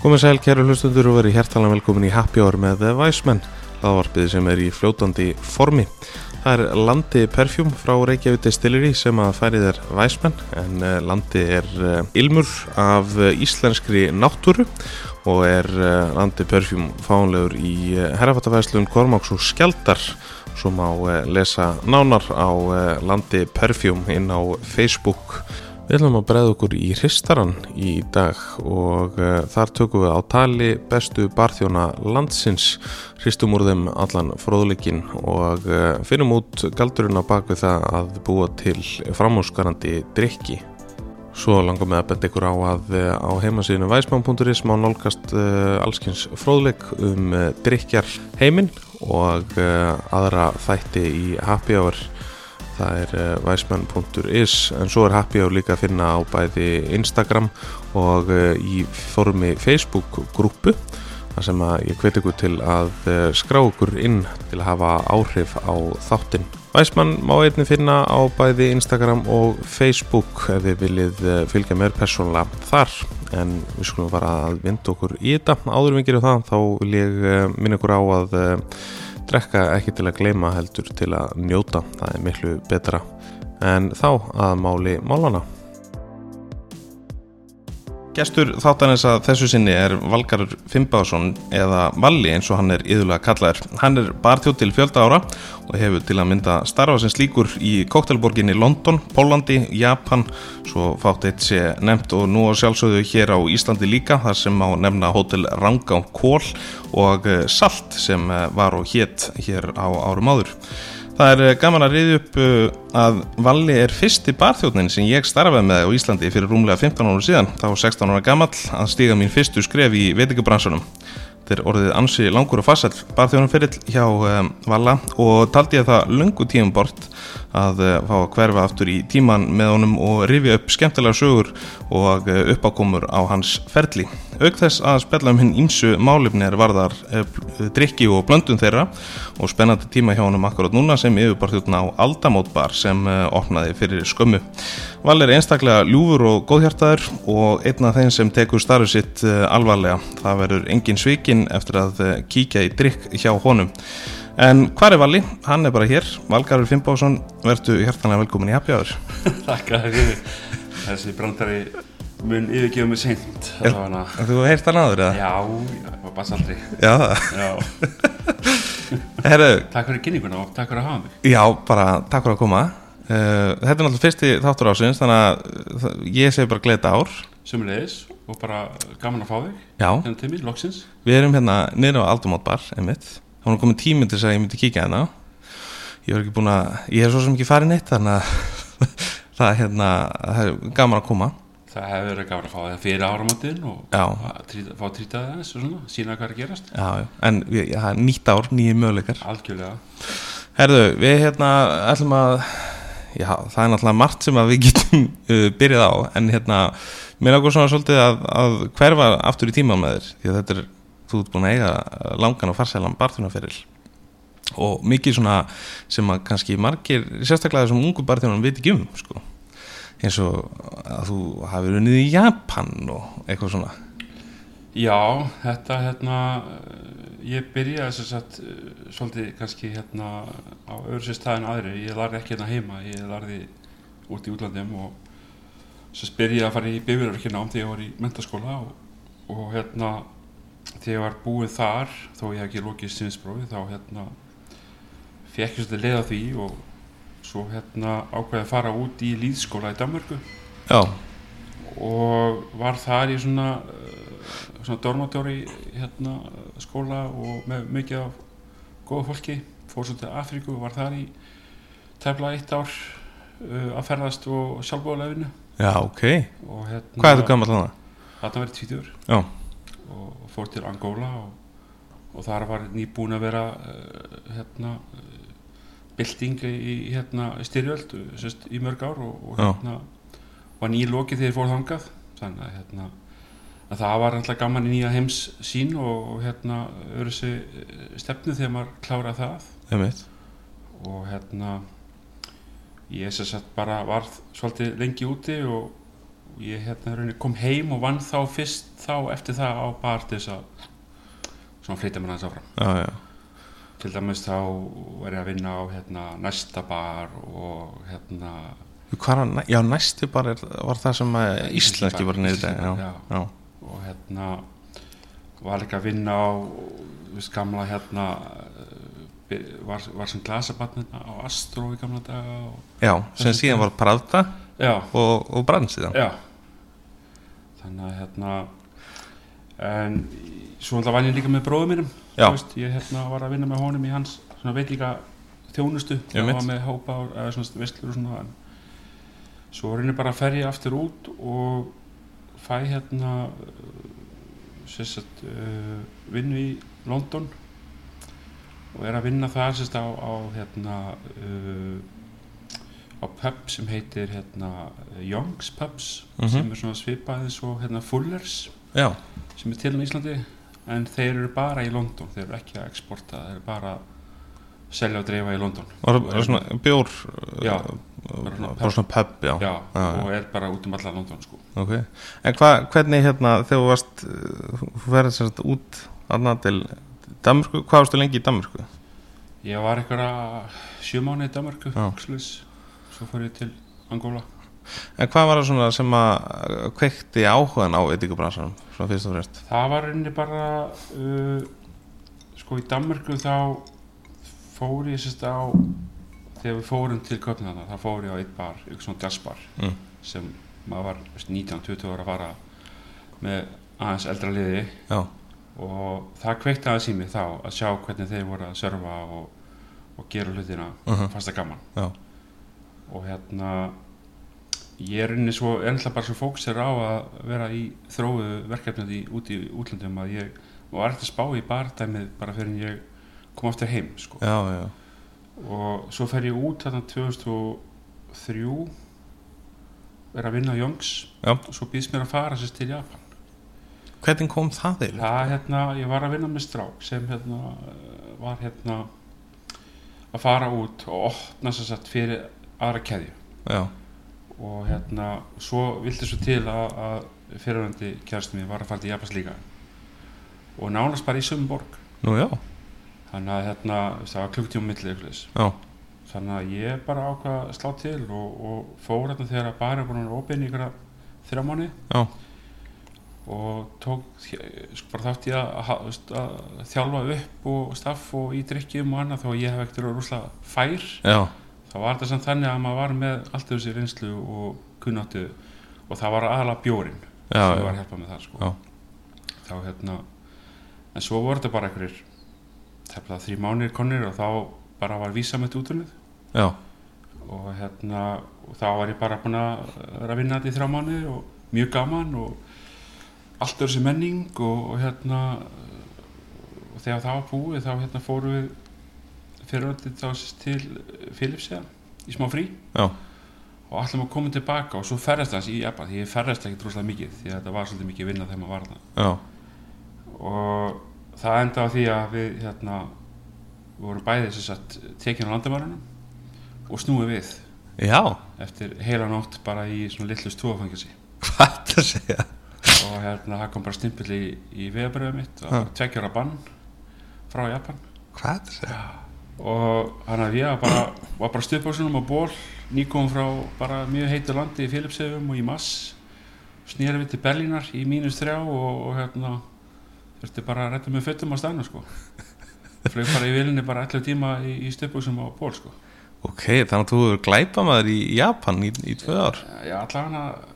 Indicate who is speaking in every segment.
Speaker 1: Komið sæl, kæru hlustundur og verið hjertalega velkomin í Happy Hour með The Weisman hlaðvarpið sem er í fljótandi formi Það er Landi Perfjúm frá Reykjavík Distillery sem að færi þér Weisman en eh, Landi er eh, ilmur af eh, íslenskri náttúru og er eh, Landi Perfjúm fánlegur í herrafattafæslun Kormáks og Skjaldar svo má eh, lesa nánar á eh, Landi Perfjúm inn á Facebook Við ætlum að bregða okkur í hristaran í dag og uh, þar tökum við á tali bestu barþjóna landsins, hristum úr þeim allan fróðleikin og uh, finnum út galdurinn á bak við það að búa til framhúsgarandi drikki. Svo langar mig að benda ykkur á að eh, á heimasíðinu væsmann.is má nálgast uh, allskins fróðleik um uh, drikjar heiminn og uh, aðra þætti í happy hour það er uh, væsmann.is en svo er happy hour líka að finna á bæði Instagram og uh, í formi Facebook grúpu þar sem að ég hveti ykkur til að eh, skrá ykkur inn til að hafa áhrif á þáttinn. Væsmann má einnig finna á bæði Instagram og Facebook ef þið viljið eh, fylgja mér persónulega þar en við skulum fara að vinda okkur í þetta. Áður en við gerum það þá vil ég eh, minna ykkur á að eh, drekka ekki til að gleyma heldur til að njóta. Það er miklu betra en þá að máli málana. Gestur þáttanins að þessu sinni er Valgarur Fimbaðsson eða Valli eins og hann er yðurlega kallaður. Hann er barþjóð til fjölda ára og hefur til að mynda starfa sem slíkur í Kóktelborginni London, Pólandi, Japan, svo fátt eitt sé nefnt og nú á sjálfsögðu hér á Íslandi líka þar sem má nefna hótel Rangá Kól og eh, Salt sem eh, var og hétt hér á árum áður. Það er eh, gaman að riðja upp uh, að Valli er fyrsti barþjóðnin sem ég starfaði með á Íslandi fyrir rúmlega 15 ára síðan, þá 16 ára gamall að stíga mín fyrstu skref í veitingabransunum. Þetta er orðið ansi langur og farsall barþjóðnum fyrir hjá um, Valla og taldi ég það lungu tíum bort að uh, fá að hverfa aftur í tíman með honum og rifja upp skemmtilega sögur og uh, uppákomur á hans ferli. Auk þess að spjalla um hinn ímsu málefni er varðar eh, drikki og blöndun þeirra og spennandi tíma hjá honum akkurat núna sem yfirbarþjóðna á Aldamótbar sem eh, opnaði fyrir skömmu. Val er einstaklega ljúfur og góðhjartaður og einn af þeim sem tekur starfið sitt eh, alvarlega. Það verður engin svikin eftir að eh, kíkja í drikk hjá honum. En hvar er Valli? Hann er bara hér. Valgarur Finnbásson, verðu hjertanlega velkomin í Hapjáður.
Speaker 2: Takka það fyrir Þessi brandari mun yfirgefa mig seint
Speaker 1: Er-
Speaker 2: allavega.
Speaker 1: Þú heirt hann aður eða?
Speaker 2: Já, já, það var basaldri
Speaker 1: Já.
Speaker 2: Já,
Speaker 1: Herru,
Speaker 2: takk fyrir kynninguna og takk fyrir að hafa mig
Speaker 1: Já, bara takk fyrir að koma uh, Þetta er náttúrulega fyrsti þáttur ásins þannig að uh, ég segi bara gleðið ár
Speaker 2: Sumulegis og bara gaman að fá þig
Speaker 1: Já,
Speaker 2: Þannig til mér, loksins
Speaker 1: við erum hérna niður á Aldumátbar, einmitt Það var komið tími til þess að ég myndi kíkja hérna Ég er ekki búin að, ég er svo sem ekki farin eitt þannig að það er hérna, það er gaman að koma
Speaker 2: Það hefur verið gaman að fá þig fyrir áramótin og
Speaker 1: Já.
Speaker 2: að trýta- fá trýtaði aðeins og svona, sína hvað er að gerast
Speaker 1: Já, já, en ég- ég- það er nýtt ár, nýju möguleikar
Speaker 2: Algjörlega
Speaker 1: Herðu, við hérna ætlum að Já, það er náttúrulega margt sem að við getum uh, byrjað á en hérna, mér ákveð svona svolítið að, að hverfa aftur í tíma með þér því að þetta er, þú ert búin að eiga eh, langan og farsælan barþjónaferil og mikið svona sem að kannski margir, sérstaklega þessum ungu barþjónum veit ekki um, sko eins og að þú hafi unnið í Japan og eitthvað svona
Speaker 2: Já, þetta hérna eh, ég byrjaði sem sagt eh, svolítið kannski hérna á öðru sér staðin aðri, ég larði ekki hérna heima ég larði út í útlandum og sem byrjaði að fara í bifurörkina om þegar ég var í mentaskóla og, og hérna þegar ég var búinn þar, þó ég hef ekki lokið sinnsbrófi, þá hérna fekk ég svolítið leið á því og svo hérna ákveði að fara út í líðskóla í Danmörku
Speaker 1: Já,
Speaker 2: og var þar í svona, eh, svona dormatóri hérna, eh, skóla og með mikið af góða fólki fór svo til Afríku og var þar í tefla eitt ár uh, að ferðast og sjálfbóðalefinu
Speaker 1: já, ok
Speaker 2: og hérna
Speaker 1: Hvað er þú gammal þannig?
Speaker 2: þarna verið tvítur
Speaker 1: Já,
Speaker 2: og fór til Angola og, og þar var nýbúin að vera uh, hérna uh, bylting í hérna styrjöld sérst, í mörg ár og, og
Speaker 1: Já.
Speaker 2: hérna var nýlokið þegar ég fór þangað þannig að hérna að það var alltaf gaman í nýja heims sín og, og hérna öðru sig stefnu þegar maður klára það
Speaker 1: einmitt
Speaker 2: og hérna ég sem sagt bara varð svolítið lengi úti og, og ég hérna, raunin, kom heim og vann þá fyrst þá eftir það á bar til þess að svona flytja mér aðeins áfram
Speaker 3: já, já,
Speaker 2: til dæmis þá var ég að vinna á hérna, næsta bar og hérna
Speaker 3: Hvar, að- já næstu bara er, var það sem að íslenski var niður
Speaker 2: Íslenski
Speaker 3: já,
Speaker 2: bar,
Speaker 3: já,
Speaker 2: já. og hérna var líka að vinna á viðst gamla hérna eh, by- var, var sem glasabatnina á Astro í gamla daga og,
Speaker 3: já, sem síðan var Pravda
Speaker 2: já,
Speaker 3: og, og brann síðan
Speaker 2: já þannig að hérna en svo alltaf vann ég líka með bróðum mínum
Speaker 3: Já.
Speaker 2: Þú veist, ég hérna var að vinna með honum í hans svona veit líka þjónustu ég
Speaker 3: Einmitt.
Speaker 2: var með hópa og- eða svona veistlur og svona en svo reynir bara að fer ég aftur út og fæ hérna uh, sem sagt uh, vinnu í London og er að vinna þar sérst á, á hérna uh, á pub sem heitir hérna Young's Pubs
Speaker 3: Mhm.
Speaker 2: sem er svona svipað eins og hérna Fuller's
Speaker 3: já,
Speaker 2: sem er til á Íslandi en þeir eru bara í London, þeir eru ekki að exporta þeir eru bara að selja og dreifa í London
Speaker 3: var, var svona bjór
Speaker 2: Já,
Speaker 3: uh,
Speaker 2: bara svona
Speaker 3: bara svona pub, já,
Speaker 2: já,
Speaker 3: já.
Speaker 2: og er bara út um alla London sko.
Speaker 3: ok en hva, hvernig hérna þegar þú varst uh, þú verður sem sagt út aðna til Danmörku, hvað varstu lengi í Danmörku?
Speaker 2: ég var einhverja sjö mánu í Danmarku
Speaker 3: Já.
Speaker 2: Xlis, svo fór ég til Angola
Speaker 3: En hvað var það svona sem að uh, kveikti áhugan á veitingabransanum, svona fyrst og fremst?
Speaker 2: það var rauninni bara uh, sko í Danmörku þá fór ég sérst á þegar við fórum til Köpnana þá fór ég á eitt bar, eitthvað svona jazzbar
Speaker 3: Mm.
Speaker 2: sem maður var 19-20 ára að fara með aðeins eldra liði
Speaker 3: Já,
Speaker 2: og það kveikti aðeins í mig þá að sjá hvernig þeir voru að serva og, og gera hlutina
Speaker 3: Mhm.
Speaker 2: fasta gaman
Speaker 3: Já.
Speaker 2: og hérna ég er inni svo ennlega bara svo fóksir á að vera í þróu verkefnið í, út í útlöndum að ég var eftir að spá í bardæmið bara fyrir en ég kom aftur heim sko.
Speaker 3: já, já,
Speaker 2: og svo fer ég út þarna 2003 er að vinna á Jóngs
Speaker 3: Já.
Speaker 2: og svo býðst mér að fara sérst til Japan
Speaker 3: Hvernig kom það þig?
Speaker 2: Það, hérna, ég var að vinna með strák sem hérna, eh, var hérna að fara út og opna sér satt fyrir aðra keðju
Speaker 3: Já,
Speaker 2: og hérna, svo vildi svo til að, að fyrirvændi kjærstum ég var að fara til Japans líka og nánast bara í sömu borg
Speaker 3: nú já,
Speaker 2: þannig að hérna, það var klukktíma milli ykkur þess
Speaker 3: já,
Speaker 2: þannig að ég bara ákvað að slá til og, og fór hérna þegar að bara búin að opina ykkur þrjá mánu
Speaker 3: Já.
Speaker 2: og tók eh, sko bara þátt ég að, að, ha- þú veist, að þjálfa upp og staff og í drikkjum og annað þó að ég hef ekkert verið rúslega fær
Speaker 3: já,
Speaker 2: þá var þetta samt þannig að maður var með allt þessi reynslu og kunnáttu og það var aðalega bjórin
Speaker 3: já,
Speaker 2: sem
Speaker 3: já,
Speaker 2: var að hjálpa með það sko.
Speaker 3: Já.
Speaker 2: þá hérna en svo voru þetta bara einhverjir tefla þrjum mánir konir og þá bara var vísa með útunnið
Speaker 3: já,
Speaker 2: og hérna og þá var ég bara búin að vera að vinna þetta í þrjá manni og mjög gaman og allt er þessi menning og, og hérna og þegar það var búið þá hérna fórum við fyriröndið þá sérst til Filipsja í smá frí
Speaker 3: Já.
Speaker 2: og allum að koma tilbaka og svo ferðast hans í Japan því ég ferðast ekki droslega mikið því að þetta var svolítið mikið vinna þegar maður var það
Speaker 3: já,
Speaker 2: og það enda á því að við hérna við vorum bæðið sem sagt tekin á landamærunum og snúið við
Speaker 3: já,
Speaker 2: eftir heila nótt bara í svona litlu stofafangjasi
Speaker 3: hvað ertu að segja?
Speaker 2: og hérna það kom bara stimpill í, í vegabröðum mitt og
Speaker 3: Ha.
Speaker 2: það var tveggjara bann frá Japan
Speaker 3: Hvað ertu að segja?
Speaker 2: og hann að ég var bara, var bara stuðbásunum á ból nýkom frá bara mjög heitu landi í Filipsefum og í Mass snýra við til Berlínar í mínus þrjá og, og hérna þurfti bara að redda með fötum á staðnum sko flög bara í vilinni bara 11 tíma í, í stuðbásunum á ból sko
Speaker 3: Ok, þannig að þú hefur glæpamaður í Japan í, í tvö ár
Speaker 2: ég ætla hann að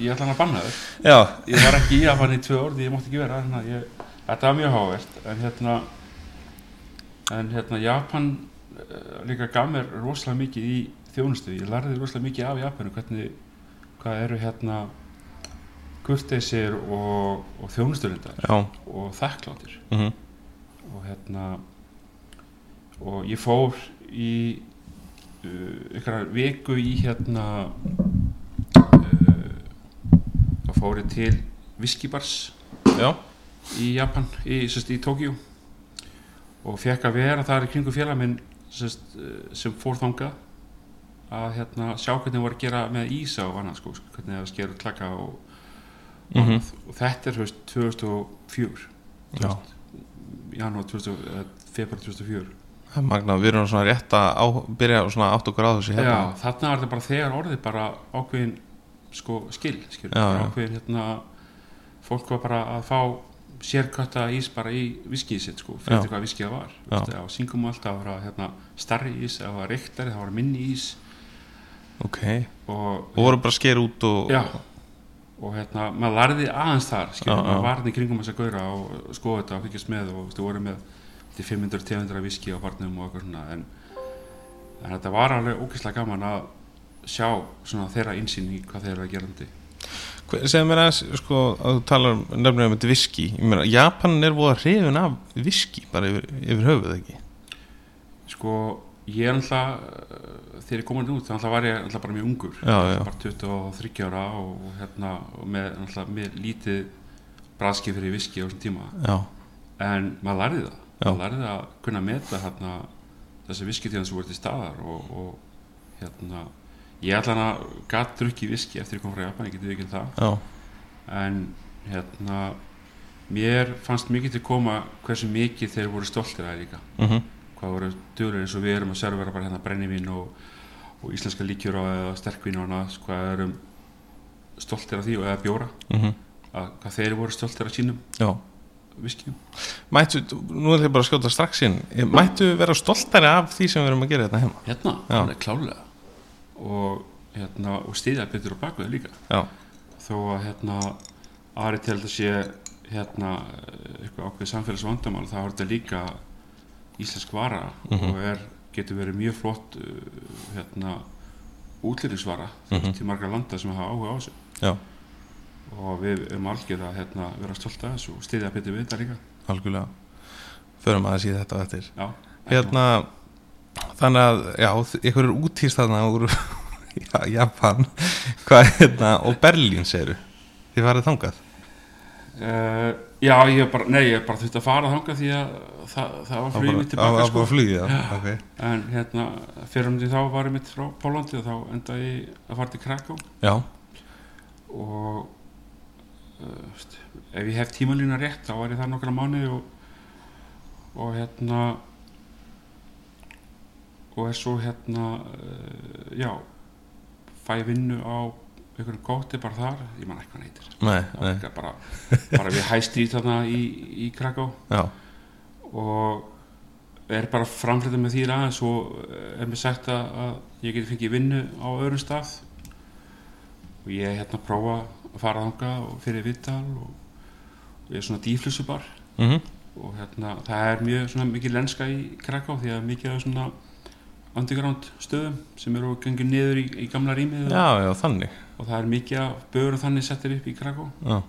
Speaker 2: ég ætla hann að banna þau
Speaker 3: Já,
Speaker 2: ég var ekki í Japan í tvö orð ég mátti ekki vera þannig að ég, þetta var mjög hávert en hérna en hérna Japan eh, líka gaf mér rosalega mikið í þjónustu ég lærði rosalega mikið af Japanu hvernig hvað eru hérna kurteisir og, og þjónusturindar
Speaker 3: já,
Speaker 2: og þakkláttir
Speaker 3: mhm,
Speaker 2: og hérna og ég fór í uh, ykkur viku í hérna uh, þá fór ég til viskibars
Speaker 3: já,
Speaker 2: í Japan, í, sérst, í Tókíu og fekk að vera þar í kringu félag minn sérst, eh, sem fór uh, þangað að hérna, sjá hvernig voru að gera með ísa og annað sko, hvernig það skerur klaka og,
Speaker 1: mm
Speaker 3: Mhm.
Speaker 1: -hmm.
Speaker 2: og þetta er þú veist 2004
Speaker 1: Já,
Speaker 2: janúar 2000, eða februar 2004
Speaker 1: það er magna, við erum svona rétt að á, byrja svona átt okkur á þessu
Speaker 2: já,
Speaker 1: hérna
Speaker 2: þarna er þetta bara þegar orðið bara ákveðin sko skil, skil
Speaker 1: Já, já.
Speaker 2: ákveðin hérna fólk var bara að fá sérkvætta ís bara í viskið sitt sko, fyrir
Speaker 1: Já.
Speaker 2: hvað viskið það var
Speaker 1: Já.
Speaker 2: Veistu, á syngum alltaf að vera hérna, starri ís, að vera reyktari, það var minni ís
Speaker 1: Ok,
Speaker 2: og,
Speaker 1: og voru bara sker út og
Speaker 2: já og hérna, maður larði aðeins þar skilur,
Speaker 1: Já, já.
Speaker 2: maður varði í kringum þess að gauðra og skoða þetta og fylgjast með og þú voru með til 500-200 viski á barnum og eitthvað svona en, en þetta var alveg ógeðslega gaman að sjá svona þeirra insýn í hvað þeir eru að gera um því
Speaker 1: Hver- segðu mér aðeins, sko, að þú talar um nefnir um þetta viski, ég meina, Japan er voða hrifin af viski, bara yfir, yfir höfuð ekki
Speaker 2: sko, ég er alltaf þegar ég komin út, þannig var ég alltaf bara mjög ungur
Speaker 1: Já, já,
Speaker 2: bara 23 ára og, og hérna, og með, alltaf, með lítið braski fyrir viski á þessum tíma
Speaker 1: já,
Speaker 2: en maður lærði það
Speaker 1: Já.
Speaker 2: maður lærði að kunna meta hérna, þessi viskitíðan sem voru til staðar og, og hérna ég allan að gatt drukki viski eftir ég kom frá Japan, ég geti ekki það
Speaker 1: já,
Speaker 2: en hérna mér fannst mikið til að koma hversu mikið þeir voru stoltir að líka
Speaker 1: mhm
Speaker 2: hvað voru duglur eins og við erum að servera bara hérna brennivín og, og íslenska líkjur og sterkvín og annað hvað erum stoltir að því og eða bjóra
Speaker 1: mhm,
Speaker 2: að hvað þeir voru stoltir að sínum
Speaker 1: já
Speaker 2: viskjum
Speaker 1: Mættu, nú ætlum ég bara að skjóta strax inn
Speaker 2: Mm.
Speaker 1: Mættu vera stoltari af því sem við erum að gera þetta heima
Speaker 2: hérna,
Speaker 1: Já.
Speaker 2: alveg klálega og, hérna, og stiðja betur á bakveð líka
Speaker 1: Já,
Speaker 2: þó að hérna Ari til þetta sé hérna eh, eitthvað ákveðið samfélagsvandamál þá er þetta líka íslensk vara
Speaker 1: Mhm.
Speaker 2: og er, getur verið mjög flott eh, hérna útlýringsvara
Speaker 1: Mhm.
Speaker 2: til margra landa sem hafa áhuga á þessu
Speaker 1: Já.
Speaker 2: og við erum algjör að hérna, vera stolt af þessu og stiðja betur við þetta líka
Speaker 1: algjörlega Förum aðeins í þetta á eftir
Speaker 2: Já,
Speaker 1: Hérna, þannig að, já, ykkur er útýst þarna úr já, Japan Hvað, hérna, og Berlín segir Þið farið þangað
Speaker 2: uh, já ég er bara, nei, ég er bara þurfti að fara þangað því að það, það var flugum
Speaker 1: Á bara- á-
Speaker 2: tilbaka
Speaker 1: á
Speaker 2: sko.
Speaker 1: bara flugið, já,
Speaker 2: Já.
Speaker 1: ok
Speaker 2: en hérna fyrir um því þá var ég mitt frá Pólandi og þá endaði ég að fara til Krakkó
Speaker 1: Já,
Speaker 2: og uh, veist, ef ég hef tímalína rétt þá var ég þar nokkra mánuði og, og hérna og er svo hérna uh, já fæ vinnu á einhvern góti bara þar, ég man ekki hvað hann heitir
Speaker 1: nei,
Speaker 2: Það var
Speaker 1: nei,
Speaker 2: líka bara, bara við hæstrýt þarna í, í Krakkó
Speaker 1: já
Speaker 2: og er bara framflutið með því aðeins og eh, er mér sagt að, að ég geti fengið vinnu á öðrum stað og ég er hérna að prófa að fara þangað og fyrir vittal og, og ég er svona dýflissubar
Speaker 1: mhm,
Speaker 2: og hérna það er mjög svona mikið lenska í Kraká því að mikið af svona underground stöðum sem eru gengið niður í, í gamla rýmið
Speaker 1: Já, já, þannig
Speaker 2: og það er mikið af börum þannig settir upp í Kraká
Speaker 1: Já,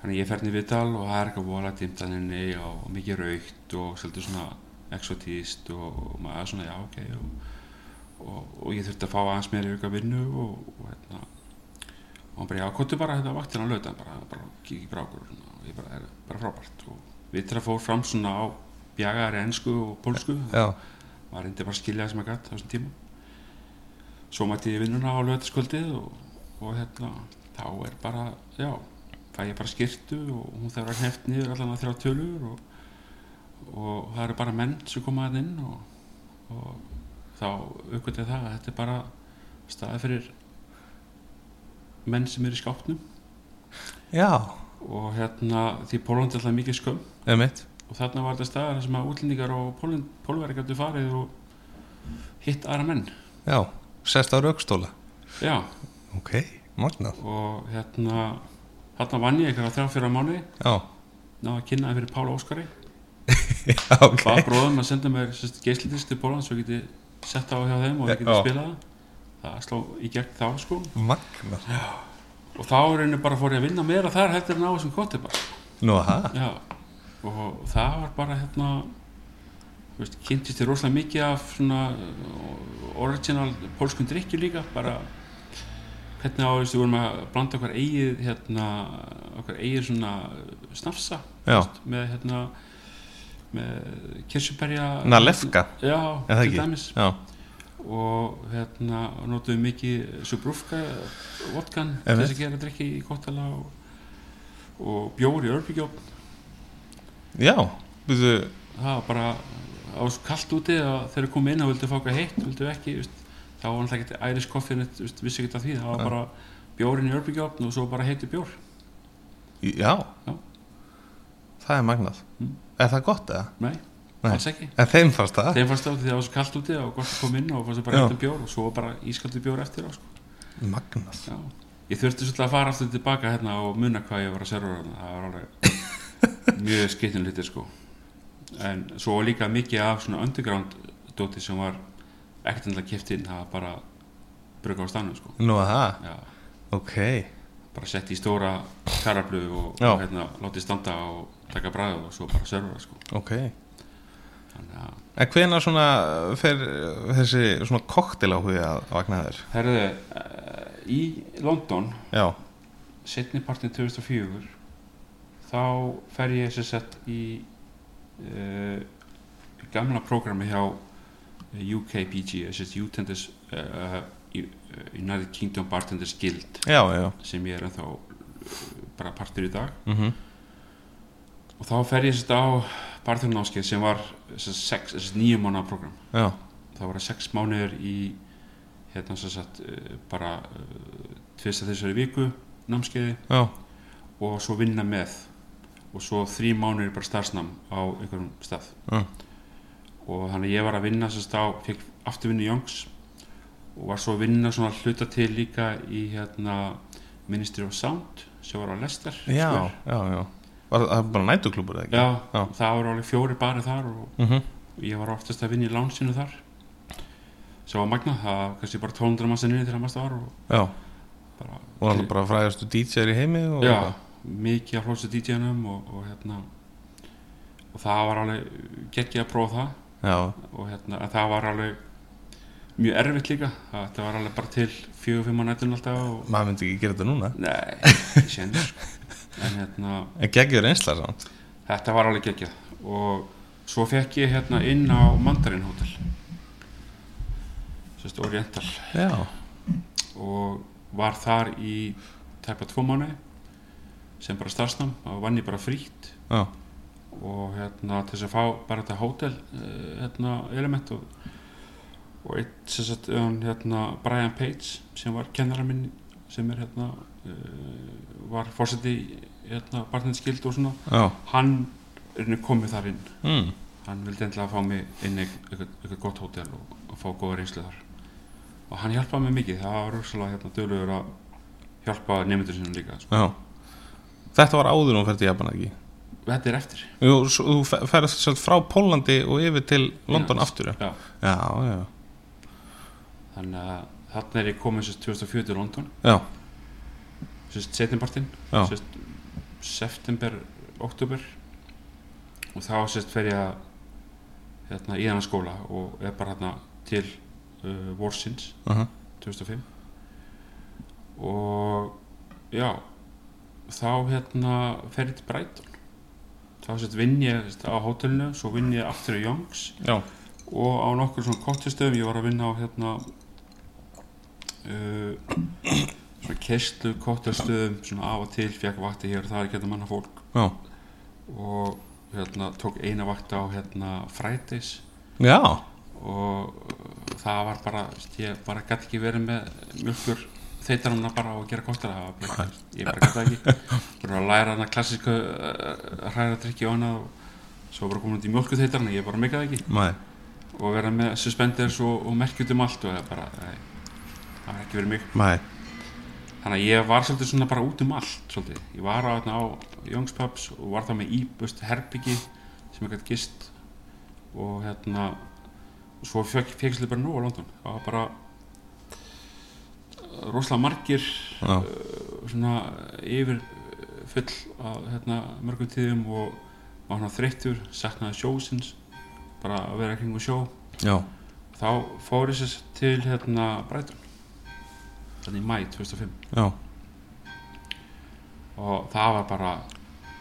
Speaker 2: Þannig ég ferði við tal og það er eitthvað vola dimtaninni og mikið raukt og svolítið svona exotíst og, og maður er svona já ok og, og, og ég þurfti að fá aðeins meira auka vinnu og, og hérna og hann bara já, kóttu bara hérna vaktina að lauta bara, bara kikið bara á okkur og svona. og ég bara, er bara frábært og við til að fór fram svona á bjagaðari ennsku og pólsku
Speaker 1: já,
Speaker 2: maður reyndi bara að skilja það sem að gætt á þessum tíma svo mætti ég í vinnuna á lögataskvöldið og, og hérna þá er bara, já fæ ég bara skirtu og hún þarf að hneft niður allan að þrjá tölur og, og það eru bara menn sem koma að inn og, og þá aukvöldið það að þetta er bara staði fyrir menn sem eru í skápnum
Speaker 1: já,
Speaker 2: og hérna því Pólund er alltaf mikið skömm
Speaker 1: eða mitt
Speaker 2: og þarna var þetta staðar þar sem að útlendingar og pólverið gætu farið og hitt aðra menn
Speaker 1: Já, sest á raukstóla
Speaker 2: já,
Speaker 1: Ok, magnað
Speaker 2: og hérna þarna vann ég eitthvað þrjá fjóra mánu
Speaker 1: Já,
Speaker 2: náðu að kynna það fyrir Pála Óskari
Speaker 1: já, ok
Speaker 2: bað bróðum að senda mér geislitist til Pólans svo ég geti sett á hjá þeim og ég geti
Speaker 1: Já.
Speaker 2: spilað það það sló í gegn þá sko
Speaker 1: Magnað
Speaker 2: og þá er einu bara fór ég að vinna meira þar heldur en á þessum koti bara
Speaker 1: Nú, ha?
Speaker 2: já, og það var bara hérna þú veist, kynntist ég rosalega mikið af svona uh, original pólskun drikju líka bara hvernig á þessu vorum að blanda okkar eigið hérna, okkar eigið svona uh, snafsa
Speaker 1: Já,
Speaker 2: með hérna með kirsjuberja
Speaker 1: Nalefka
Speaker 2: já,
Speaker 1: Er það
Speaker 2: til
Speaker 1: ekki?
Speaker 2: dæmis
Speaker 1: Já,
Speaker 2: og hérna notuðum mikið subrúfka vodkan til
Speaker 3: Einmitt.
Speaker 2: þess að gera drikki í kottala og, og bjór í örbygjófn
Speaker 3: Já, byrju,
Speaker 2: það var bara á svo kallt úti að þegar við komum inn og vildum fá eitthvað heitt, vildum ekki veist, þá var alltaf ekkert Irish coffee neitt, veist, vissi ekkert af því, það var
Speaker 3: Nei.
Speaker 2: bara bjórinn í örbygjófn og svo bara heitur bjór
Speaker 3: já.
Speaker 2: Já.
Speaker 3: Það er magnað.
Speaker 2: Mm.
Speaker 3: Er það gott eða?
Speaker 2: nei,
Speaker 3: Nei.
Speaker 2: alls ekki
Speaker 3: En þeim fannst það?
Speaker 2: þeim fannst það af því að það var svo kallt úti og gott að koma inn og fannst það bara
Speaker 3: Já.
Speaker 2: heitur bjór og svo var bara ískaldur bjór eftir á sko.
Speaker 3: Magnað.
Speaker 2: Já, ég þurfti svolítið að fara aftur tilbaka hérna og muna hvað ég var að servera hérna, það var alveg mjög skittin hlutir sko en svo var líka mikið af svona underground dóti sem var ekkert endilega keft inn, það var bara bruka á stannum sko
Speaker 3: Nú að það,
Speaker 2: Já,
Speaker 3: ok.
Speaker 2: bara sett í stóra karablu og
Speaker 3: Já.
Speaker 2: hérna, látið standa og taka bræðu og svo bara servera sko
Speaker 3: Ok.
Speaker 2: þannig að,
Speaker 3: En hvenar svona uh, fer uh, þessi svona koktel áhuga að vakna þér?
Speaker 2: herðu eh, í London
Speaker 3: Já,
Speaker 2: setni partin 2004 þá fer ég sem sett í uh, gamla prógrami hjá eh, UKPG sem sagt Utenders uh, United Kingdom Bartenders Guild
Speaker 3: já, já.
Speaker 2: sem ég er ennþá eh, bara partur í dag
Speaker 3: Mm
Speaker 2: og þá fer ég sem sagt á barþjóðnámskeið sem var sem sagt, sex, sem sagt, níu mánuða prógram
Speaker 3: Já,
Speaker 2: það voru sex mánuðir í hérna sem sagt uh, bara uh, tvist að þessari viku námskeiði
Speaker 3: já,
Speaker 2: og svo vinna með og svo þrý mánuðir bara starfsnam á einhverjum stað
Speaker 3: Mm.
Speaker 2: og þannig að ég var að vinna sem stá, fekk afturvinni Jóngs og var svo að vinna svona að hluta til líka í hérna Ministry of Sound sem var á Lester
Speaker 3: já,
Speaker 2: Square.
Speaker 3: já, já. Var það bara nætuklubur eða ekki?
Speaker 2: já,
Speaker 3: Já.
Speaker 2: það voru alveg fjóri barið þar og
Speaker 3: Mm
Speaker 2: ég var oftast að vinna í lánsinu þar sem var magna, það var kannski bara 200 massa niður þegar massa var og
Speaker 3: Já,
Speaker 2: bara,
Speaker 3: og hann bara fræðastu DJ-r í heimi og...
Speaker 2: já, mikið af hlósa DJ-num og, og hérna og það var alveg geggið að prófa það
Speaker 3: Já,
Speaker 2: og hérna, en það var alveg mjög erfitt líka það þetta var alveg bara til fjögur, fimm á nættun alltaf og
Speaker 3: maður myndi ekki gera þetta núna.
Speaker 2: nei, ég sé hendur en hérna,
Speaker 3: En geggjur einsla samt.
Speaker 2: þetta var alveg geggjað og svo fekk ég hérna inn á Mandarin Hotel sérst Oriental
Speaker 3: Já,
Speaker 2: og var þar í tæpa tvo mánu sem bara starfsnám og vann ég bara frítt
Speaker 3: já,
Speaker 2: og hérna til þess að fá bara þetta hótel eh, hérna, element og, og eitt sem sagt um, hérna, Brian Page sem var kennara minn sem er hérna uh, var fórseti hérna barninskild og svona
Speaker 3: já.
Speaker 2: hann er nú komið þar inn
Speaker 1: hmm,
Speaker 3: Mm.
Speaker 2: hann vildi endilega fá mig inn í eitthvað, eitthvað gott hótel og, og fá góða reynslu þar og hann hjálpaði mig mikið það var rosalega hérna dölugur að hjálpa nefndur sinum líka sko.
Speaker 3: já. Þetta var áður hún fyrir til Japan ekki?
Speaker 2: þetta er eftir
Speaker 3: Jú, svo- þú fe- ferð sem sagt frá Pólandi og yfir til London
Speaker 2: Já.
Speaker 3: aftur.
Speaker 2: Já.
Speaker 3: já, já.
Speaker 2: þannig að þarna er ég komið sérst 2004 til London
Speaker 3: Já,
Speaker 2: sérst setjumpartinn
Speaker 3: Já.
Speaker 2: sérst september, oktober og þá sérst fer ég að hérna, í þennan skóla og er bara hérna til uh, Warsins
Speaker 3: uh
Speaker 2: 2005 og já þá hérna fer ég til Brighton þá sérst vinn ég sérst, á hótelinu svo vinn ég aftur í Youngs
Speaker 3: já.
Speaker 2: og á nokkur svona kottistöðum ég var að vinna á hérna uh, svona kerslu kottistöðum svona af og til fekk vakti hér og það er ekki að manna fólk
Speaker 3: Já,
Speaker 2: og hérna tók eina vakti á hérna frætis
Speaker 3: já.
Speaker 2: og uh, það var bara veist, ég bara gæti ekki verið með mjölkur þeitarumna bara á að gera kottir það var bara, ég bara gæti það ekki bara að læra hana klassísku uh, hræra drikki og annað og svo bara komin út í mjölku þeitarumna ég bara meikaði ekki
Speaker 3: Nei.
Speaker 2: og vera með suspenders og, og merkjut um allt og það bara, nei, það var ekki verið mig
Speaker 3: Nei.
Speaker 2: þannig að ég var svolítið svona bara út um allt svolítið, ég var á, þarna á Young's Pubs og var það með íbust herbyggi sem ég gætt gist og hérna svo fekk ég svolítið bara nú á London það var bara rosalega margir
Speaker 3: Já.
Speaker 2: uh, svona yfir uh, full að hérna, mörgum tíðum og var hann þreyttur, saknaði sjósins bara að vera kring og sjó
Speaker 3: Já.
Speaker 2: þá fór ég sér til hérna Brighton þannig í mæ 2005
Speaker 3: Já.
Speaker 2: og það var bara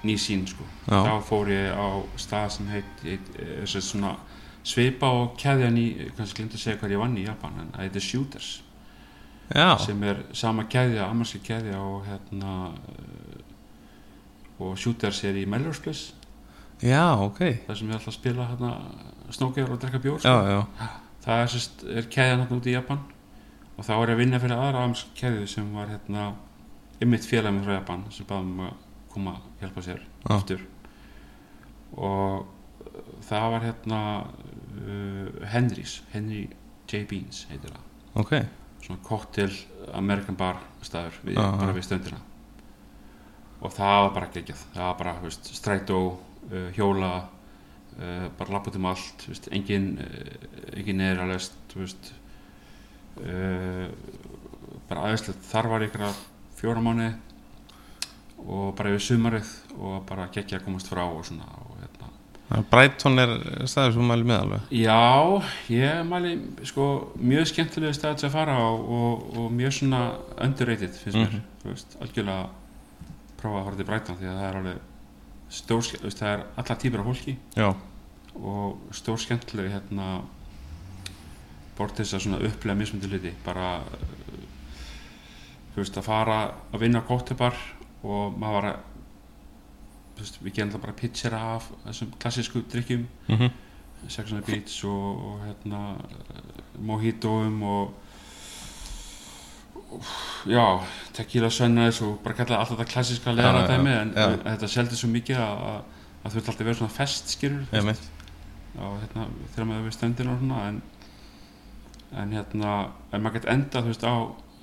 Speaker 2: ný sín sko
Speaker 3: Já.
Speaker 2: þá fór ég á stað sem heit, heit eh, sem sagt svona sveipa og keðjan í, kannski glemt að segja hvað ég vann í Japan, en það heitir Shooters
Speaker 1: já,
Speaker 2: sem er sama keðja, amerski keðja og hérna eh, og Shooters er í Melrose Place
Speaker 1: já, ok já,
Speaker 2: þar sem ég ætla að spila hérna snókjör og drekka bjór sko.
Speaker 1: já,
Speaker 2: það er, sest, er keðjan hérna út í Japan og þá er ég að vinna fyrir aðra amerski keðju sem var hérna ymmit félagmi frá Japan sem baðum um að koma að hjálpa sér
Speaker 1: Já.
Speaker 2: aftur og uh, það var hérna uh, Henry's Henry J. Beans heitir það
Speaker 1: ok
Speaker 2: svona cocktail American bar staður við,
Speaker 1: Já, já.
Speaker 2: bara við stöndina og það var bara geggjað það var bara, þú veist, strætó uh, hjóla uh, bara lapp út um allt, þú veist, engin uh, engin neður að lest, þú veist uh, bara aðeinslega, þar var ykkur fjóra mánu og bara yfir sumarið og bara geggja að komast frá og svona og hérna
Speaker 1: Brighton er staður sem mæli með alveg
Speaker 2: Já, ég mæli sko mjög skemmtilega stað til að fara á og, og mjög svona underrated finnst mér,
Speaker 1: Mhm.
Speaker 2: þú veist, algjörlega prófa að fara til Brighton því að það er alveg stór, þú veist, það er alla típar af fólki
Speaker 1: já,
Speaker 2: og stór skemmtilega hérna bort þess að svona upplega mismundi hluti, bara uh, þú veist, að fara að vinna á kóttubar og maður var að þú veist, við gerum það bara pitchera af þessum klassísku drikkjum
Speaker 1: mhm
Speaker 2: Sex on the Beach og, og hérna eh, Mojitoum og og, já, Tequila Sunrise og bara kalla alltaf það klassiska leðra
Speaker 1: Já, já,
Speaker 2: dæmi en
Speaker 1: já.
Speaker 2: en þetta seldi svo mikið að, að- að þú ert alltaf verið svona fest skilur
Speaker 1: Ég mitt,
Speaker 2: og hérna þegar maður er við stöndin og svona en, en hérna en maður gett enda þú veist á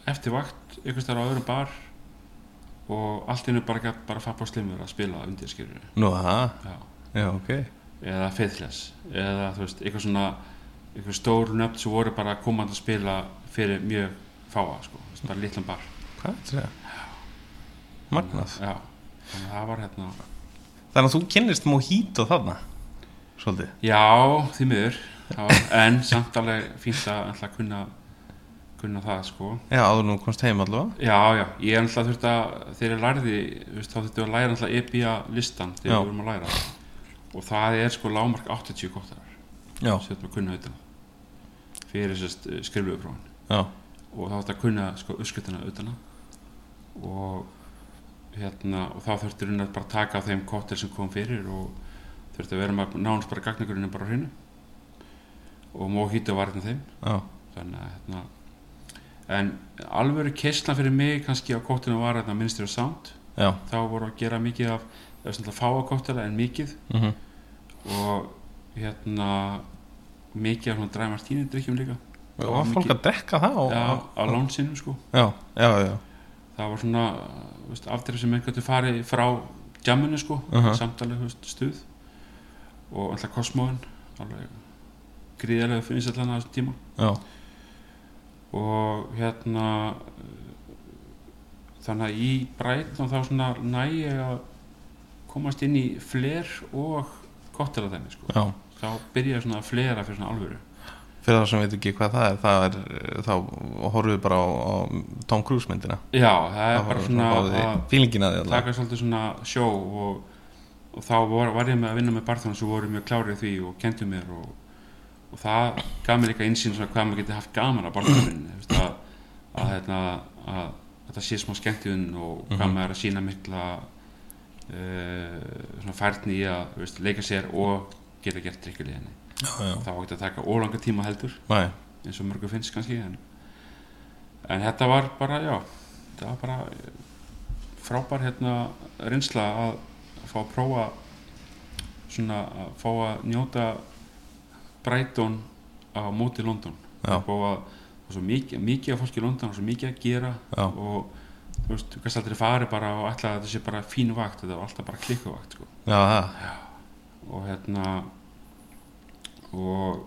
Speaker 2: eftir vakt ykkur stær á öðrum bar og allt innu bara gett bara fapp á slimur að spila undir skilur
Speaker 1: nú það,
Speaker 2: já
Speaker 1: já ok
Speaker 2: eða Faithless eða þú veist, eitthvað svona eitthvað stór nöfn sem voru bara komandi að spila fyrir mjög fáa sko, þú veist, bara litlan bar
Speaker 1: Hvað er þetta? Magnað
Speaker 2: Já, þannig að það var hérna
Speaker 1: Þannig að þú kynnist Mojito þarna Svolítið
Speaker 2: Já, því miður Það var- en samt alveg fínt að ætla að kunna kunna það sko
Speaker 1: Já, áður nú komst heim allavega
Speaker 2: Já, já, ég er alltaf þurft að þegar ég lærði, þú veist, þá þurfti að læra alltaf EBA listan þegar
Speaker 1: Já.
Speaker 2: við vorum að læra og það er sko lámark 80 kóttar
Speaker 1: Já,
Speaker 2: sem þetta kunna auðvitað fyrir sérst skrifluðuprófin
Speaker 1: já,
Speaker 2: og þá ætti að kunna sko uppskutina utana og hérna og þá þurfti raunar bara að taka á þeim kottil sem kom fyrir og þurfti að vera með nánast bara gagnagurinn bara á hreinu og móhýta var hérna þeim
Speaker 1: já,
Speaker 2: þannig að hérna en alvöru keisla fyrir mig kannski á kottinu var hérna Ministry of Sound
Speaker 1: já
Speaker 2: þá voru að gera mikið af það var svona fáa kottila en mikið
Speaker 1: mm
Speaker 2: og hérna mikið af svona dræmartíni drikkjum líka
Speaker 1: Og var fólk að drekka það og,
Speaker 2: já, á lánsinum sko
Speaker 1: já, já, já,
Speaker 2: það var svona þú veist, aftur sem einhvern veginn farið frá jamminu sko, uh
Speaker 1: Mhm.
Speaker 2: -huh. samtalið veist, stuð og alltaf kosmóin alveg gríðarlega finnst allan að þessum tíma
Speaker 1: já,
Speaker 2: og hérna uh, þannig að í breytn og þá svona næ ég að komast inn í fler og kottela þeim sko.
Speaker 1: já
Speaker 2: þá byrja ég svona að flera fyrir svona alvöru
Speaker 1: Fyrir það sem veit ekki hvað það er, það er þá horfum við bara á, á Tom Cruise myndina
Speaker 2: já, það er
Speaker 1: Þá
Speaker 2: bara
Speaker 1: horfum við
Speaker 2: svona
Speaker 1: á því,
Speaker 2: að
Speaker 1: Fílingin að því allavega
Speaker 2: taka svolítið svona sjó og, og þá var, var ég með að vinna með barþjóðan sem voru mjög klárið í því og kentu mér og, og það gaf mér líka einsýn svona hvað maður geti haft gaman að barþjóðanvinni að, að, hérna, að, að þetta sé smá skemmtiðun og hvað
Speaker 1: Mhm.
Speaker 2: maður er að sína mikla uh, svona færni í að þú veist, leika sér og geta gert drikkulega henni
Speaker 1: Já, já,
Speaker 2: það var ekki að taka ólanga tíma heldur
Speaker 1: næ,
Speaker 2: eins og mörgu finnst kannski en, en þetta var bara, já þetta var bara eh, frábær hérna reynsla að að fá að prófa svona að fá að njóta Brighton á móti London
Speaker 1: já,
Speaker 2: og að og svo mikið, mikið af fólki í London og svo mikið að gera
Speaker 1: Já.
Speaker 2: og þú veist, þú kannski aldrei farið bara og ætla að þetta sé bara fín vakt þetta var alltaf bara klikkuvakt sko
Speaker 1: já, það
Speaker 2: og hérna og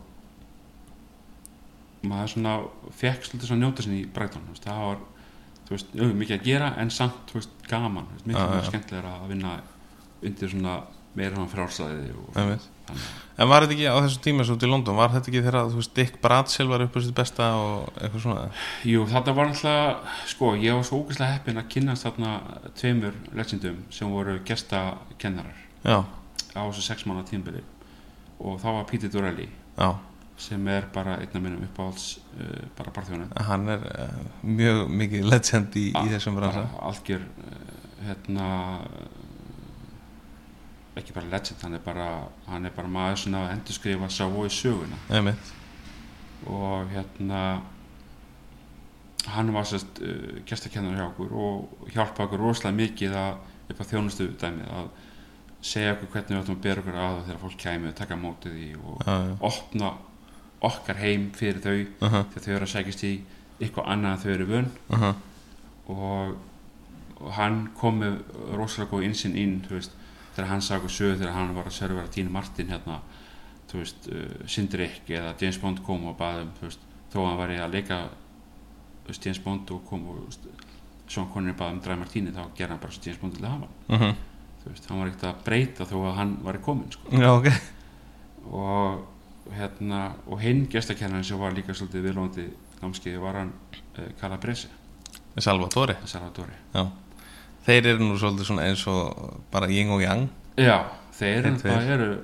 Speaker 2: maður svona fekk svolítið svona njóta sinni í Brighton þú veist, það var þú veist, jú, mikið að gera en samt þú veist, gaman, þú veist, mikið
Speaker 1: Já,
Speaker 2: ah,
Speaker 1: já.
Speaker 2: skemmtilega að vinna undir svona meira svona frálsæði og
Speaker 1: Einmitt.
Speaker 2: þannig.
Speaker 1: En var þetta ekki á þessum tíma svo út í London, var þetta ekki þegar þú veist Dick Bradsell var upp á sitt besta og eitthvað svona?
Speaker 2: Jú, þetta var náttúrulega, sko, ég var svo ógæslega heppinn að kynnast þarna tveimur legendum sem voru gestakennarar
Speaker 1: Já,
Speaker 2: á þessu sex mánu tímbili og það var Píti Durelli
Speaker 1: já,
Speaker 2: sem er bara einn af minnum uppáhalds uh, bara barþjónum
Speaker 1: hann er uh, mjög mikið legend í, í þessum bransa
Speaker 2: algjör uh, hérna uh, ekki bara legend, hann er bara hann er bara maður sem að endurskrifa Savoy söguna
Speaker 1: einmitt,
Speaker 2: og hérna hann var sérst uh, gestakennar hjá okkur og hjálpa okkur rosalega mikið að upp á þjónustu dæmið að segja okkur hvernig við ætlum að bera okkur að og þegar fólk kæmi og taka á móti því og
Speaker 1: já, já,
Speaker 2: opna okkar heim fyrir þau
Speaker 1: uh -huh,
Speaker 2: þegar þau eru að sækist í eitthvað annað en þau eru vun
Speaker 1: uh -huh.
Speaker 2: og, og hann kom með rosalega góð insinn inn þú veist, þegar hann sagði okkur sögur þegar hann var að servera Tín Martin hérna þú veist, uh, Sindrik eða James Bond kom og baðum þú veist, þó að hann var í að leika þú veist, James Bond og kom og þú veist, Sean Connery bað um Dry Martini þá gerði hann bara svo James Bond til að hafa
Speaker 1: Uh
Speaker 2: hann.
Speaker 1: -huh.
Speaker 2: þú veist, hann var ekkert að breyta þó að hann var í komin sko.
Speaker 1: já, ok
Speaker 2: og hérna, og hinn gestakennarinn sem var líka svolítið vilóndi námskeiði var hann uh, Kala Bresi,
Speaker 1: Salvatore,
Speaker 2: Salvatore
Speaker 1: þeir eru nú svolítið svona eins og bara ying og yang
Speaker 2: Já, þeir
Speaker 1: Þeir
Speaker 2: eru,
Speaker 1: tveir.
Speaker 2: það eru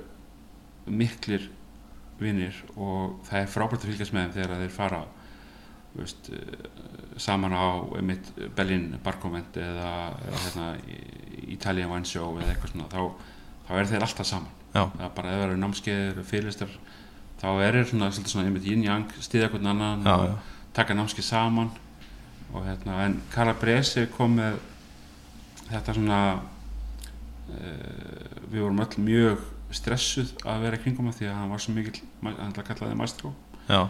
Speaker 2: miklir vinnir og það er frábært að fylgjast með þeim þegar þeir fara þú veist, eh, saman á einmitt Berlin Barkoment eða, eða hérna, í- Italian Wine Show eða eitthvað svona þá, þá eru þeir alltaf saman
Speaker 1: Já.
Speaker 2: það er bara ef það eru námskeiðir og fyrirlistar þá eru svona, svolítið svona einmitt yin-yang stiðja hvernig annan
Speaker 1: já,
Speaker 2: og
Speaker 1: já,
Speaker 2: taka námskeið saman og hérna, en Kara Bresi kom með þetta svona uh, við vorum öll mjög stressuð að vera í kringum hann því að hann var svo mikill, ma- hann ætlaði að kalla þið maestro
Speaker 1: já,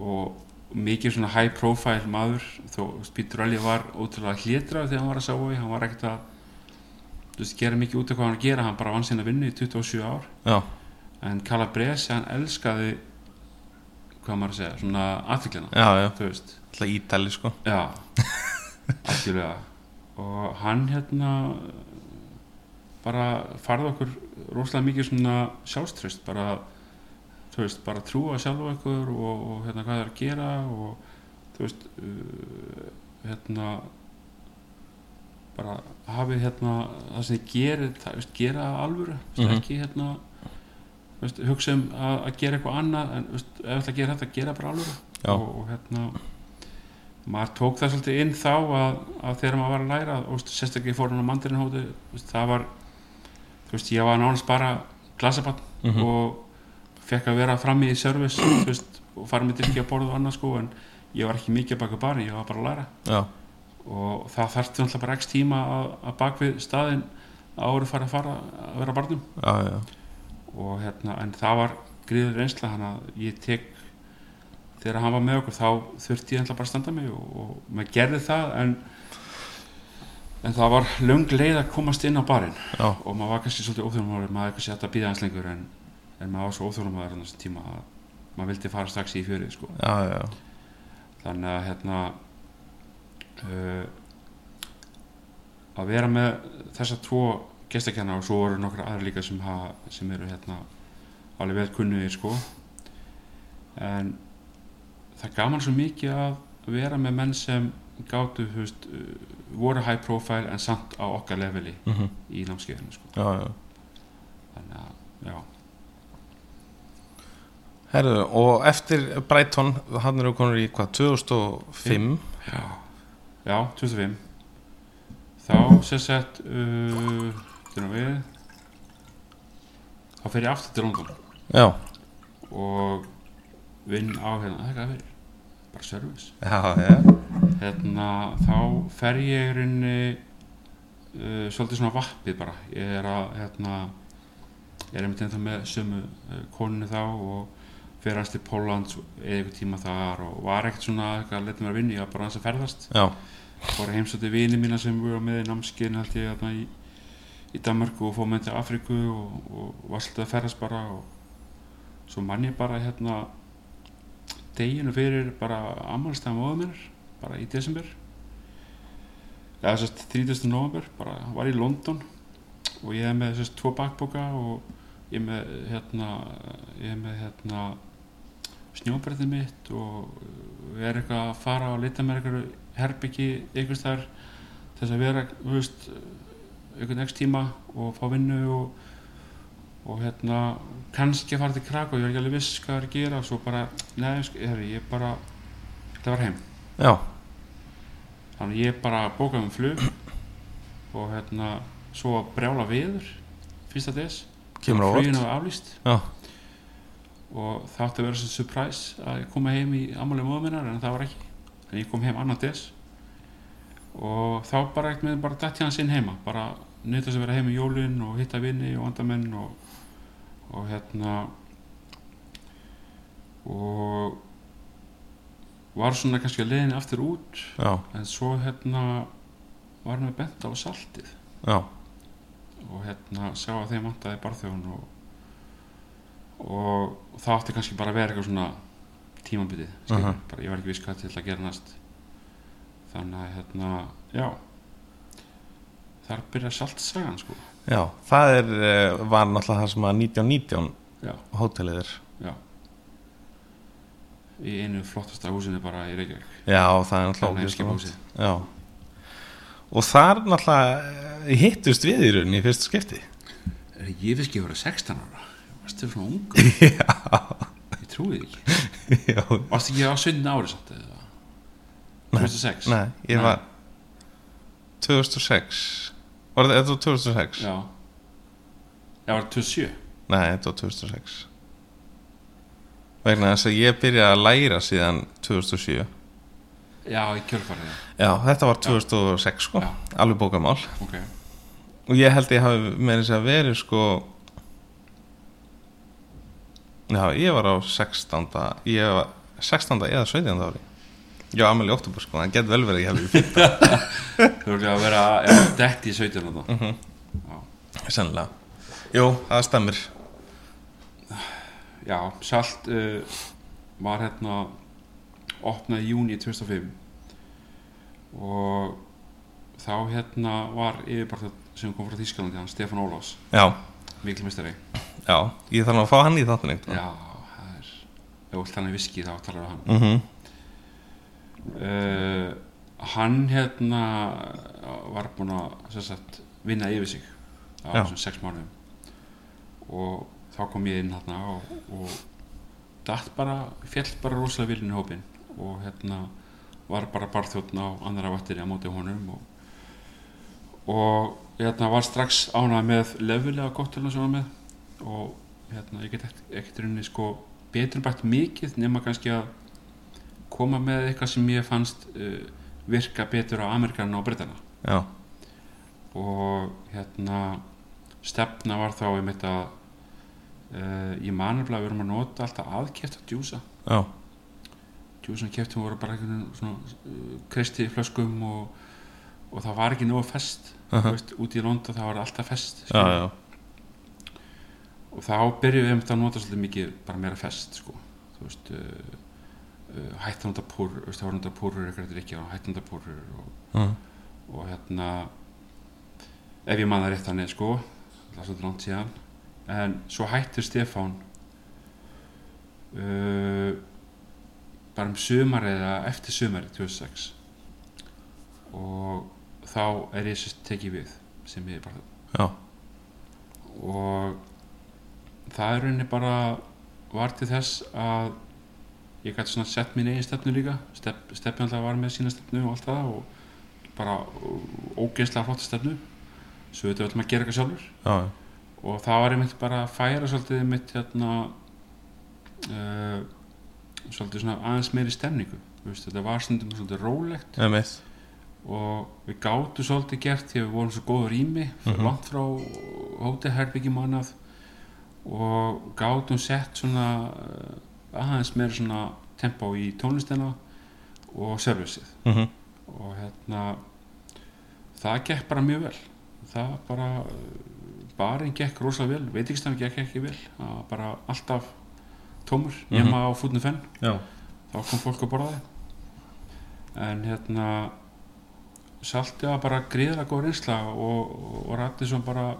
Speaker 2: og mikið svona high profile maður þó Spítur Elja var ótrúlega hlétra þegar hann var að sá við, hann var ekkert að þú veist, gera mikið út af hvað hann var að gera hann bara vann sinna vinnu í 27 ár
Speaker 1: já,
Speaker 2: en Kala Bresi, hann elskaði hvað maður að segja, svona aðfiklina,
Speaker 1: já, já.
Speaker 2: þú veist
Speaker 1: alltaf ítali sko
Speaker 2: Já, algjörlega og hann hérna bara farði okkur rosalega mikið svona sjálfströst bara, þú veist, bara trúa sjálfa ykkur og, og hérna hvað það er að gera og þú veist uh, hérna bara hafið hérna það sem þið gerir, það, þú veist, gera af alvöru, þú veist,
Speaker 1: Mhm.
Speaker 2: ekki hérna þú veist, hugsa um að, að gera eitthvað annað en þú veist, ef það gera þetta, gera bara alvöru
Speaker 1: já,
Speaker 2: og, og hérna maður tók það svolítið inn þá að, að þegar maður var að læra og sérstaklega fór hann á mandarinhóti það var, þú veist, ég var nánast bara glasabann
Speaker 1: mm
Speaker 2: og fekk að vera frammi í servis þú veist, og fara með drikki að borða og annað sko en ég var ekki mikið að baka barni, ég var bara að læra
Speaker 1: já,
Speaker 2: og það þarfti alltaf bara x tíma að, að bak við staðinn að voru fara að fara að vera barnum
Speaker 1: já, já,
Speaker 2: og hérna, en það var gríður reynsla hann að ég tek þegar hann var með okkur þá þurfti ég alltaf bara að standa mig og, og maður gerði það en en það var löng leið að komast inn á barinn
Speaker 1: já,
Speaker 2: og maður var kannski svolítið óþjóðumaður maður kannski hætti að býða hans lengur en, en maður var svo óþjóðumaður á þessum tíma að maður vildi fara strax í fjörið sko
Speaker 1: já, já,
Speaker 2: þannig að hérna uh, að vera með þessa tvo gestakenna og svo eru nokkra aðra líka sem, ha, sem eru hérna alveg vel kunnugir sko en það gaf mann svo mikið að vera með menn sem gátu þú veist, uh, voru high profile en samt á okkar leveli
Speaker 1: mhm,
Speaker 2: í námskeiðinu sko
Speaker 1: já, já.
Speaker 2: þannig að já,
Speaker 1: Herðu, og eftir Brighton, hann eru konur í hvað, 2005
Speaker 2: já, já 2005 þá sem sagt uh, þetta er við þá fer ég aftur til London
Speaker 1: Já,
Speaker 2: og vinn á hérna, það er hvað fyrir bara service
Speaker 1: já, já,
Speaker 2: hérna, þá fer ég í rauninni uh, svolítið svona vappið bara ég er að hérna, ég er einmitt ennþá með sömu uh, koninu þá og fer hans til Pólans eða eitthvað tíma þar og var ekkert svona eitthvað að leta mér að vinna, ég var bara hans að ferðast
Speaker 1: já,
Speaker 2: fór að heimsóti vini mína sem voru með í námskeiðin held ég þarna í, í Danmarku og fór með til Afríku og, og var svolítið að ferðast bara og svo mann ég bara hérna deginu fyrir bara ammálstæða móðum minnar bara í desember eða sérst 30. november bara var ég í London og ég er með sérst tvo bakboka og ég er með hérna ég er með hérna snjóbrettið mitt og uh, er eitthvað að fara og leita með eitthvað herbyggi ykkur staðar til þess að vera þú veist, einhvern ekki tíma og fá vinnu og, og hérna kannski að fara til Krakow, ég var ekki alveg viss hvað það er að gera og svo bara, neðu, herri, ég bara það var heim
Speaker 1: já,
Speaker 2: þannig ég bara bókaði um flug og hérna svo að brjála viður fyrsta des
Speaker 1: kemur á
Speaker 2: fluginu
Speaker 1: orð
Speaker 2: var aflýst
Speaker 1: Já.
Speaker 2: og það átti að vera sem surprise að ég koma heim í ammáli móðum minnar en það var ekki en ég kom heim annan des og þá bara ekkert með bara dætti hans inn heima bara nýtt þess að vera heim í jólin og hitta vini og andamenn og, og hérna og var svona kannski að leiðin aftur út
Speaker 1: já,
Speaker 2: en svo hérna var hann að benda á saltið
Speaker 1: já,
Speaker 2: og hérna sá að þeim vantaði barþjóðun og, og það átti kannski bara að vera eitthvað svona tímambitið uh
Speaker 1: Mhm.
Speaker 2: bara ég var ekki viss hvað til að gera næst þannig að hérna já þar byrja saltsagan sko
Speaker 1: já það er, eh, var náttúrulega það sem að 1919
Speaker 2: Já.
Speaker 1: hótelið er
Speaker 2: í einu flottasta húsinu bara í Reykjavík
Speaker 1: já, það er náttúrulega
Speaker 2: Gamla
Speaker 1: ógeðslega
Speaker 2: Eimskipahúsið.
Speaker 1: gott. já og þar náttúrulega eh, hittust við í rauninni í fyrsta skipti
Speaker 2: Er ég finnst ekki að vera 16 ára varstu svona unga ég trúi því ekki
Speaker 1: já,
Speaker 2: varstu ekki á sundin ári samt eða
Speaker 1: Nei.
Speaker 2: 2006
Speaker 1: nei, ég
Speaker 2: Nei.
Speaker 1: var 2006 var þetta- þetta var 2006?
Speaker 2: já ég var 27
Speaker 1: nei, þetta var 2006 vegna þess að ég byrjaði að læra síðan 2007
Speaker 2: já í kjölfarið já.
Speaker 1: Já, þetta var 2006 sko,
Speaker 2: Já.
Speaker 1: alveg bókamál
Speaker 2: ok
Speaker 1: og ég held ég hafi með þess að verið sko Já, ég var á 16. Ég var 16. eða 17. ári Já, amal í oktober sko, það getur vel verið ég hefði fyrir
Speaker 2: Þú erum að vera já, dett í 17 þarna.
Speaker 1: Sennilega Jú, það stemmir
Speaker 2: Já, Salt uh, var hérna opnað í júni 2005 og þá hérna var yfirbarþjóð sem kom frá Þýskalandi hann Stefán Ólafs,
Speaker 1: Já,
Speaker 2: miklumistari
Speaker 1: já, ég þarf nú að fá hann í þáttin eitt
Speaker 2: Já, það er ef þú vilt hann í viski þá talar við hann
Speaker 1: mm -hmm.
Speaker 2: uh, hann hérna var búinn að sem sagt, vinna yfir sig á
Speaker 1: Já.
Speaker 2: þessum sex mánuðum og þá kom ég inn hérna og, og datt bara, fjall bara rosalega vilin í hópin og hérna var bara barþjóðn á andra vattiri á móti honum og, og hérna var strax ánað með lefilega gott til þess að með og hérna ég get ekkert- ekkert rauninni sko betur bætt mikið nema kannski að koma með eitthvað sem ég fannst uh, virka betur á Amerikana og Britana
Speaker 1: Já,
Speaker 2: og hérna stefna var þá um þetta uh, ég manafla að við erum að nota alltaf aðkefta djúsa
Speaker 1: já,
Speaker 2: djúsan keftum voru bara einhvern veginn svona uh, kristi í flöskum og, og það var ekki nógu fest uh
Speaker 1: Aha.
Speaker 2: veist, út í London það var alltaf fest
Speaker 1: já,
Speaker 2: skilur.
Speaker 1: já,
Speaker 2: og þá byrjuðum við einmitt að nota svolítið mikið bara meira fest sko. þú veist uh, uh, hættan að nota púr þú veist, það var nota púrur eitthvað ekki og hættan að nota púrur og
Speaker 1: Mhm.
Speaker 2: og hérna ef ég man það rétt þannig sko það er svolítið langt síðan en svo hættir Stefán uh, bara um sumar eða eftir sumar 2006 og þá er ég sérst tekið við sem ég er bara
Speaker 1: já,
Speaker 2: og það er rauninni bara var til þess að ég gæti svona sett mín eigin stefnu líka Step, stefni alltaf var með sína stefnu og allt það og bara ógeðslega flotta stefnu svo þetta öllum að gera eitthvað sjálfur
Speaker 1: já,
Speaker 2: og það var einmitt bara að færa svolítið mitt hérna uh, svolítið svona aðeins meiri stemningu þú veist, þetta var stundum svolítið rólegt
Speaker 1: með mitt
Speaker 2: og við gáttu svolítið gert því að við vorum svo góður ími mm
Speaker 1: Mhm.
Speaker 2: langt frá hótelherbyggjum og annað og gáttum sett svona eh, aðeins meira svona tempó í tónlistina og servicið
Speaker 1: mm -hmm.
Speaker 2: og hérna það gekk bara mjög vel það bara eh, barinn gekk rosalega vel, veitingstæðan gekk ekki vel það var bara alltaf tómur nema á fútnu fenn
Speaker 1: Já,
Speaker 2: þá kom fólk að borða en hérna salti var bara gríðlega góð reynsla og, og rætti svo bara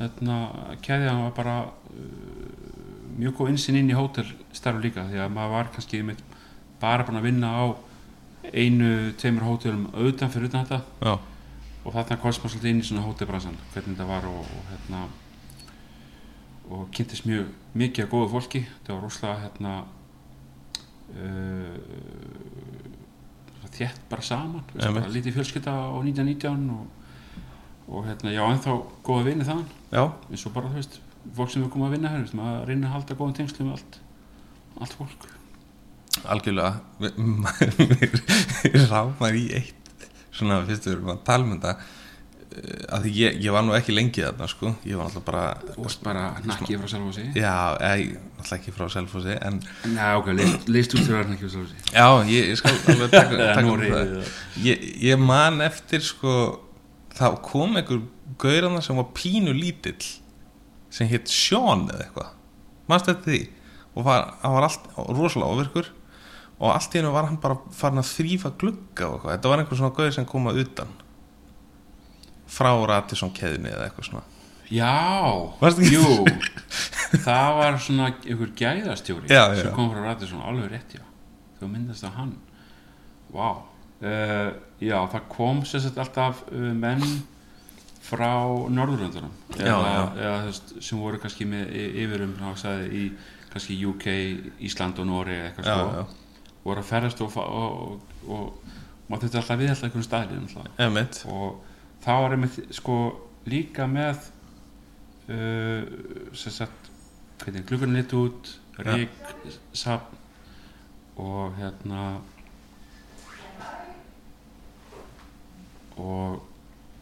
Speaker 2: hérna, keðjan var bara uh, mjög góð insinn inn í hótel starf líka því að maður var kannski einmitt bara búin að vinna á einu, tveimur hótelum auðan fyrir utan þetta
Speaker 1: já,
Speaker 2: og þarna komst maður svolítið inn í svona hótelbransan hvernig þetta var og, og hérna og kynntist mjög mikið að góðu fólki þetta var rosalega hérna uh, þétt bara saman þú veist,
Speaker 1: Einmitt.
Speaker 2: bara lítið fjölskylda á 1919 og, og hérna, já, ennþá góða vinni þaðan
Speaker 1: já,
Speaker 2: eins og bara, þú veist, fólk sem er komið að vinna hér, þú veist, maður reynir að halda góðum tengslum með allt, allt fólk
Speaker 1: algjörlega mér rámar í eitt svona fyrst við erum að tala um þetta eh, að því ég, ég var nú ekki lengi þarna sko, ég var alltaf bara
Speaker 2: og veist bara nakkið frá sjálf og sig
Speaker 1: já, ég, alltaf ekki frá Selfossi en
Speaker 2: Nei, ok, leist, leist út þegar nakkið frá sjálf og sig
Speaker 1: já, ég, ég skal alveg taka,
Speaker 2: Eða
Speaker 1: taka
Speaker 2: nú
Speaker 1: um
Speaker 2: reyðið
Speaker 1: það
Speaker 2: það.
Speaker 1: ég, ég man eftir sko þá kom einhver gaurana sem var pínu lítill sem hétt Sean eða eitthvað mannst eftir því og var, hann var allt, rosalega ofirkur og allt í hennu var hann bara farin að þrýfa glugga og eitthvað, þetta var einhver svona gaur sem kom að utan frá Radisson keðinni eða eitthvað svona Varstu
Speaker 2: Já,
Speaker 1: ekki-
Speaker 2: jú það var svona einhver gæðastjóri
Speaker 1: Já, já.
Speaker 2: sem kom frá rætið svona alveg rétt já þú myndast að hann Vá uh, Já, það kom sem sagt alltaf uh, menn frá Norðurlöndunum
Speaker 1: Já,
Speaker 2: eða,
Speaker 1: já.
Speaker 2: eða þú veist, sem voru kannski með y- yfirum ná, sagði, í kannski UK, Ísland og Nóri eitthvað
Speaker 1: já,
Speaker 2: sko,
Speaker 1: já,
Speaker 2: voru að ferðast og, fa- og, og, og, og maður þetta alltaf við alltaf einhvern staðlið alltaf
Speaker 1: emitt
Speaker 2: og það var einmitt sko líka með uh, sem sagt hvernig gluggan lit út rík, safn og hérna og,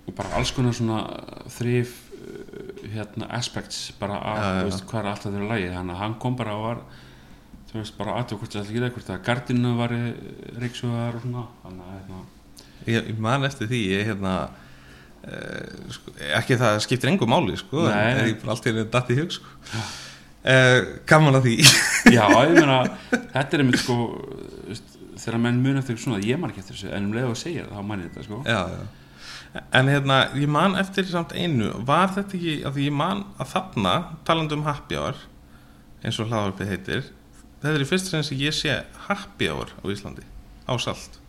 Speaker 2: og bara alls konar svona þrif uh, hérna aspects bara að,
Speaker 1: Já, já, já.
Speaker 2: þú veist, hvað er alltaf þeirra lagi þannig að hann kom bara og var þú veist, bara aðtöð hvort það er ekki það hvort að gardinu var reyksuðar og svona þannig að hérna
Speaker 1: ég, ég man eftir því ég hérna uh, sko, ekki það skiptir engu máli sko, en-
Speaker 2: Nei.
Speaker 1: en ég bara allt í henni datt í hug sko. uh, gaman að því
Speaker 2: Já, ég meina, þetta er einmitt sko þú veist, þegar menn mun eftir svona ég man ekki eftir þessu, en um leið og segja það þá man ég þetta sko
Speaker 1: já, já. en hérna ég man eftir samt einu var þetta ekki, af því ég man að þarna talandi um happy hour eins og hlaðvarpið heitir þetta er í fyrsta sinni sem ég sé happy hour á Íslandi, á salt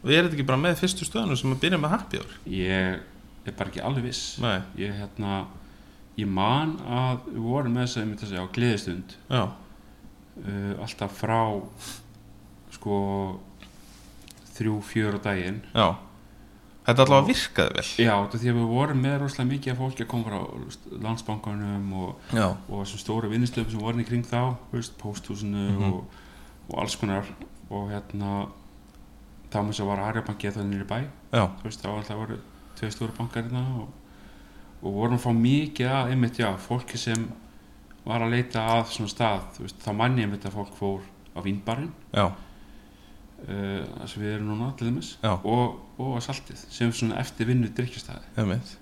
Speaker 1: og ég er þetta ekki bara með fyrstu stöðunum sem að byrja með happy hour
Speaker 2: Ég er bara ekki alveg viss
Speaker 1: nei,
Speaker 2: Ég hérna, ég man að við vorum með þess að ég myndi að segja á gleðistund
Speaker 1: já,
Speaker 2: uh, alltaf frá sko þrjú, fjör og daginn
Speaker 1: já þetta allavega virkaði vel
Speaker 2: Já, þetta því að við vorum með rosalega mikið af fólki að koma frá þú veist, landsbankanum og
Speaker 1: já,
Speaker 2: og þessum stóru vinnistöfum sem voru í kring þá þú veist, pósthúsinu
Speaker 1: Mhm.
Speaker 2: og, og alls konar og hérna þá mér svo var Arjabanki eða nýri bæ
Speaker 1: já,
Speaker 2: þú veist, þá alltaf voru tvei stóru bankar hérna og, og vorum að fá mikið að einmitt, já, fólki sem var að leita að svona stað þú veist, þá manni einmitt að fólk fór á vínbarinn
Speaker 1: já,
Speaker 2: uh, þar sem við erum núna til þeimis
Speaker 1: Já.
Speaker 2: og, og að saltið sem svona eftir vinnu drikkjastæði
Speaker 1: einmitt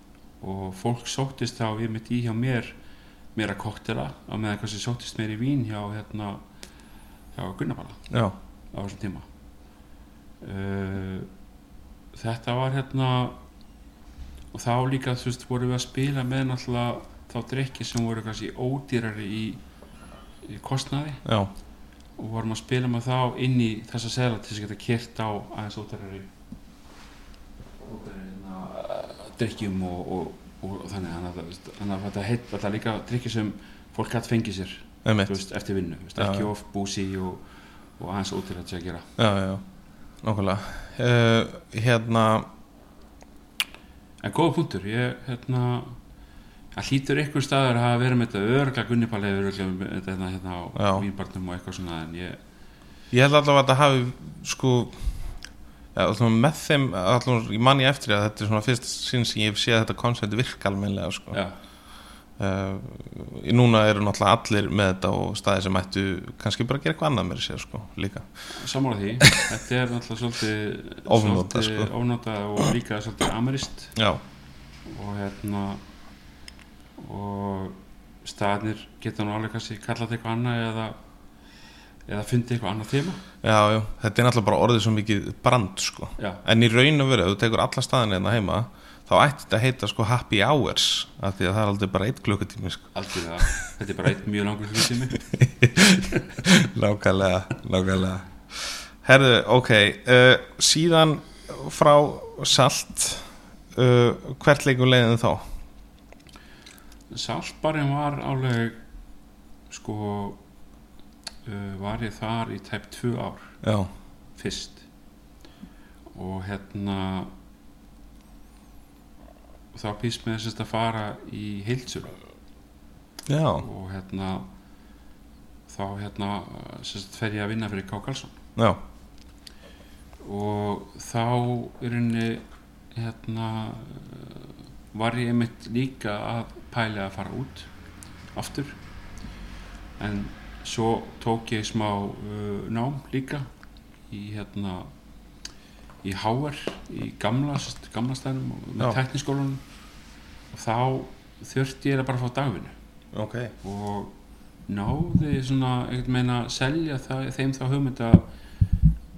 Speaker 2: og fólk sóttist þá ég mitt í hjá mér mér að koktela á meðan kannski sóttist mér í vín hjá hérna hjá Gunnabala
Speaker 1: já,
Speaker 2: á þessum tíma uh, þetta var hérna og þá líka þú veist vorum við að spila með náttúrulega þá drikki sem voru kannski ódýrari í, í kostnaði
Speaker 1: já,
Speaker 2: og vorum að spila með þá inn í þessa seðla til þess að geta kert á aðeins ódærari ódærari, hérna, drikkjum og, og, og, og þannig þannig að, þannig að þetta heit þetta er líka drikkjum sem fólk hatt fengið sér þú
Speaker 1: einmitt
Speaker 2: veist, eftir vinnu, þú veist,
Speaker 1: Já,
Speaker 2: ekki
Speaker 1: já.
Speaker 2: of búsi og, og aðeins ódærari til að gera
Speaker 1: já, já, nokkulega uh, hérna
Speaker 2: en góða punktur, ég hérna Það hlýtur einhver staður að hafa verið með þetta örgla gunnipalegi örgla með þetta hérna, hérna á
Speaker 1: Já.
Speaker 2: vínbarnum og eitthvað svona en ég,
Speaker 1: ég held allavega að þetta hafi sko ja, allavega með þeim allavega, ég manni eftir því að þetta er svona fyrst sinn sem ég hef séð þetta koncept virka almenlega sko.
Speaker 2: já,
Speaker 1: uh, núna eru náttúrulega allir með þetta og staði sem ættu kannski bara að gera eitthvað annað með sér sko, líka
Speaker 2: Sammála því, þetta er náttúrulega svolítið
Speaker 1: Ofnota,
Speaker 2: svolítið
Speaker 1: sko.
Speaker 2: ofnota og líka svolítið amerist
Speaker 1: já,
Speaker 2: og hérna og staðnir geta nú alveg kannski kallað eitthvað annað eða eða fundið eitthvað annað þema
Speaker 1: já, já, þetta er náttúrulega bara orðið svo mikið brand sko.
Speaker 2: Já,
Speaker 1: en í raun og veru, ef þú tekur alla staðin hérna heima, þá ætti þetta að heita sko happy hours, af því að það er aldrei bara eitt klukkutími sko.
Speaker 2: algjörlega, þetta er bara eitt mjög langur hlutími
Speaker 1: Nákvæmlega, nákvæmlega Herðu, ok uh, Síðan frá salt uh, Hvert leikur leiðin þá?
Speaker 2: Saltbarinn var alveg sko uh, var ég þar í tæp tvö ár
Speaker 1: já,
Speaker 2: fyrst og hérna þá býst með þessist að fara í heilsur
Speaker 1: já,
Speaker 2: og hérna þá hérna sérst fer ég að vinna fyrir K. Karlsson
Speaker 1: já,
Speaker 2: og þá í rauninni hérna eh, var ég einmitt líka að pæla að fara út aftur en svo tók ég smá uh, nám líka í hérna í Háar í gamla, sérst, gamla stænum og- með
Speaker 1: Já.
Speaker 2: tekniskólanum og þá þurfti ég að bara fá dagvinnu
Speaker 1: ok,
Speaker 2: og náði svona, ekkert meina, selja það, þeim þá hugmynd að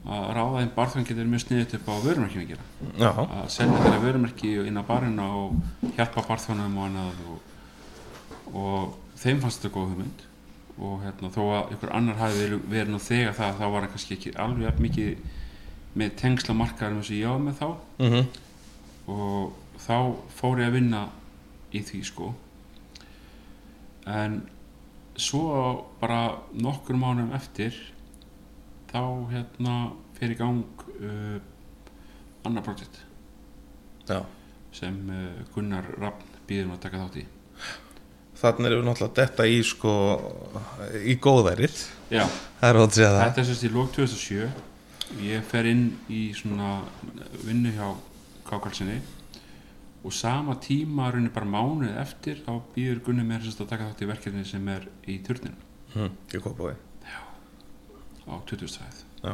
Speaker 2: að ráða þeim barþangir er mjög sniðið upp á vörumarkið að gera
Speaker 1: já,
Speaker 2: að selja þeirra vörumarki inn á barina og hjálpa barþangum og annað og, og þeim fannst þetta góð hugmynd og hérna, þó að ykkur annar hafi verið, verið nú þegar það þá var hann kannski ekki alveg jafn mikið með tengsla markaðum eins og ég var með þá
Speaker 1: mhm,
Speaker 2: og þá fór ég að vinna í því sko en svo bara nokkur mánum eftir þá hérna fer í gang uh, annar projekt
Speaker 1: já.
Speaker 2: sem uh, Gunnar Rappn býðum að taka þátt í
Speaker 1: Þannig erum við náttúrulega detta í sko í góðærið
Speaker 2: Já,
Speaker 1: Það er hótt að segja það
Speaker 2: þetta er sérst í lók 2007 ég fer inn í svona vinnu hjá Kákalsinni og sama tíma runni bara mánuð eftir þá býður Gunni mér sérst að taka þátt í verkefni sem er í turninu
Speaker 1: hm, Ég kom búið
Speaker 2: á 20 stæð
Speaker 1: Já.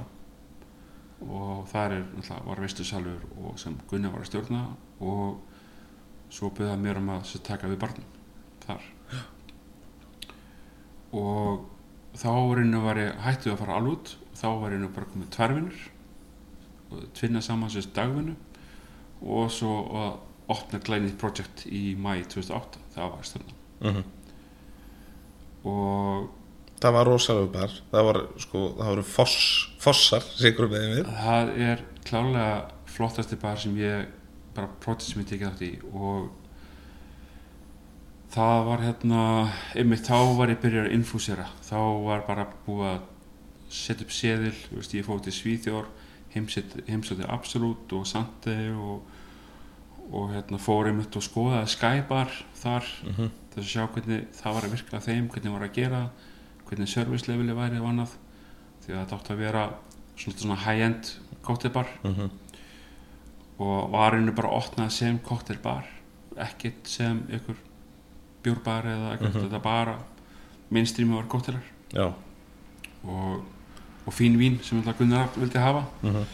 Speaker 2: og þar er, náttúrulega, var veislusalur og sem Gunnar var að stjórna og svo byrða mér um að sem taka við barnum þar og þá var einu var ég hættu að fara alvút þá var einu bara komið tværvinnur og tvinna saman sérst dagvinnu og svo að opna glænið projekt í mæ 2008 það var stjórna
Speaker 1: mm
Speaker 2: og
Speaker 1: Það var rosalega bar Það var sko, það voru foss, fossar Sigur með við
Speaker 2: Það er klálega flottasti bar sem ég bara prótið sem ég tekið átt í og það var hérna einmitt þá var ég byrjar að infúsera þá var bara búið að setja upp seðil, þú veist, ég fóði til Svíþjór heimsætti Absolut og Sandi og, og hérna fór einmitt og skoðaði Skybar þar
Speaker 1: mm -hmm.
Speaker 2: þess að sjá hvernig það var að virka á þeim, hvernig var að gera hvernig service leveli væri og annað því að þetta átti að vera svona, svona high-end cocktailbar
Speaker 1: Mm -hmm.
Speaker 2: og varinu bara opnað sem cocktailbar ekkert sem ykkur bjórbar eða eitthvað
Speaker 1: Mhm.
Speaker 2: þetta bara mainstreamu var cocktailar
Speaker 1: Já
Speaker 2: og, og fín vín sem alltaf Gunnar Rapp vildi hafa
Speaker 1: mm -hmm.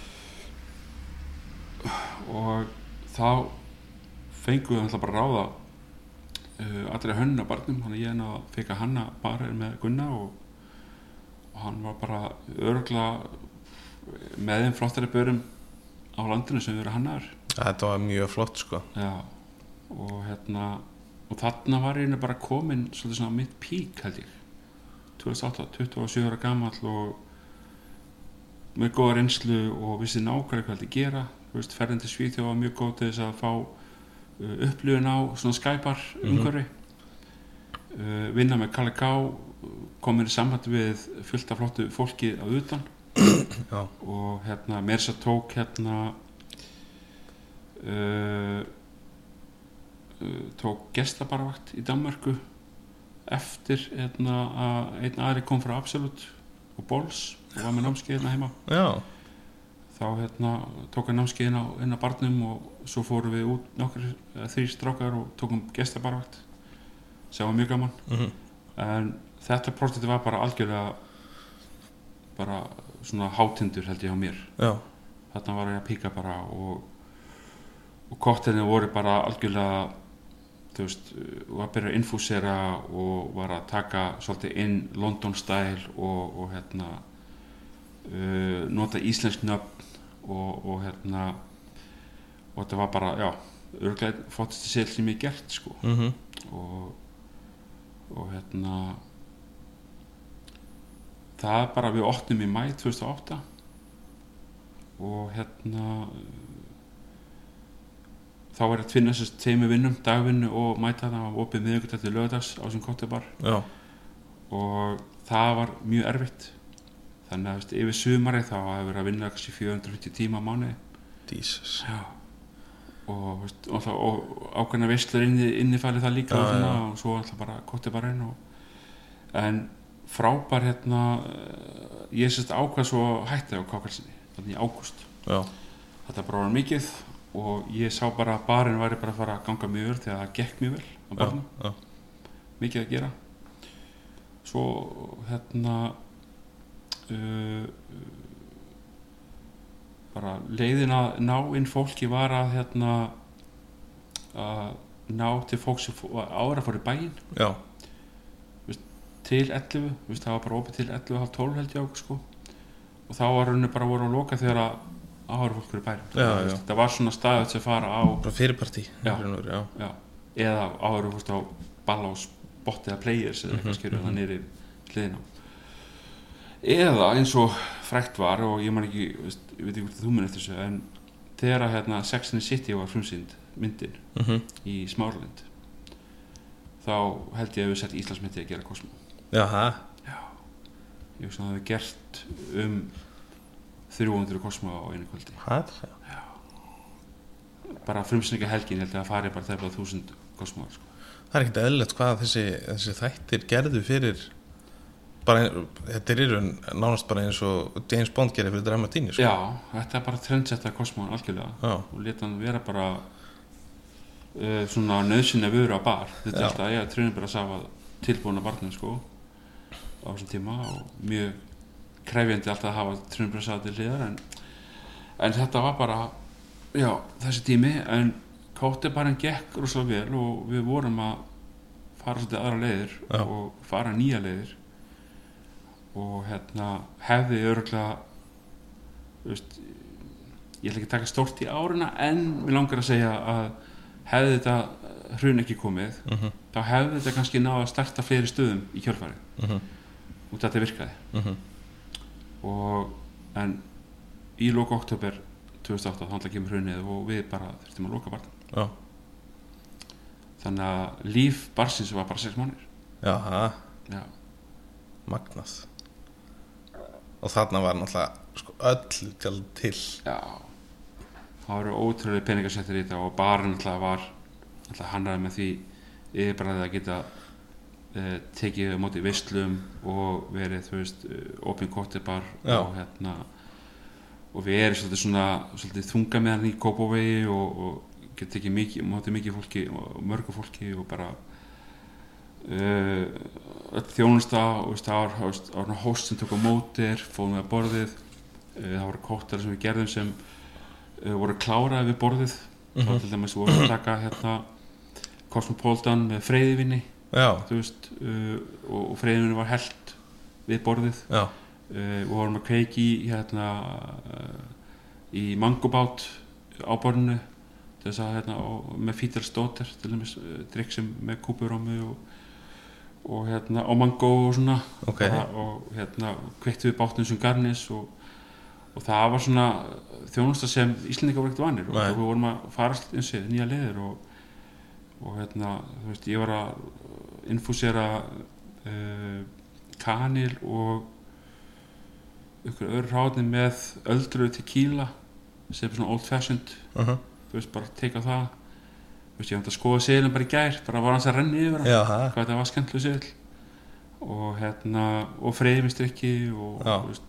Speaker 2: og þá fengum við alltaf bara að ráða uh, allra hönn á barnum þannig að ég náði að feka hanna bara með Gunna og, og hann var bara örgla með þeim flottari börum á landinu sem við erum hannaður
Speaker 1: Þetta var mjög flott sko
Speaker 2: Já, og hérna og þarna var ég einu bara komin svolítið svona á mitt pík held ég 2008, 27 ára gamall og með góða reynslu og vissi nákvæmlega hvað þetta gera þú veist, ferðin til Svíþjóð var mjög góð til þess að fá uh, upplifun á svona skæpar
Speaker 1: Mhm.
Speaker 2: umhverfi uh, vinna með Kalle Ká komin í samband við fullt af flottu fólki á utan
Speaker 1: Já.
Speaker 2: og hérna mér sér tók hérna uh, uh, tók gestabarvakt í Danmarku eftir hérna að einn aðri kom frá Absolut og Bols og var með námskeið hérna heima
Speaker 1: Já,
Speaker 2: þá hérna tók hann námskeið inn á, inn á barnum og svo fórum við út nokkur þrý strákar og tókum gestabarvakt sem var mjög gaman
Speaker 1: mm -hmm.
Speaker 2: en þetta próstið var bara algjörlega bara svona hátindur held ég á mér
Speaker 1: já,
Speaker 2: þarna var ég að píka bara og, og koktelin voru bara algjörlega þú veist, var að byrja að infúsera og var að taka svolítið inn London style og, og hérna uh, nota íslensk nöfn og, og hérna og þetta var bara, já örglega fóttist sér sem ég hef gert sko
Speaker 1: mm -hmm.
Speaker 2: og, og hérna það er bara við opnum í mæ 2008 og hérna þá var ég að finna þessast tveimur vinnum, dagvinnu og mæta það og opið miðugut til lögadags á sem kottibar
Speaker 1: já,
Speaker 2: og það var mjög erfitt þannig að veist, yfir sumari þá hafði verið að vinna kannski 450 tíma á mánuði
Speaker 3: Jesus
Speaker 2: Já. og, veist, og, það, og ákveðna veistlur inni, innifæli það
Speaker 1: Já,
Speaker 2: líka og, svona,
Speaker 1: já.
Speaker 2: og svo alltaf bara kotti bara inn og, en frábær hérna eh, ég sérst ákvað svo hætti á kákalsinni þannig í ágúst
Speaker 1: já,
Speaker 2: þetta bara var mikið og ég sá bara að barinn væri bara að fara að ganga mjög vel þegar það gekk mjög vel á
Speaker 1: já,
Speaker 2: barnum
Speaker 1: já.
Speaker 2: mikið að gera svo hérna uh, bara leiðin að ná inn fólki var að hérna að ná til fólk sem fó- var ára fór í bæinn
Speaker 1: já.
Speaker 2: til 11, þú veist, það var bara opið til 11 halv 12 held ég á sko og þá var henni bara voru að loka þegar að ára fólk fyrir bæinn
Speaker 1: Já, já.
Speaker 2: það var svona staðið sem fara á
Speaker 1: bara fyrirparti
Speaker 2: Já.
Speaker 1: já,
Speaker 2: já, eða áður fórst á balla og spott eða players eða eitthvað
Speaker 1: Mhm,
Speaker 2: skilur
Speaker 1: mhm.
Speaker 2: það nýri hérna hliðina eða eins og frækt var og ég man ekki, veist, ég veit ekki hvort þú mun eftir þessu en þegar að hérna, Sex and the City var frumsýnd myndin
Speaker 1: mm
Speaker 2: í Smáralind þá held ég að við sett Íslandsmyndi að gera Cosmo
Speaker 1: já, ha,
Speaker 2: ég veist að það hefði gert um 300 Cosmo á einu kvöldi
Speaker 1: ha
Speaker 2: bara frumsýninga helgin held ég að fari bara þegar 1000 Cosmo sko.
Speaker 1: það er ekkert eðlilegt hvað þessi, þessi þættir gerðu fyrir bara, þetta er í raun nánast bara eins og James Bond gerir fyrir dramatíni sko.
Speaker 2: já, þetta er bara trendsetta Cosmo algjörlega
Speaker 1: já,
Speaker 2: og leta hann vera bara uh, svona nöðsynja vöru á bar þetta
Speaker 1: Já.
Speaker 2: er alltaf, ég trunum bara að safa tilbúna barnum sko á þessum tíma og mjög krefjandi alltaf að hafa trunum bara að safa til hliðar en, en þetta var bara já, þessi tími en kótti bara hann gekk rosalega vel og við vorum að fara svolítið aðra leiðir
Speaker 1: Já.
Speaker 2: og fara nýja leiðir og hérna hefði örgulega þú veist ég ætla ekki að taka stórt í árina en mér langar að segja að hefði þetta eh, hrun ekki komið
Speaker 1: mhm, mhm
Speaker 2: þá hefði þetta kannski náða að starta fleiri stöðum í kjölfari
Speaker 1: mhm
Speaker 2: út að þetta virkaði og en í loka oktober 2008 þá alltaf kemur hrunið og við bara þurftum að loka barnum
Speaker 1: já,
Speaker 2: þannig að líf barsins var bara 6 mánir
Speaker 1: já, ha
Speaker 2: Já.
Speaker 1: magnað og þarna var náttúrulega sko, öll til, til.
Speaker 2: Já. það voru ótrúlega peningarsettir í þetta og barinn alltaf var alltaf hannaði með því yfirbræðið að geta e, tekið á móti veislum og verið, þú veist, eh, open cocktail bar
Speaker 1: Já.
Speaker 2: og hérna og við erum svolítið svona svolítið þunga með hann í Kópavegi og, og geta tekið mikið, móti mikið fólki og mörgu fólki og bara uh, öll þjónusta og veist, það var- það var- það var hóst sem tók á mótir, fóðum við að borðið uh, það voru kóttar sem við gerðum sem uh, voru kláraði við borðið þá
Speaker 1: Mhm.
Speaker 2: til dæmis voru að taka hérna Cosmopolitan með freyðivinni
Speaker 1: já,
Speaker 2: þú veist uh, og, og freyðivinni var held við borðið
Speaker 1: já,
Speaker 2: uh, og vorum að kveiki hérna uh, í mangobát á borðinu til þess að hérna og, með fítar stóter til dæmis uh, drikk sem með kúpurómi og, og hérna og mango og svona
Speaker 1: ok
Speaker 2: bara, og hérna kveiktu við bátnum sem garnis og, og það var svona þjónusta sem Íslendingar voru ekkert vanir og
Speaker 1: Nei.
Speaker 2: við vorum að fara allt eins og nýja leiðir og, og hérna þú veist, ég var að infúsera uh, kanil og ykkur öðru ráðni með öldru tequila sem er svona old fashioned
Speaker 1: uh -huh.
Speaker 2: þú veist bara teka það þú veist ég hann að skoða seglum bara í gær bara var hans að renni yfir hann
Speaker 1: já, ha
Speaker 2: hvað þetta var skemmtileg segil og hérna og freyðumist ekki og
Speaker 1: Já.
Speaker 2: þú veist,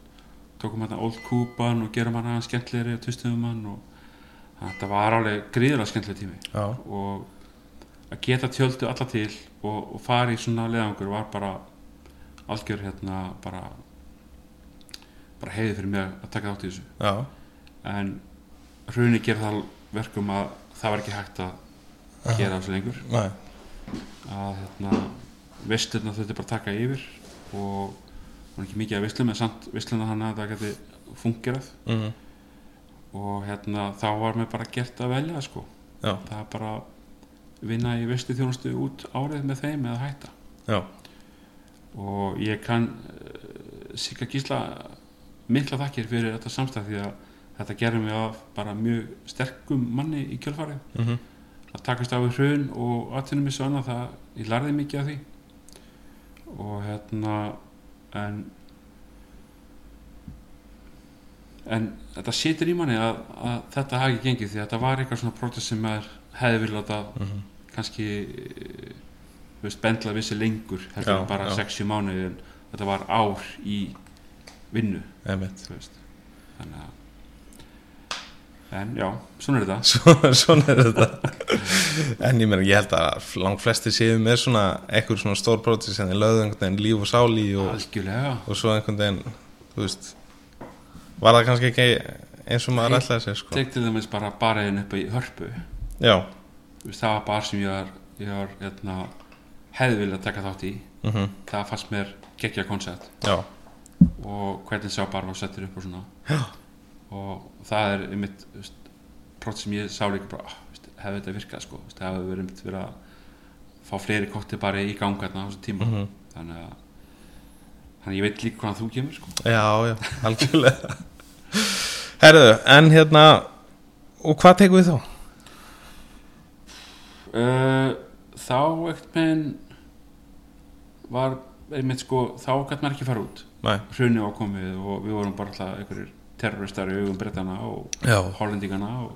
Speaker 2: tókum hérna Old Cuban og gerum hann aðeins skemmtilegri og tustuðum hann og þetta var alveg gríðulega skemmtileg tími
Speaker 1: já,
Speaker 2: og að geta tjöldu alla til og, og fara í svona leðangur var bara algjör hérna bara bara heiði fyrir mig að taka þátt í þessu
Speaker 1: já,
Speaker 2: en hruni ger það verkum að það var ekki hægt að gera þessu lengur
Speaker 1: næ,
Speaker 2: að hérna, veistluna þurfti bara að taka yfir og það var ekki mikið að veistlum en samt veistluna þannig að það geti fungerað
Speaker 1: mhm,
Speaker 2: og hérna, þá var mér bara gert að velja sko.
Speaker 1: já,
Speaker 2: það er bara að vinna í veistlu þjónustu út árið með þeim eða hætta
Speaker 1: já
Speaker 2: og ég kann uh, Sigga Gísla mikla þakkir fyrir þetta samstæð því að þetta gerði mig af bara mjög sterkum manni í kjölfarið
Speaker 1: mhm,
Speaker 2: að takast á við hrun og atvinnumissu og annað það ég lærði mikið af því og hérna en en þetta situr í manni að, að þetta hafi ekki gengið því að þetta var eitthvað svona protest sem maður hefði viljað láta
Speaker 1: Mhm.
Speaker 2: kannski eh, þú veist, bendla vissi lengur heldur
Speaker 1: Já,
Speaker 2: en bara
Speaker 1: já.
Speaker 2: 60 mánuði en þetta var ár í vinnu
Speaker 1: einmitt
Speaker 2: þú veist þannig að en já, svona er þetta
Speaker 1: svona, svona er þetta en ég meina, ég held að langflesti séu með svona, einhver svona stór prótis sem þeir lögðu einhvern veginn líf og sáli og,
Speaker 2: algjörlega
Speaker 1: og svo einhvern veginn, þú veist var það kannski ekki eins og maður
Speaker 2: Nei.
Speaker 1: ætlaði sér, sko
Speaker 2: tek til dæmis bara bariðin upp í hörpu
Speaker 1: já,
Speaker 2: Þú veist, það var bar sem ég var, ég var hérna, hefði viljað taka þátt í
Speaker 1: mhm,
Speaker 2: það fannst mér geggja koncept
Speaker 1: já
Speaker 2: og hvernig sá bar var settur upp og svona og það er einmitt þú veist, prótt sem ég sá líka bara ah, þú veist, hefði þetta virkað sko, þú veist, það hefði verið einmitt verið að fá fleiri kotti bara í ganga þarna á þessum tíma
Speaker 1: mhm
Speaker 2: þannig að þannig að ég veit líka hvaðan þú kemur sko.
Speaker 1: Já, já, algjörlega Herðu, en hérna og hvað tekum við þá?
Speaker 2: uh, þá ekkert meginn var einmitt sko þá gætt maður ekki fara út
Speaker 1: Nei,
Speaker 2: hrunni var komið og við vorum bara alltaf einhverjir terroristar í augum brettana og
Speaker 1: já
Speaker 2: hollendingana og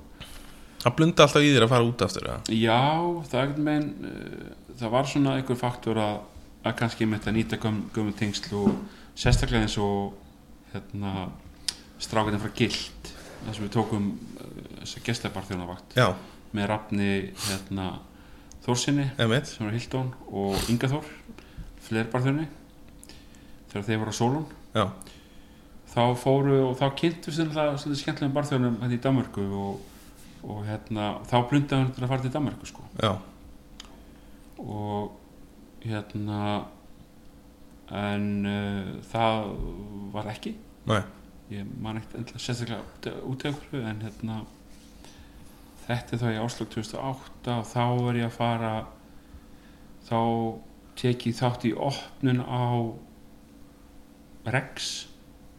Speaker 1: Það blundi alltaf í þér að fara út aftur eða?
Speaker 2: já, það ekkert meginn uh, það var svona einhver faktor að, að kannski mitt að nýta göm, gömul tengsl og sérstaklega eins og hérna strákatinn frá gilt þar sem við tókum uh, þessa gestabarþjónavakt
Speaker 1: Já,
Speaker 2: með rafni hérna Þórsinni
Speaker 1: emitt
Speaker 2: sem var Hildón og Inga Þór flerbarþjóni þegar þeir voru á sólun
Speaker 1: Já,
Speaker 2: þá fóru og þá kynntu sem það svolítið skemmtilegum barþjónum hérna í Danmörku og, og hérna, þá blundaði hann til að fara til Danmörku sko.
Speaker 1: já,
Speaker 2: og hérna en uh, það var ekki
Speaker 1: nei,
Speaker 2: ég man ekkert endilega sérstaklega út- út af hverju en hérna þetta er þá í áslug 2008 og þá er ég að fara þá tek ég þátt í opnun á Rex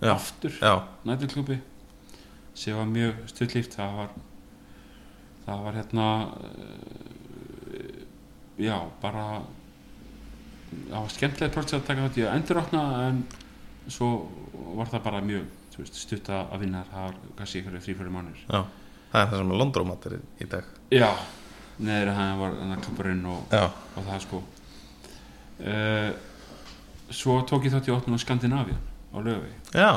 Speaker 1: Já.
Speaker 2: aftur
Speaker 1: já
Speaker 2: nætturklúpi sem var mjög stuttlíft það var það var hérna eh, já, bara það var skemmtilega prótsið að taka þátt í að endurokna en svo var það bara mjög þú veist, stutt að að vinna þar, það var kannski einhverju þrýfæri mánir
Speaker 1: Það er það sem er Londrómatir í dag
Speaker 2: já, neður að það var þannig klubburinn og,
Speaker 1: Já,
Speaker 2: og það sko uh, svo tók ég þátt í opnum á Skandinavia á löfi
Speaker 1: já,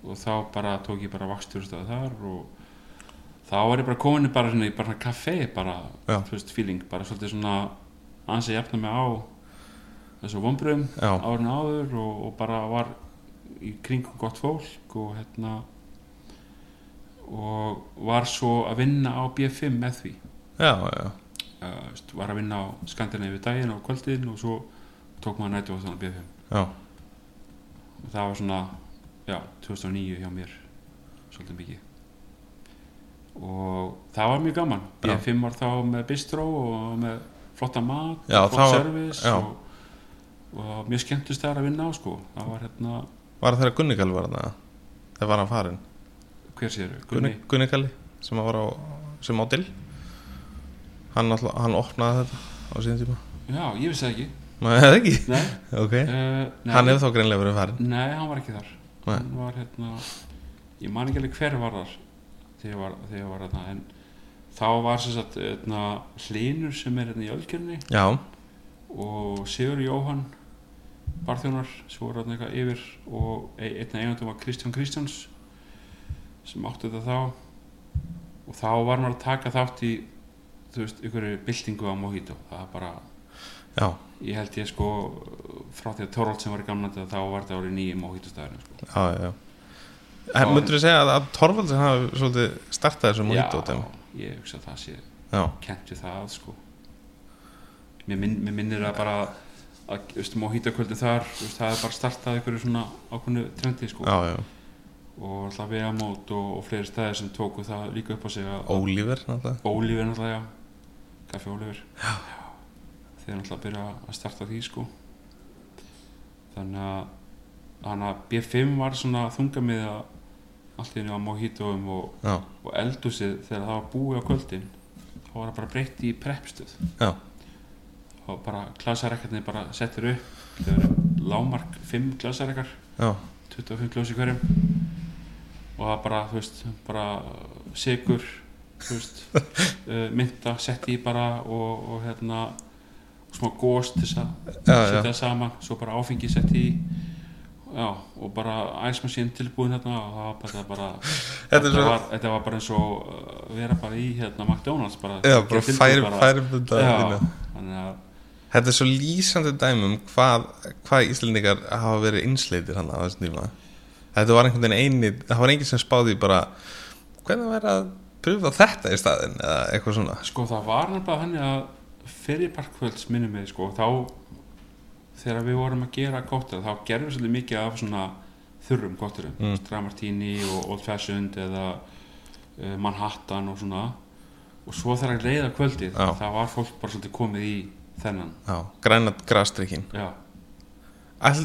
Speaker 2: og þá bara tók ég bara vakstjórnstöð þar og þá var ég bara komin í bara svona í bara svona kafé bara,
Speaker 1: Já.
Speaker 2: þú veist, feeling, bara svolítið svona aðeins að jafna mig á þessu vonbröðum
Speaker 1: já,
Speaker 2: árun áður og, og bara var í kringum gott fólk og hérna og var svo að vinna á B5 með því
Speaker 1: já, já
Speaker 2: uh, þú veist, var að vinna á Skandinavíu daginn og kvöldin og svo tók maður nættu á þannig að B5
Speaker 1: Já,
Speaker 2: og það var svona já, 2009 hjá mér svolítið mikið og það var mjög gaman
Speaker 1: Já.
Speaker 2: B5 var þá með bistró og með flotta mat
Speaker 1: Já, það
Speaker 2: og flott
Speaker 1: var-
Speaker 2: service
Speaker 1: já.
Speaker 2: og, og mjög skemmtist þar að vinna á sko það var hérna,
Speaker 1: var það þeirra Gunnigal var það Það var hann farin
Speaker 2: hver sér Gunni,
Speaker 1: Gunni- Gunnigali sem að var á, sem á dill Hann, alltaf, hann opnaði þetta á síðan tíma
Speaker 2: já, ég vissi það ekki
Speaker 1: Nei, það ekki
Speaker 2: nei,
Speaker 1: Ok,
Speaker 2: uh, nei,
Speaker 1: hann hefur þá greinlega verið farin
Speaker 2: nei, hann var ekki þar
Speaker 1: Nei.
Speaker 2: hann var hérna ég man ekki alveg hver var þar þegar ég var, þegar ég var hérna en þá var sem sagt hérna, hlinur sem er hérna í ölgjörni
Speaker 1: Já,
Speaker 2: og Sigur Jóhann barþjónar sem voru hann eitthvað yfir og e- einn af eigendum var Kristján Kristjáns sem átti þetta þá og þá var maður að taka þátt í þú veist, ykkur byltingu á Mojito það er bara,
Speaker 1: já,
Speaker 2: ég held ég sko frá því að Torvald sem var í gamlandi þá var þetta árið nýjum Mojito staðurinn sko.
Speaker 1: já, já, já. En myndur segja að, að Torvalds hafi svolítið startað þessu mojito
Speaker 2: Já, ég hugsa að það sé
Speaker 1: Já,
Speaker 2: kent við það sko. mér, minn, mér minnir að bara að, veist, Mojito kvöldi þar veist, það er bara startað einhverju svona ákvöndu trendi sko.
Speaker 1: já, já,
Speaker 2: og alltaf vegamót og, og fleiri stæðir sem tóku það líka upp á sig að
Speaker 1: Ólíver náttúrulega
Speaker 2: Ólífur náttúrulega, já, kaffi Ólífur já. þeir náttúrulega byrja að starta því sko þannig að þannig að B5 var svona þunga með að allt í henni á mojítóum og,
Speaker 1: Já,
Speaker 2: og eldúsið þegar það var búið á kvöldin þá þá var það bara breytt í prepstöð
Speaker 1: Já.
Speaker 2: og bara glasarekkarnir bara settir upp þau eru lámark 5 glasarekkar
Speaker 1: já,
Speaker 2: 25 glös í hverjum og það bara, þú veist, bara sigur, þú veist uh, mynda, sett í bara og, og hérna og smá góst til þess að
Speaker 1: já,
Speaker 2: setja
Speaker 1: já.
Speaker 2: það saman, svo bara áfengi sett í já, og bara æsmasín tilbúin hérna og það var bara, það bara
Speaker 1: Þetta er svo
Speaker 2: var, þetta var bara eins og uh, vera bara í hérna McDonalds bara,
Speaker 1: Já, bara
Speaker 2: tilbúið
Speaker 1: færum,
Speaker 2: bara.
Speaker 1: færum þetta
Speaker 2: já,
Speaker 1: hérna.
Speaker 2: þannig að
Speaker 1: Þetta er svo lýsandi dæmum hvað, hvað Íslendingar hafa verið einsleitir hann á þessum tíma Þetta var einhvern veginn eini það var enginn sem spáði í bara hvernig væri að pröfa þetta í staðinn eða eitthvað svona
Speaker 2: Sko það var náttúrulega þannig að fyrir parkvölds minnum við sko þá þegar við vorum að gera kóttir þá gerðum við svolítið mikið af svona þurrum kóttirum,
Speaker 1: Mm.
Speaker 2: mm. Stramartini og Old Fashioned eða uh, Manhattan og svona og svo þegar leiða kvöldið
Speaker 1: Já.
Speaker 2: þá var fólk bara svolítið komið í þennan
Speaker 1: Já, græna grastrykkin
Speaker 2: Já,
Speaker 1: Hvað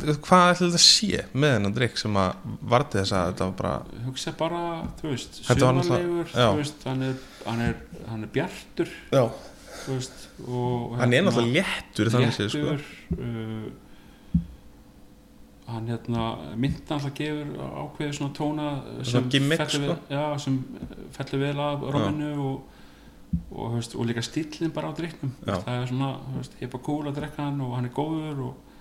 Speaker 1: ætli þetta sé með þennan drykk sem að varði þess að þetta var bara
Speaker 2: hugsa bara, þú veist
Speaker 1: Þetta var náttúrulega-
Speaker 2: sumarlegur,
Speaker 1: já.
Speaker 2: þú veist hann er, hann er, hann er bjartur
Speaker 1: Já,
Speaker 2: þú veist, og, hérna-
Speaker 1: hann er náttúrulega léttur þannig séð sko
Speaker 2: léttur uh, hann hérna mynda alltaf gefur ákveðið svona tóna uh, sem
Speaker 1: Svona gimmick,
Speaker 2: fellur
Speaker 1: sko.
Speaker 2: við, já, sem uh, fellur vel af rominu og, og, þú veist, og líka stíllinn bara á drikknum
Speaker 1: Já.
Speaker 2: það er svona, þú veist, hepa kúl að drekka hann og hann er góður og,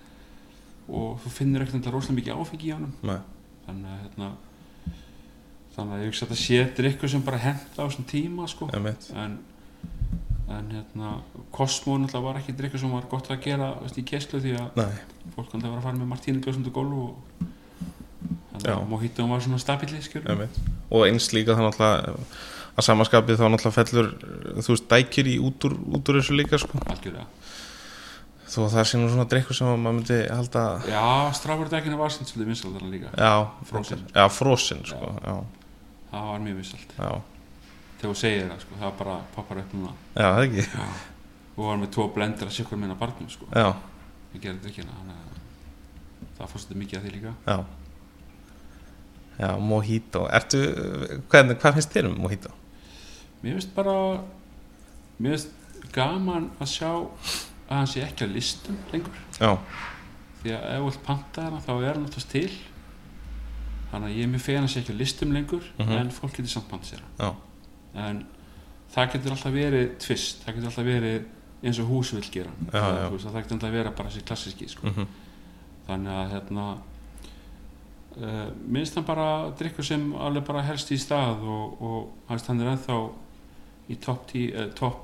Speaker 2: og þú finnur ekkert alltaf rosalega mikið áfengi í honum
Speaker 1: Nei.
Speaker 2: þannig að hérna þannig að ég hugsa að þetta sé drikkur sem bara henda á svona tíma sko
Speaker 1: einmitt.
Speaker 2: en, en hérna Cosmo náttúrulega var ekki drikkur sem var gott að gera veist, í kesslu því að
Speaker 1: Nei.
Speaker 2: fólk hann það var að fara með Martínu Glössund og Gólu og þannig
Speaker 1: Já.
Speaker 2: að Mojito var svona stabili skjör
Speaker 1: Einmitt. og eins líka þá náttúrulega að samaskapið þá náttúrulega fellur þú veist dækir í út úr, út úr þessu líka sko.
Speaker 2: algjörlega
Speaker 1: þó að það sé nú svona drikkur sem að maður myndi halda
Speaker 2: já, stráfurdækina var sem svolítið vinsald þarna líka
Speaker 1: já,
Speaker 2: Frosin.
Speaker 1: já, frosin sko. já.
Speaker 2: það var mjög vinsald
Speaker 1: Já, já,
Speaker 2: þegar þú segir það sko, það bara poppar upp núna
Speaker 1: það ekki
Speaker 2: já. og var með tvo blendra sikkur minna barnum sko,
Speaker 1: já,
Speaker 2: ég gerði drikkina þannig að það fórst þetta mikið að því líka
Speaker 1: já já, mojito ertu, hvernig, hvað finnst þér um mojito?
Speaker 2: mér finnst bara mér finnst gaman að sjá að hann sé ekki á listum lengur
Speaker 1: já,
Speaker 2: því að ef þú vilt panta hana þá er hann alltaf til þannig að ég er mjög fegin að sé ekki á listum lengur
Speaker 1: Mhm.
Speaker 2: en fólk getur samt panta sér hana.
Speaker 1: já,
Speaker 2: en það getur alltaf verið tvist, það getur alltaf verið eins og hús vil gera
Speaker 1: Já,
Speaker 2: það,
Speaker 1: já.
Speaker 2: Veist, að það getur alltaf verið bara sér klassíski sko.
Speaker 1: mm
Speaker 2: þannig að hérna uh, minnst hann bara drikkur sem alveg bara helst í stað og, og þú veist, hann er ennþá í topp uh, top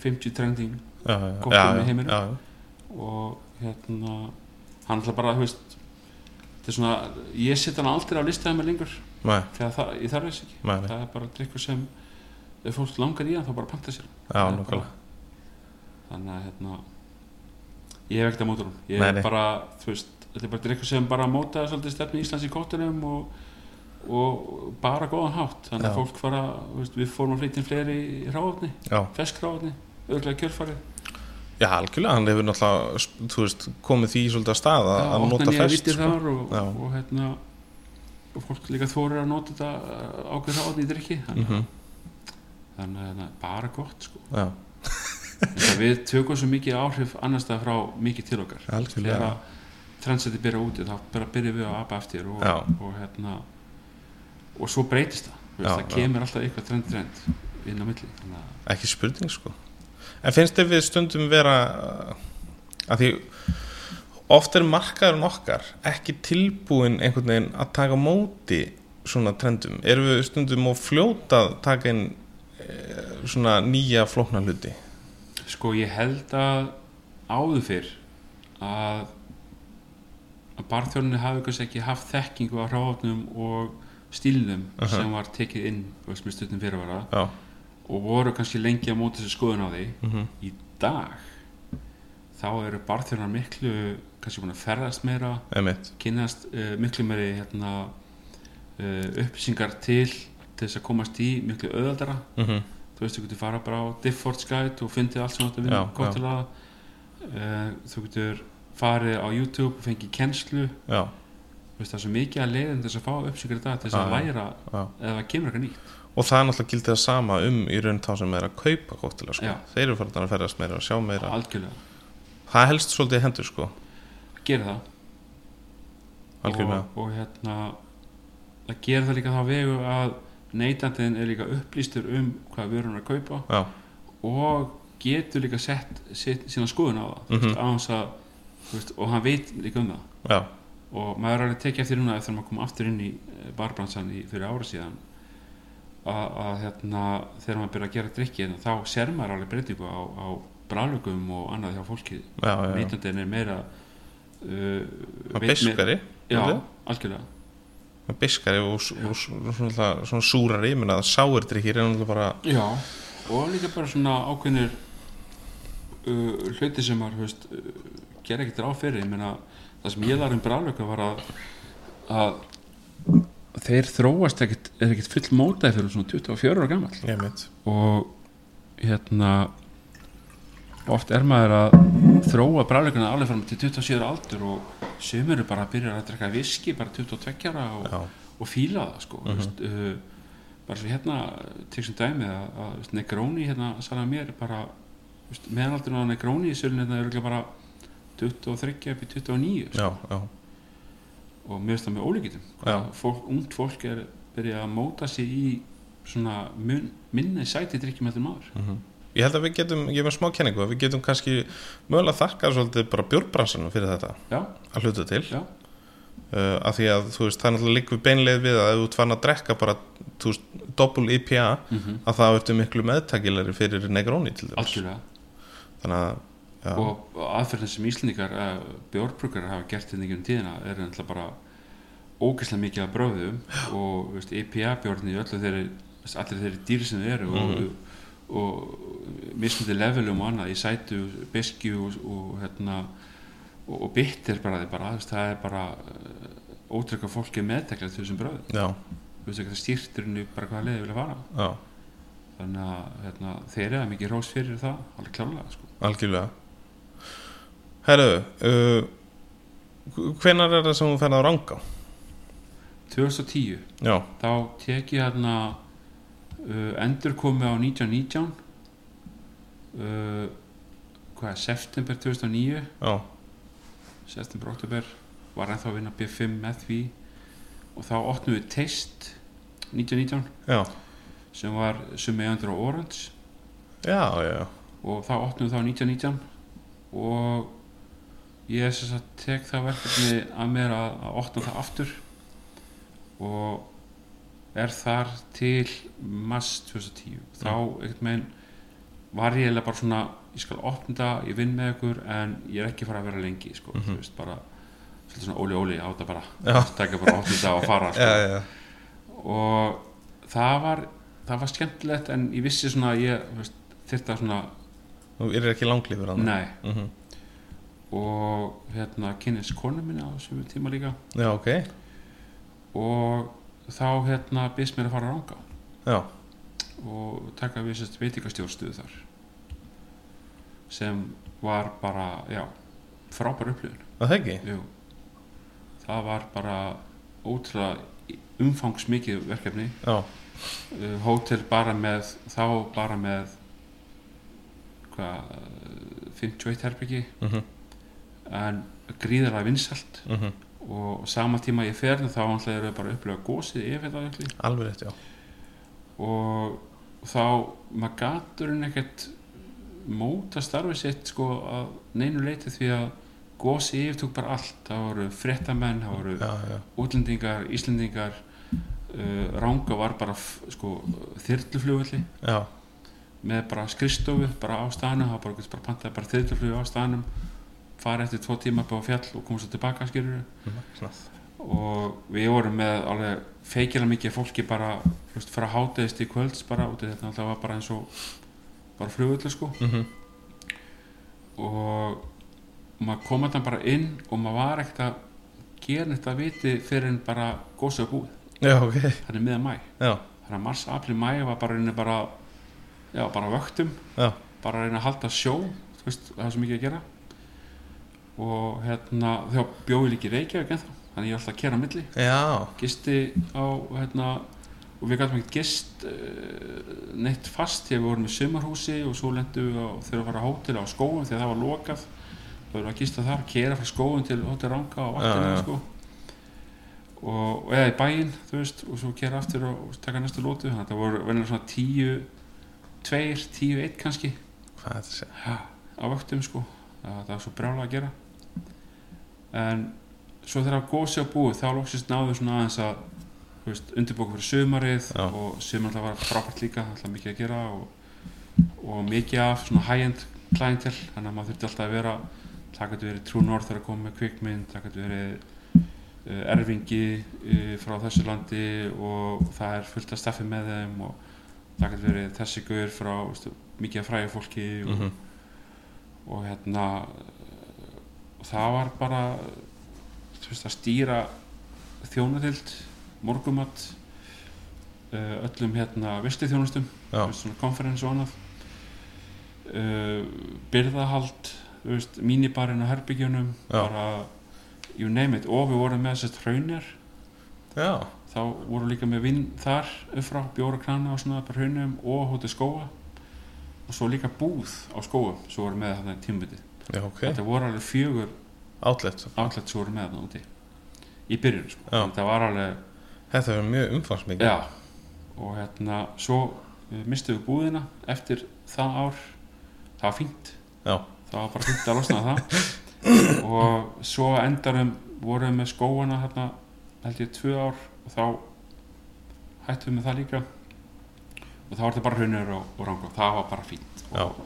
Speaker 2: 50 trending
Speaker 1: já, já,
Speaker 2: Gott
Speaker 1: já,
Speaker 2: um í
Speaker 1: já,
Speaker 2: heiminum.
Speaker 1: já,
Speaker 2: og hérna hann ætla bara, þú veist þetta er svona, ég set hann aldrei á listaðið með lengur
Speaker 1: nei,
Speaker 2: þegar það, ég þarf þess ekki
Speaker 1: nei, nei,
Speaker 2: það er bara drikkur sem ef fólk langar í hann þá bara panta sér hann.
Speaker 1: já,
Speaker 2: Það er
Speaker 1: nokkulega
Speaker 2: bara- þannig að hérna ég hef ekkert að móta hann ég
Speaker 1: Nei,
Speaker 2: nei,
Speaker 1: nei.
Speaker 2: bara, þú veist, þetta er bara drikkur sem bara mótaði svolítið stefni Íslands í kóttunum og, og bara góðan hátt þannig að
Speaker 1: Já.
Speaker 2: fólk fara, þú veist, við fórum að flytja inn fleiri ráðni,
Speaker 1: já,
Speaker 2: fesk ráðni örglega kjörfarið,
Speaker 1: já, algjörlega, hann hefur náttúrulega þú veist, komið því svolítið að stað að, að
Speaker 2: opna
Speaker 1: nota
Speaker 2: nýja
Speaker 1: fest sko.
Speaker 2: vittir þar og,
Speaker 1: Já.
Speaker 2: og hérna og fólk líka þorir að nota þetta eh, ákveð ráðn í drikki þannig,
Speaker 1: Mhm,
Speaker 2: þannig að það er bara gott sko.
Speaker 1: já,
Speaker 2: Þetta við tökum svo mikið áhrif annars það frá mikið til okkar
Speaker 1: algjörlega
Speaker 2: þegar að trendsæti byrja úti þá bara byrja við að apa eftir og,
Speaker 1: Já.
Speaker 2: og hérna og svo breytist það Þú veist,
Speaker 1: Já,
Speaker 2: það
Speaker 1: já.
Speaker 2: kemur alltaf eitthvað trend trend inn á milli þannig að
Speaker 1: ekki spurning sko en finnst þér við stundum vera uh, að því oft er markaðurinn okkar ekki tilbúin einhvern veginn að taka á móti svona trendum erum við stundum og fljóta að taka inn eh, svona nýja flókna hluti
Speaker 2: Sko ég held að áður fyrr að að barþjóninni hafi kannski ekki haft þekkingu á hráfnum og stílnum
Speaker 1: Aha.
Speaker 2: sem var tekið inn þú veist, með stundum fyrirvara
Speaker 1: já,
Speaker 2: og voru kannski lengi að móta þessu skoðun á því
Speaker 1: mm -hmm.
Speaker 2: í dag þá eru barþjónar miklu kannski búin að ferðast meira
Speaker 1: emitt
Speaker 2: kynast uh, miklu meiri hérna, uh, upplýsingar til til þess að komast í miklu öðaldara
Speaker 1: mm -hmm.
Speaker 2: þú veist, þú getur fara bara á Difford's Guide og fundið allt sem þetta vinna
Speaker 1: Já,
Speaker 2: gott til að Eh, þú getur farið á YouTube og fengið kennslu
Speaker 1: já,
Speaker 2: Þú veist, það er svo mikið að leiðin til þess að fá uppsökur í dag til þess að
Speaker 1: Já, já.
Speaker 2: læra
Speaker 1: Já.
Speaker 2: eða það kemur eitthvað nýtt
Speaker 1: og það er náttúrulega gildið að sama um í raun þá sem er að kaupa kóttila sko.
Speaker 2: Já.
Speaker 1: þeir eru farin að ferðast meira og sjá meira
Speaker 2: algjörlega,
Speaker 1: það helst svolítið í hendur sko
Speaker 2: gera það
Speaker 1: algjörlega
Speaker 2: og, og hérna það gerir það líka þá vegu að neytandinn er líka upplýstur um hvað vörun er að kaupa
Speaker 1: Já.
Speaker 2: og getur líka sett sitt, sína skoðun á það
Speaker 1: Mhm.
Speaker 2: mm -hmm. að, þú veist, og hann veit líka um það
Speaker 1: já,
Speaker 2: og maður er alveg tekið eftir núna eftir að maður kom aftur inn í eh, barbransan í, fyrir ára síðan að, að hérna, þegar maður byrja að gera drikki þá ser maður alveg breytingu á, á brálugum og annað hjá fólki
Speaker 1: já, já, já.
Speaker 2: neytandinn er meira uh,
Speaker 1: Hann
Speaker 2: veit meira-
Speaker 1: Beiskari
Speaker 2: já,
Speaker 1: Þetta?
Speaker 2: algjörlega
Speaker 1: Hann Beiskari og, og, og svona, svona, svona súrari menna, sáir drikkir er náttúrulega bara
Speaker 2: Já, og líka bara svona ákveðnir uh, hluti sem var, höfst, uh, gera ekkert ráð fyrir, ég meina það sem ég lærði um brálöka var að, að þeir þróast ekkert, er ekkert full mótaði fyrir svona 24 ára gamall
Speaker 1: ég mitt
Speaker 2: og hérna oft er maður að þróa brálökuna alveg fram til 27 ára aldur og sumir eru bara að byrja að drekka viski bara 22 ára og,
Speaker 1: já,
Speaker 2: og fíla það sko mm veist, uh, bara svo hérna til sem dæmi að, að þú veist, Negroni hérna sæða mér er bara þú veist, meðanaldurinn á Negroni í sölunni þetta er örugglega bara 23 upp í 29 sko.
Speaker 1: já, já,
Speaker 2: og mér finnst það með ólíkitum
Speaker 1: Já.
Speaker 2: fólk, ungt fólk er byrjað að móta sig í svona mun, minni sæti drikkjum eftir maður
Speaker 1: ég held að við getum, ég er með smá kenningu að við getum kannski mögulega þakka svolítið bara bjórbransanum fyrir þetta
Speaker 2: já,
Speaker 1: að hluta til
Speaker 2: já,
Speaker 1: uh, af því að þú veist, það er náttúrulega líka við beinleið við að ef þú ert farin að drekka bara þú veist, doppul IPA að það ertu miklu meðtakilari fyrir Negroni til dæmis
Speaker 2: algjörlega
Speaker 1: þannig að já,
Speaker 2: og aðferðin sem íslendingar uh, bjórbrukar hafa gert hérna í gegnum tíðina er náttúrulega bara ógeðslega mikið að bröðum og þú veist, IPA bjórni í öllu þeirri þú veist, allir þeirri dýri sem þeir eru og, og mismundi levelum og annað í sætu, beskju og, og hérna og, og bitter bara þeir bara, þú veist, það er bara uh, ótrykka fólki meðtekla til þessum bröðum,
Speaker 1: já,
Speaker 2: þú veist ekki það stýrturinu bara hvaða leiði vilja fara
Speaker 1: já,
Speaker 2: þannig að hérna, þeir eru mikið rós fyrir það, alveg klálega sko.
Speaker 1: algjörlega herru uh, hvenar uh, er það sem þú ferð að ranga
Speaker 2: 2010
Speaker 1: já,
Speaker 2: þá tek ég hérna uh, endur á 1919 uh, hvað er september 2009
Speaker 1: já,
Speaker 2: september, oktober var ennþá að vinna B5 með því og þá opnum við test 1919
Speaker 1: já
Speaker 2: sem var summi endur á Orange
Speaker 1: já, já, já,
Speaker 2: og þá opnum við þá 1919 og ég sem sagt tek það verkefni að mér að, að opna það aftur og er þar til mars 2010 þá ekkert meginn var ég eiginlega bara svona ég skal opna það, ég vinn með ykkur en ég er ekki fara að vera lengi sko, þú veist bara svolítið svona óli óli á þetta bara
Speaker 1: Já.
Speaker 2: taka bara opna það og fara sko
Speaker 1: já, já, já.
Speaker 2: og það var það var skemmtilegt en ég vissi svona að ég þú veist, þyrta svona
Speaker 1: þú er ekki langlífur hann
Speaker 2: Nei,
Speaker 1: mm
Speaker 2: og hérna kynist konu minni á þessum tíma líka
Speaker 1: já, ok,
Speaker 2: og þá hérna byrst mér að fara að ranga
Speaker 1: já,
Speaker 2: og taka við sérst veitingastjórnstöðu þar sem var bara, já, frábær upplifun
Speaker 1: að það ekki
Speaker 2: Jú. það var bara ótrúlega umfangsmikið verkefni
Speaker 1: já,
Speaker 2: uh, hótel bara með þá bara með hvað, uh, 51 herbyggi
Speaker 1: mm -hmm.
Speaker 2: en gríðarlega vinsalt
Speaker 1: mhm.
Speaker 2: og sama tíma ég fer þá náttúrulega erum við bara að upplifa gósið ef þetta öllu
Speaker 1: alveg rétt, já
Speaker 2: og þá maður gaturinn ekkert móta starfið sitt sko að neinu leiti því að gósið yfirtúk bara allt það voru frettamenn, það voru
Speaker 1: já, já,
Speaker 2: útlendingar, íslendingar uh, ranga var bara f- sko þyrluflugulli
Speaker 1: já,
Speaker 2: með bara skristofu bara á staðnum, það var bara, bara pantaði bara þyrluflugu á staðnum farið eftir tvo tíma upp á fjall og komið svo tilbaka skilur
Speaker 1: Magnað.
Speaker 2: og við vorum með alveg feikilega mikið af fólki bara þú veist, frá hátegist í kvölds bara út í þetta alltaf var bara eins og bara flugullu sko
Speaker 1: Mhm.
Speaker 2: og maður kom þetta bara inn og maður var ekkert að gera neitt að viti fyrir en bara góðsög búið,
Speaker 1: já, ok,
Speaker 2: þannig miðan mæ
Speaker 1: já,
Speaker 2: þannig að mars, april, mæ var bara einu bara já, bara á vöktum
Speaker 1: já
Speaker 2: bara að reyna að halda sjó þú veist, það er svo mikið að gera og hérna þá bjóði líki Reykjavík en þá þannig ég var alltaf að kera á milli
Speaker 1: já,
Speaker 2: gisti á hérna, og við gætum ekkert gist uh, neitt fast þegar við vorum í sumarhúsi og svo lendum við á, þegar að fara á hótel á skóum þegar það var lokað þá erum við að gista þar, kera frá skóum til hótel Ranga og
Speaker 1: Já,
Speaker 2: vatnina
Speaker 1: já.
Speaker 2: sko. og, og eða í bæinn þú veist, og svo kera aftur og, og taka næstu lótu þannig að það voru venjulega svona tíu tveir, tíu, eitt kannski
Speaker 1: hvað er þetta að segja
Speaker 2: Já, á vöktum sko það, það var svo brjálega að gera en svo þegar gósi á búið þá lóksist náðu svona aðeins að þú veist, undirbóku fyrir sömarið
Speaker 1: Já.
Speaker 2: og sömur alltaf var frábært líka alltaf mikið að gera og, og mikið af svona high-end clientel þannig að maður þurfti alltaf að vera það gæti verið True North þegar að koma með kvikmynd það gæti verið uh, erfingi uh, frá þessu landi og það er fullt að staffi með þeim og það gæti verið þessi guður frá þú veist, mikið að fræja fólki og,
Speaker 1: mm -hmm.
Speaker 2: og hérna og það var bara þú veist að stýra þjónatild, morgumat uh, öllum hérna visti þjónustum,
Speaker 1: já,
Speaker 2: svona konferens og annað uh, byrðahald þú veist, mínibarinn á herbyggjunum
Speaker 1: Já.
Speaker 2: bara, you name it og við vorum með þessast hraunir
Speaker 1: já,
Speaker 2: þá vorum við líka með vinn þar upp frá, bjóra krana og svona bara hraunum og hóti skóa og svo líka búð á skóum svo vorum við með þarna tímbiti
Speaker 1: já, ok
Speaker 2: þetta voru alveg fjögur
Speaker 1: outlet,
Speaker 2: outlet sem voru með þarna úti í byrjun sko.
Speaker 1: Já.
Speaker 2: þetta var alveg
Speaker 1: þetta er mjög umfangsmikið
Speaker 2: já, og hérna svo mistum við búðina eftir það ár það var fínt
Speaker 1: Já.
Speaker 2: það var bara fínt að losna það og svo endarum vorum við með skóana hérna held ég tvö ár og þá hættum við með það líka og þá var þetta bara hrunur og, og rangur það var bara fínt
Speaker 1: Já.
Speaker 2: og,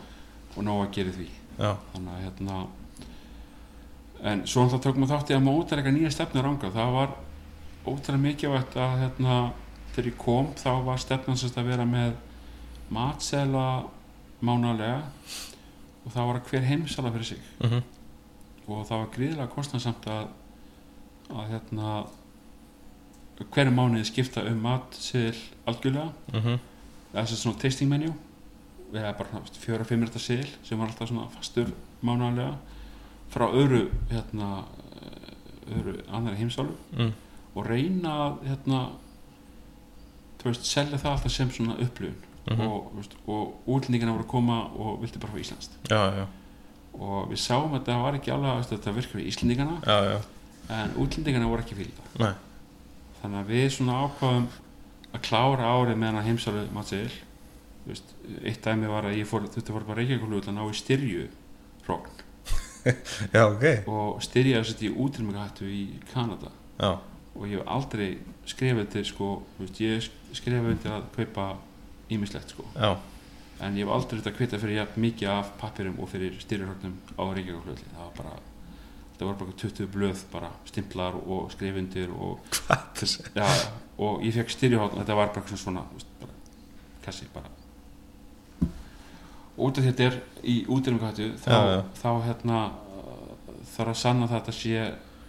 Speaker 2: og nóg að gera í því
Speaker 1: já,
Speaker 2: þannig að hérna en svo náttúrulega tókum við þátt í að maður útarleika nýja stefnu ranga það var ótrúlega mikilvægt að hérna þegar ég kom þá var stefnan sérst að vera með matsela mánalega og það var að hver heimsala fyrir sig
Speaker 1: mm -hmm.
Speaker 2: og það var gríðilega kostansamt að að hérna hverju mánuði skipta um mat til algjörlega
Speaker 1: Mm
Speaker 2: eða sem svona tasting menu eða bara fjóra-fimm minúta seil sem var alltaf svona fastur mánalega frá öðru hérna, eh, öðru annari heimsálu
Speaker 1: Mm.
Speaker 2: og reyna að hérna, þú veist, selja það alltaf sem svona upplifun
Speaker 1: Mhm.
Speaker 2: og, þú veist, og útlendingina voru að koma og vildi bara fá íslenskt
Speaker 1: já, já,
Speaker 2: og við sáum að það var ekki alveg þú veist, að þetta virka við íslendingana
Speaker 1: já, já
Speaker 2: en útlendingana voru ekki fyrir það
Speaker 1: Nei.
Speaker 2: þannig að við svona ákvaðum að klára árið með hana heimsálu matseðil Þú veist, eitt dæmi var að ég fór þetta fór bara reykjagólu að ná í styrju hrogn
Speaker 1: já, ok,
Speaker 2: og styrja þess að ég útrýmingahættu í Kanada
Speaker 1: já,
Speaker 2: og ég hef aldrei skrifað til sko, þú veist, ég skrifað undir að kaupa ímislegt sko
Speaker 1: já
Speaker 2: en ég hef aldrei þetta kvita fyrir jafn mikið af pappirum og fyrir styrjuhörnum á Reykjavík það var bara það var bara 20 blöð bara stimplar og skrifundir og, já, og ég fekk styrjuhörn þetta var bara svona svona þú veist, bara, kassi bara Og út af því þetta er í útrymmingahættu þá,
Speaker 1: Já, já.
Speaker 2: þá hérna uh, þarf að sanna það að þetta sé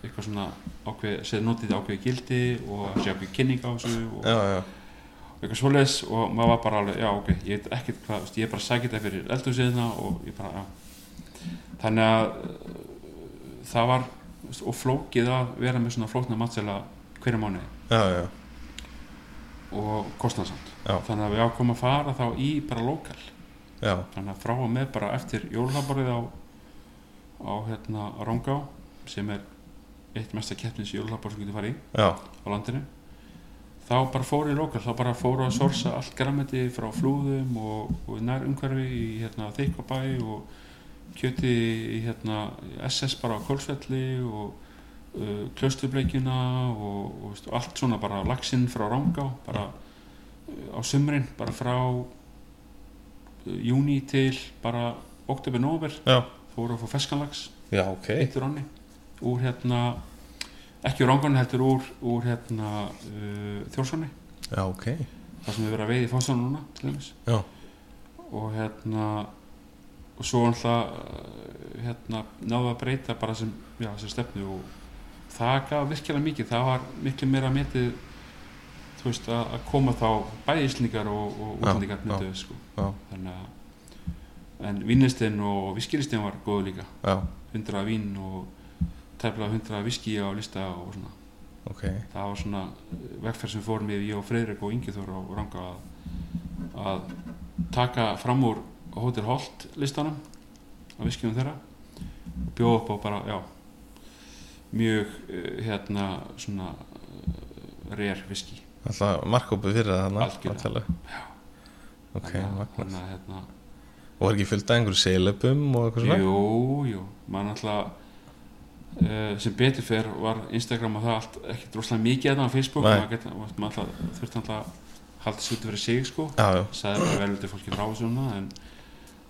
Speaker 2: eitthvað svona ákveð, sé notið ákveði gildi og sé ákveði kynning á þessu og,
Speaker 1: já, já,
Speaker 2: eitthvað svoleiðis og maður var bara alveg, já ok, ég veit ekkert hvað, þú veist, ég er bara að sækja þetta fyrir eldhúsiðna og ég bara, já. Þannig að uh, það var, þú veist, og flókið að vera með svona flókna matsela hverja mánuði
Speaker 1: já, já,
Speaker 2: og kostnarsamt.
Speaker 1: Já.
Speaker 2: Þannig að við ákomum að fara þá í bara lokal,
Speaker 1: já,
Speaker 2: þannig að frá og með bara eftir jólhlaðborðið á, á hérna, á Rangá, sem er eitt mesta keppnis jólhlaðborð sem getur farið í.
Speaker 1: já,
Speaker 2: á landinu þá bara fóru í lokal, þá bara fóru að sorsa allt græmiti frá flúðum og, og nær umhverfi í hérna, Þeikabæ og kjöti í hérna, SS bara á Kolsvelli og uh, klösturbleikjuna og, og veist, allt svona bara laxinn frá Rangá bara uh, á sumrin, bara frá uh, júni til bara oktober-nóver
Speaker 1: já,
Speaker 2: fóru að fá feskanlags
Speaker 1: já, ok
Speaker 2: heitur ánni úr hérna ekki úr ángan heldur úr, úr hérna uh, þjórssoni
Speaker 1: já, ok,
Speaker 2: þar sem við verðum að veiði fórstána núna til dæmis
Speaker 1: Já.
Speaker 2: og hérna og svo alltaf hérna náðu að breyta bara sem, já, sem stefnu og það gaf virkilega mikið það var miklu meira metið þú veist að, að koma þá bæði íslningar og, og
Speaker 1: Já, já,
Speaker 2: útlendingar myndu sko.
Speaker 1: já.
Speaker 2: þannig að en vinnistinn og viskilistinn var góð líka
Speaker 1: já,
Speaker 2: hundra vín og tæfla hundra viski á lista og svona
Speaker 1: ok,
Speaker 2: það var svona eh, vegferð sem fór mér ég og Freyrik og Ingi Þór og Ranga að, að taka fram úr Hotel Holt listanum á viskjum þeirra og bjóða upp á bara, já mjög eh, hérna svona uh, rare viski
Speaker 1: alltaf markkópið fyrir það
Speaker 2: Algjörlega.
Speaker 1: þarna ok, magnað
Speaker 2: að hérna
Speaker 1: og var ekki fullt af einhverju seilöpum og eitthvað svona
Speaker 2: Jú, jú, maður náttúrulega uh, sem betur fer var Instagram og það allt ekki droslega mikið þarna á Facebook
Speaker 1: Nei.
Speaker 2: maður, get, maður náttúrulega þurfti náttúrulega að halda sér út fyrir sig sko
Speaker 1: já, já,
Speaker 2: sagði bara vel út í fólki frá svona en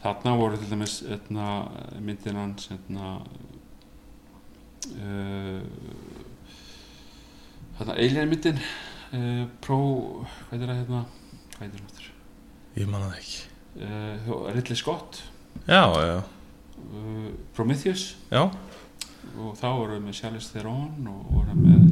Speaker 2: þarna voru til dæmis etna, myndin hans hérna, etna, uh, þarna hérna, alien myndin uh, pro hvað er það hérna hvað heitir hann aftur
Speaker 1: ég manna það ekki
Speaker 2: uh, Ridley Scott
Speaker 1: já, já,
Speaker 2: uh, Prometheus
Speaker 1: já,
Speaker 2: og þá vorum við með Charlize Theron og vorum með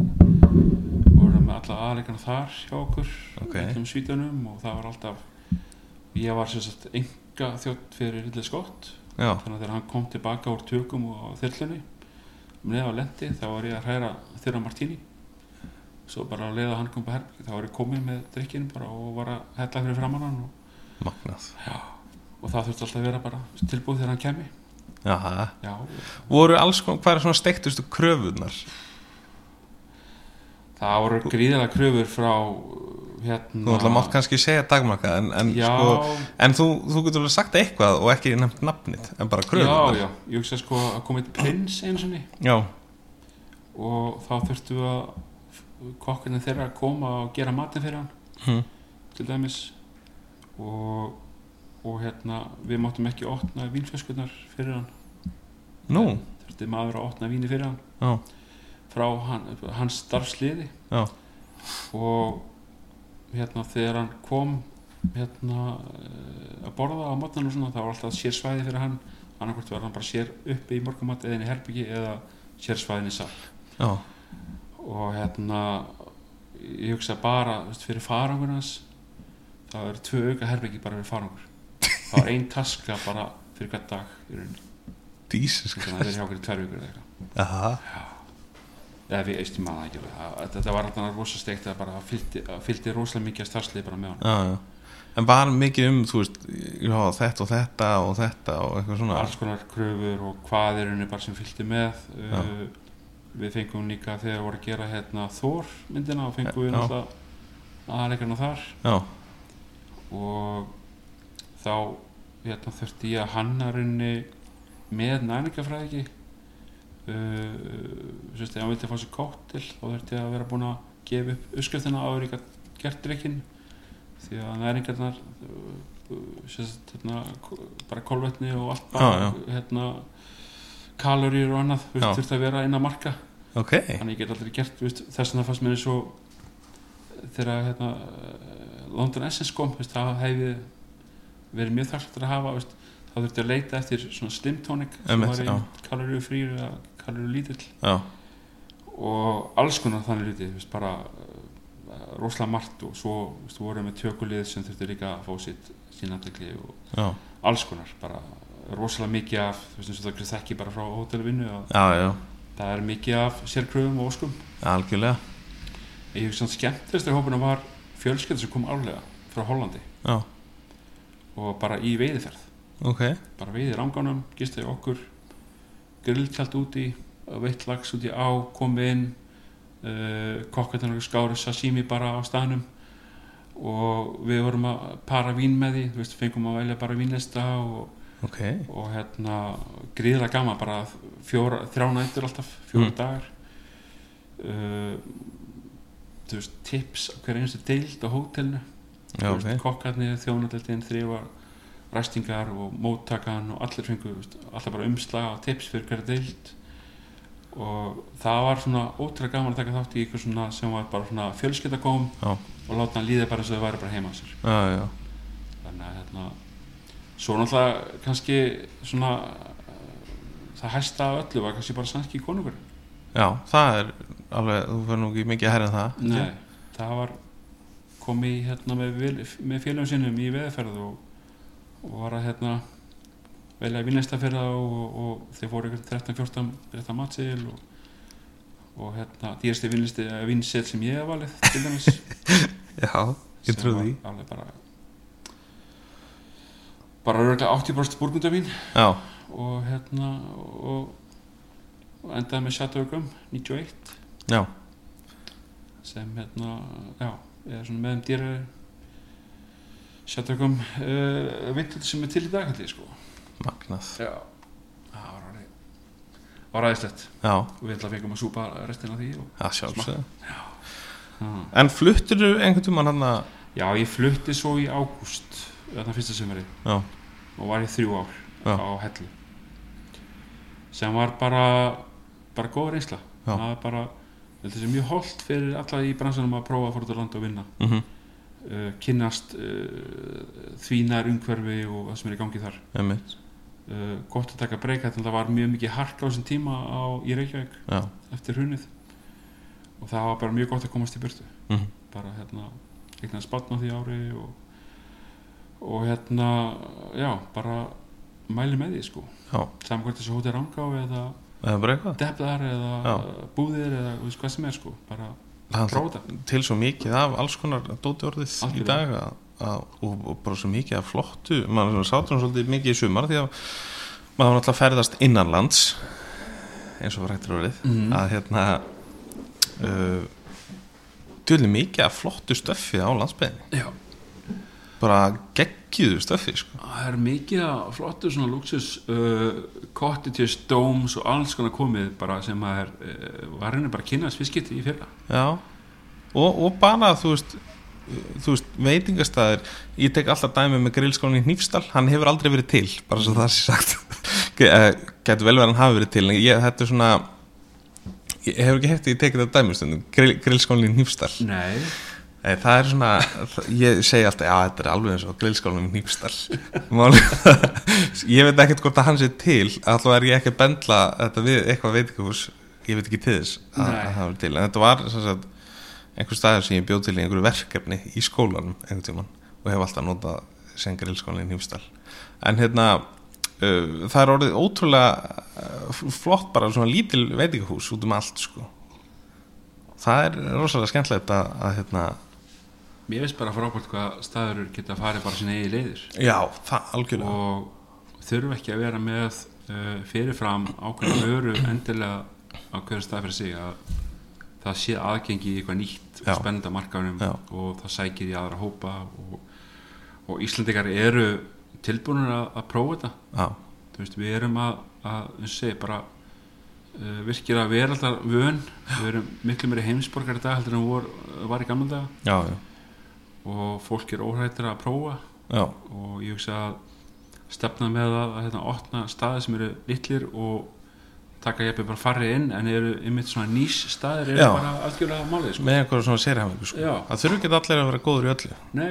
Speaker 2: vorum með alla aðleikana þar hjá okkur
Speaker 1: Ok.
Speaker 2: öllum svítunum og það var alltaf ég var sem sagt enga þjótt fyrir Ridley Scott
Speaker 1: já
Speaker 2: þannig að þegar hann kom tilbaka úr tökum og á þyrlunni um leið á lendi þá var ég að hræra þyrra Martini svo bara að leiða hann kom på herbyggi þá var ég komið með drikkinu bara og var að hella fyrir framann hann og,
Speaker 1: magnað,
Speaker 2: og það þurfti alltaf að vera bara tilbúið þegar hann kemi
Speaker 1: já
Speaker 2: já,
Speaker 1: voru alls konar, hvað er svona steiktustu kröfunar
Speaker 2: Það voru gríðilega kröfur frá
Speaker 1: þú
Speaker 2: hérna
Speaker 1: ætla mátt kannski segja dagmarka en, en,
Speaker 2: já,
Speaker 1: sko, en þú, þú getur alveg sagt eitthvað og ekki nefnt nafnið en bara
Speaker 2: já,
Speaker 1: kröfunar
Speaker 2: já, ég hugsa sko að komið prins eins og ni
Speaker 1: já,
Speaker 2: og þá þurftum við að kokkinni þeirra að koma og gera matin fyrir hann
Speaker 1: Hm.
Speaker 2: til dæmis og, og hérna við máttum ekki opna vínfjöskunar fyrir hann
Speaker 1: nú
Speaker 2: þurfti maður að opna víni fyrir hann
Speaker 1: já,
Speaker 2: frá hann, hans starfsliði
Speaker 1: já,
Speaker 2: og hérna þegar hann kom hérna eh, að borða á matnum og svona það var alltaf sér svæði fyrir hann annarkvort var hann bara sér uppi í morgumat eða inn í herbyggi eða sér svæðin í sal
Speaker 1: já,
Speaker 2: og hérna ég hugsa bara þú veist, fyrir farangur hans það eru tvö auka herbyggi bara fyrir farangur það var ein taska bara fyrir hvert dag í rauninni
Speaker 1: Jesus
Speaker 2: þannig að það
Speaker 1: Christ
Speaker 2: er hjá okkur í tvær vikur eða eitthvað
Speaker 1: Aha.
Speaker 2: eða við eistum að það ekki alveg. Það- þetta var alltaf rosa steikt að bara fylgdi, fylgdi rosalega mikið að starfslið bara með hann
Speaker 1: já, já En var mikið um, þú veist, já, þetta og þetta og þetta og eitthvað svona
Speaker 2: alls konar kröfur og hvað er henni bara sem fylgdi með uh, við fengum líka þegar voru að gera hérna Þór myndina og fengum við
Speaker 1: Já.
Speaker 2: náttúrulega aðleikarna þar
Speaker 1: Já,
Speaker 2: og þá hérna þurfti ég að hanna henni með næningafræðiki uh, sérst, ef hann vildi að fá sér kóttil þá þurfti ég að vera búin að gefa upp uppskriftina áður ég gat gert drikkin því að næringarnar uh, uh, sérst, hérna, k- bara kolvetni og allt bara, hérna kaloríur og annað þú
Speaker 1: Já.
Speaker 2: veist, þurfti að vera inn að marka
Speaker 1: ok
Speaker 2: þannig ég get aldrei gert þú veist, þess að það fannst mér eins og þegar hérna, eh, London Essence kom þú veist, það hefði verið mjög þarftur að hafa þú veist, þá þurfti að leita eftir svona slim tonic sem
Speaker 1: Einmitt,
Speaker 2: var
Speaker 1: já.
Speaker 2: einn kaloríu frýr eða kaloríu lítill
Speaker 1: Já,
Speaker 2: og alls konar þannig luti veist, bara eh, rosalega margt og svo þú veist, vorum við með tökulið sem þurfti líka að fá sitt sínandegli og
Speaker 1: já,
Speaker 2: alls konar bara rosalega mikið af þú veist, eins og það þekki bara frá hótelvinnu að
Speaker 1: já, já,
Speaker 2: það er mikið af sérkröfum og óskum
Speaker 1: algjörlega
Speaker 2: Ég hugsa að skemmtilegsta hópuna var fjölskyldur sem kom árlega frá Hollandi
Speaker 1: Já,
Speaker 2: og bara í veiðiferð.
Speaker 1: ok,
Speaker 2: Bara veiði rangánum, gistaði okkur, grilltjald úti, veitt lags úti á, komið inn, uh, kokkarnar skáru sashimi bara á staðnum og við vorum að para vín með því, þú veist, fengum að velja bara vínlista og,
Speaker 1: ok
Speaker 2: og hérna, gríðilega gaman, bara fjóra, þrjá nættur alltaf, fjóra
Speaker 1: Mm.
Speaker 2: dagar. Uh, þú veist, tips á hver einstu deild á hótelinu
Speaker 1: Já,
Speaker 2: Þú
Speaker 1: ok,
Speaker 2: veist, kokkarnir, þjónadeldin, þrýfa ræstingar og móttakan og allir fengu, þú veist, alltaf bara umslag og tips fyrir hverja deild og það var svona ótrúlega gaman að taka þátt í ykkur svona sem var bara svona fjölskyldakóm
Speaker 1: Já.
Speaker 2: og láta hann líða bara eins og þau væri bara heima á sér
Speaker 1: já, já
Speaker 2: þannig að hérna svo náttúrulega kannski svona eh, það hæsta af öllu var kannski bara sannski konungur
Speaker 1: Já, það er alveg, þú fyrir nú ekki mikið að herra en það
Speaker 2: Nei, það var komið hérna með, vil- með félagum sínum í veðferð og, og var að hérna velja vinnleista fyrir það og, og þeir fóru ykkur 13-14 rétt að matseðil og, og hérna, dýrasti vinlisti vinsett sem ég hef valið til dæmis
Speaker 1: Já, ég
Speaker 2: sem
Speaker 1: trúi því
Speaker 2: var alveg bara bara örgulega 80% búrgundavín
Speaker 1: Já,
Speaker 2: og hérna og, og endaði með Chateau Gum 91
Speaker 1: já,
Speaker 2: sem hérna, já, er svona meðum dýra Chateau Gum uh, vintage sem er til í dag held ég sko
Speaker 1: magnað
Speaker 2: já, það var alveg var aðeinslegt
Speaker 1: Já,
Speaker 2: og við ætla fengum að súpa restina af því og,
Speaker 1: já sjálfsög
Speaker 2: uh.
Speaker 1: En fluttur þú einhvern tímann hann að
Speaker 2: já, ég flutti svo í ágúst þarna fyrsta sömari
Speaker 1: Já,
Speaker 2: og var ég þrjú ár
Speaker 1: Já.
Speaker 2: á hellu sem var bara bara góð reynsla
Speaker 1: Já.
Speaker 2: það var bara, þetta er mjög holdt fyrir alla í bransanum að prófa að fór út á land og vinna
Speaker 1: mhm,
Speaker 2: uh, kynnast uh, því nær umhverfi og það sem er í gangi þar
Speaker 1: einmitt
Speaker 2: uh, gott að taka breyka þannig að það var mjög mikið harka á þessum tíma á, í Reykjavík
Speaker 1: Já,
Speaker 2: eftir hrunið og það var bara mjög gott að komast í burtu
Speaker 1: mhm,
Speaker 2: bara hérna eitthvað spatna því ári og, og hérna já, bara mæli með því sko
Speaker 1: já
Speaker 2: saman hvert þessu hóti rangá eða
Speaker 1: Það er bara eitthvað
Speaker 2: deblar eða
Speaker 1: Já.
Speaker 2: já. búðir eða þú veist hvað sem er sko bara
Speaker 1: Það er
Speaker 2: prófa þetta
Speaker 1: til svo mikið af alls konar dóti orðið í
Speaker 2: Algjörlega.
Speaker 1: dag að, að, og, og bara svo mikið af flottu maður sem sátum svolítið mikið í sumar því að maður var náttúrulega að ferðast innanlands eins og var hættur orðið
Speaker 2: Mhm.
Speaker 1: að hérna uh, djúlega mikið af flottu stöffi á landsbyðinni
Speaker 2: já,
Speaker 1: bara geggiðu stöffi sko.
Speaker 2: það er mikið af flottu svona luxus uh, cottages, domes og alls konar komið bara sem að er uh, var henni bara að kynna sviskiti í fyrra
Speaker 1: Já og, og bara þú veist þú veist, veitingastæðir ég tek alltaf dæmi með grillskólan í Hnífstal hann hefur aldrei verið til, bara svo það sé sagt getur vel verið að hann hafi verið til en ég, þetta er svona ég hefur ekki hefði, ég tekið þetta dæmi stundum grill, grillskólan í Hnífstal
Speaker 2: nei,
Speaker 1: Nei, það er svona, það- ég segi alltaf já, þetta er alveg eins og grillskólanum í Hnífstal Málið- ég veit ekkert hvort að hann sé til, alltaf er ég ekki að bendla þetta við eitthvað veitingahús ég veit ekki til þess að,
Speaker 2: Nei.
Speaker 1: að það var til en þetta var sem sagt, einhver staður sem ég bjóð til í einhverju verkefni í skólanum einhvern tímann og hef alltaf notað sem grillskólan í Hnífstal en hérna uh, það er orðið ótrúlega uh, f- flott bara svona lítil veitingahús út um allt sko það er rosalega skemmtilegt að, að hérna,
Speaker 2: mér veist bara frábært hvað staður geta farið bara sinni eigi leiðir
Speaker 1: Já, það algjörlega
Speaker 2: og þurfa ekki að vera með uh, fyrirfram ákveðna vöru endilega á hverju stað fyrir sig að það sé aðgengi í eitthvað nýtt
Speaker 1: Já.
Speaker 2: og spennandi á markaðunum
Speaker 1: Já.
Speaker 2: og það sækir í aðra hópa og, og Íslandikar eru tilbúinir að, að prófa þetta
Speaker 1: Já,
Speaker 2: Þú veist, við erum að, að um segi, bara uh, virkir að vera alltaf vön við erum miklu meiri heimsborgar í dag heldur en vor, var í gamla daga
Speaker 1: já, já,
Speaker 2: og fólk er óhrættir að prófa
Speaker 1: já,
Speaker 2: og ég hugsa að stefna með að, að hérna, opna staði sem eru litlir og taka ég bara farri inn en eru einmitt svona nýs staðir eru
Speaker 1: Já.
Speaker 2: bara algjörlega málið sko.
Speaker 1: með einhverjum svona sérhæfingu sko.
Speaker 2: Já.
Speaker 1: Það þurfi ekki allir að vera góður í öllu
Speaker 2: Nei,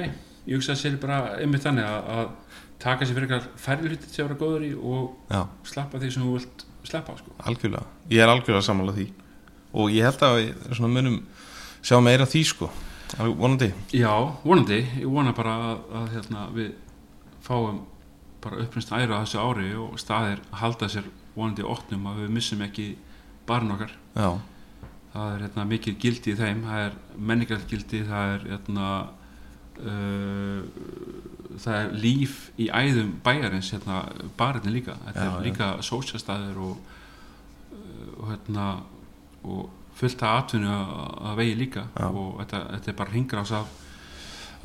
Speaker 2: ég hugsa að sér bara einmitt þannig að, að taka sér fyrir eitthvað færri hluti sem vera góður í og
Speaker 1: Já,
Speaker 2: slappa því sem þú vilt slappa á, sko.
Speaker 1: algjörlega, ég er algjörlega sammála því og ég held að við svona munum sjá meira af því sko Alveg vonandi
Speaker 2: Já, vonandi, ég vona bara að, að hérna, við fáum bara upprýnst æra á þessu ári og staðir halda sér vonandi óttnum að við missum ekki barn okkar
Speaker 1: Já,
Speaker 2: það er hérna, mikið gildi í þeim það er menningarlegt gildi það er, hérna, uh, það er líf í æðum bæjarins hérna, barinn líka þetta
Speaker 1: Já,
Speaker 2: er
Speaker 1: já.
Speaker 2: líka sósjastæðir og, uh, og, hérna, og fullt að atvinnu að- að vegi líka
Speaker 1: Já.
Speaker 2: og þetta, þetta er bara ringra ás af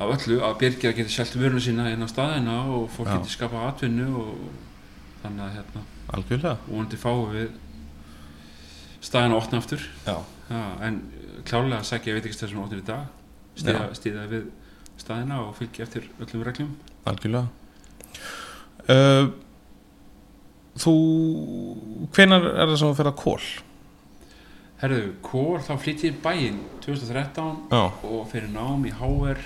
Speaker 2: af öllu að byrgja geti selt vöruna sína inn á staðina og fólk
Speaker 1: Já.
Speaker 2: geti skapað atvinnu og þannig að hérna,
Speaker 1: algjörlega
Speaker 2: vonandi fáum við staðina opna aftur
Speaker 1: Já,
Speaker 2: Já, en eh, klálega að segja, ég veit ekki stæð sem óttir í dag stýða, stýða við staðina og fylgja eftir öllum reglum
Speaker 1: algjörlega uh, Þú, hvenær er það sem að fyrir að kól?
Speaker 2: Herðu, Kór þá flytti ég í bæinn 2013
Speaker 1: Já,
Speaker 2: og fyrir nám í HR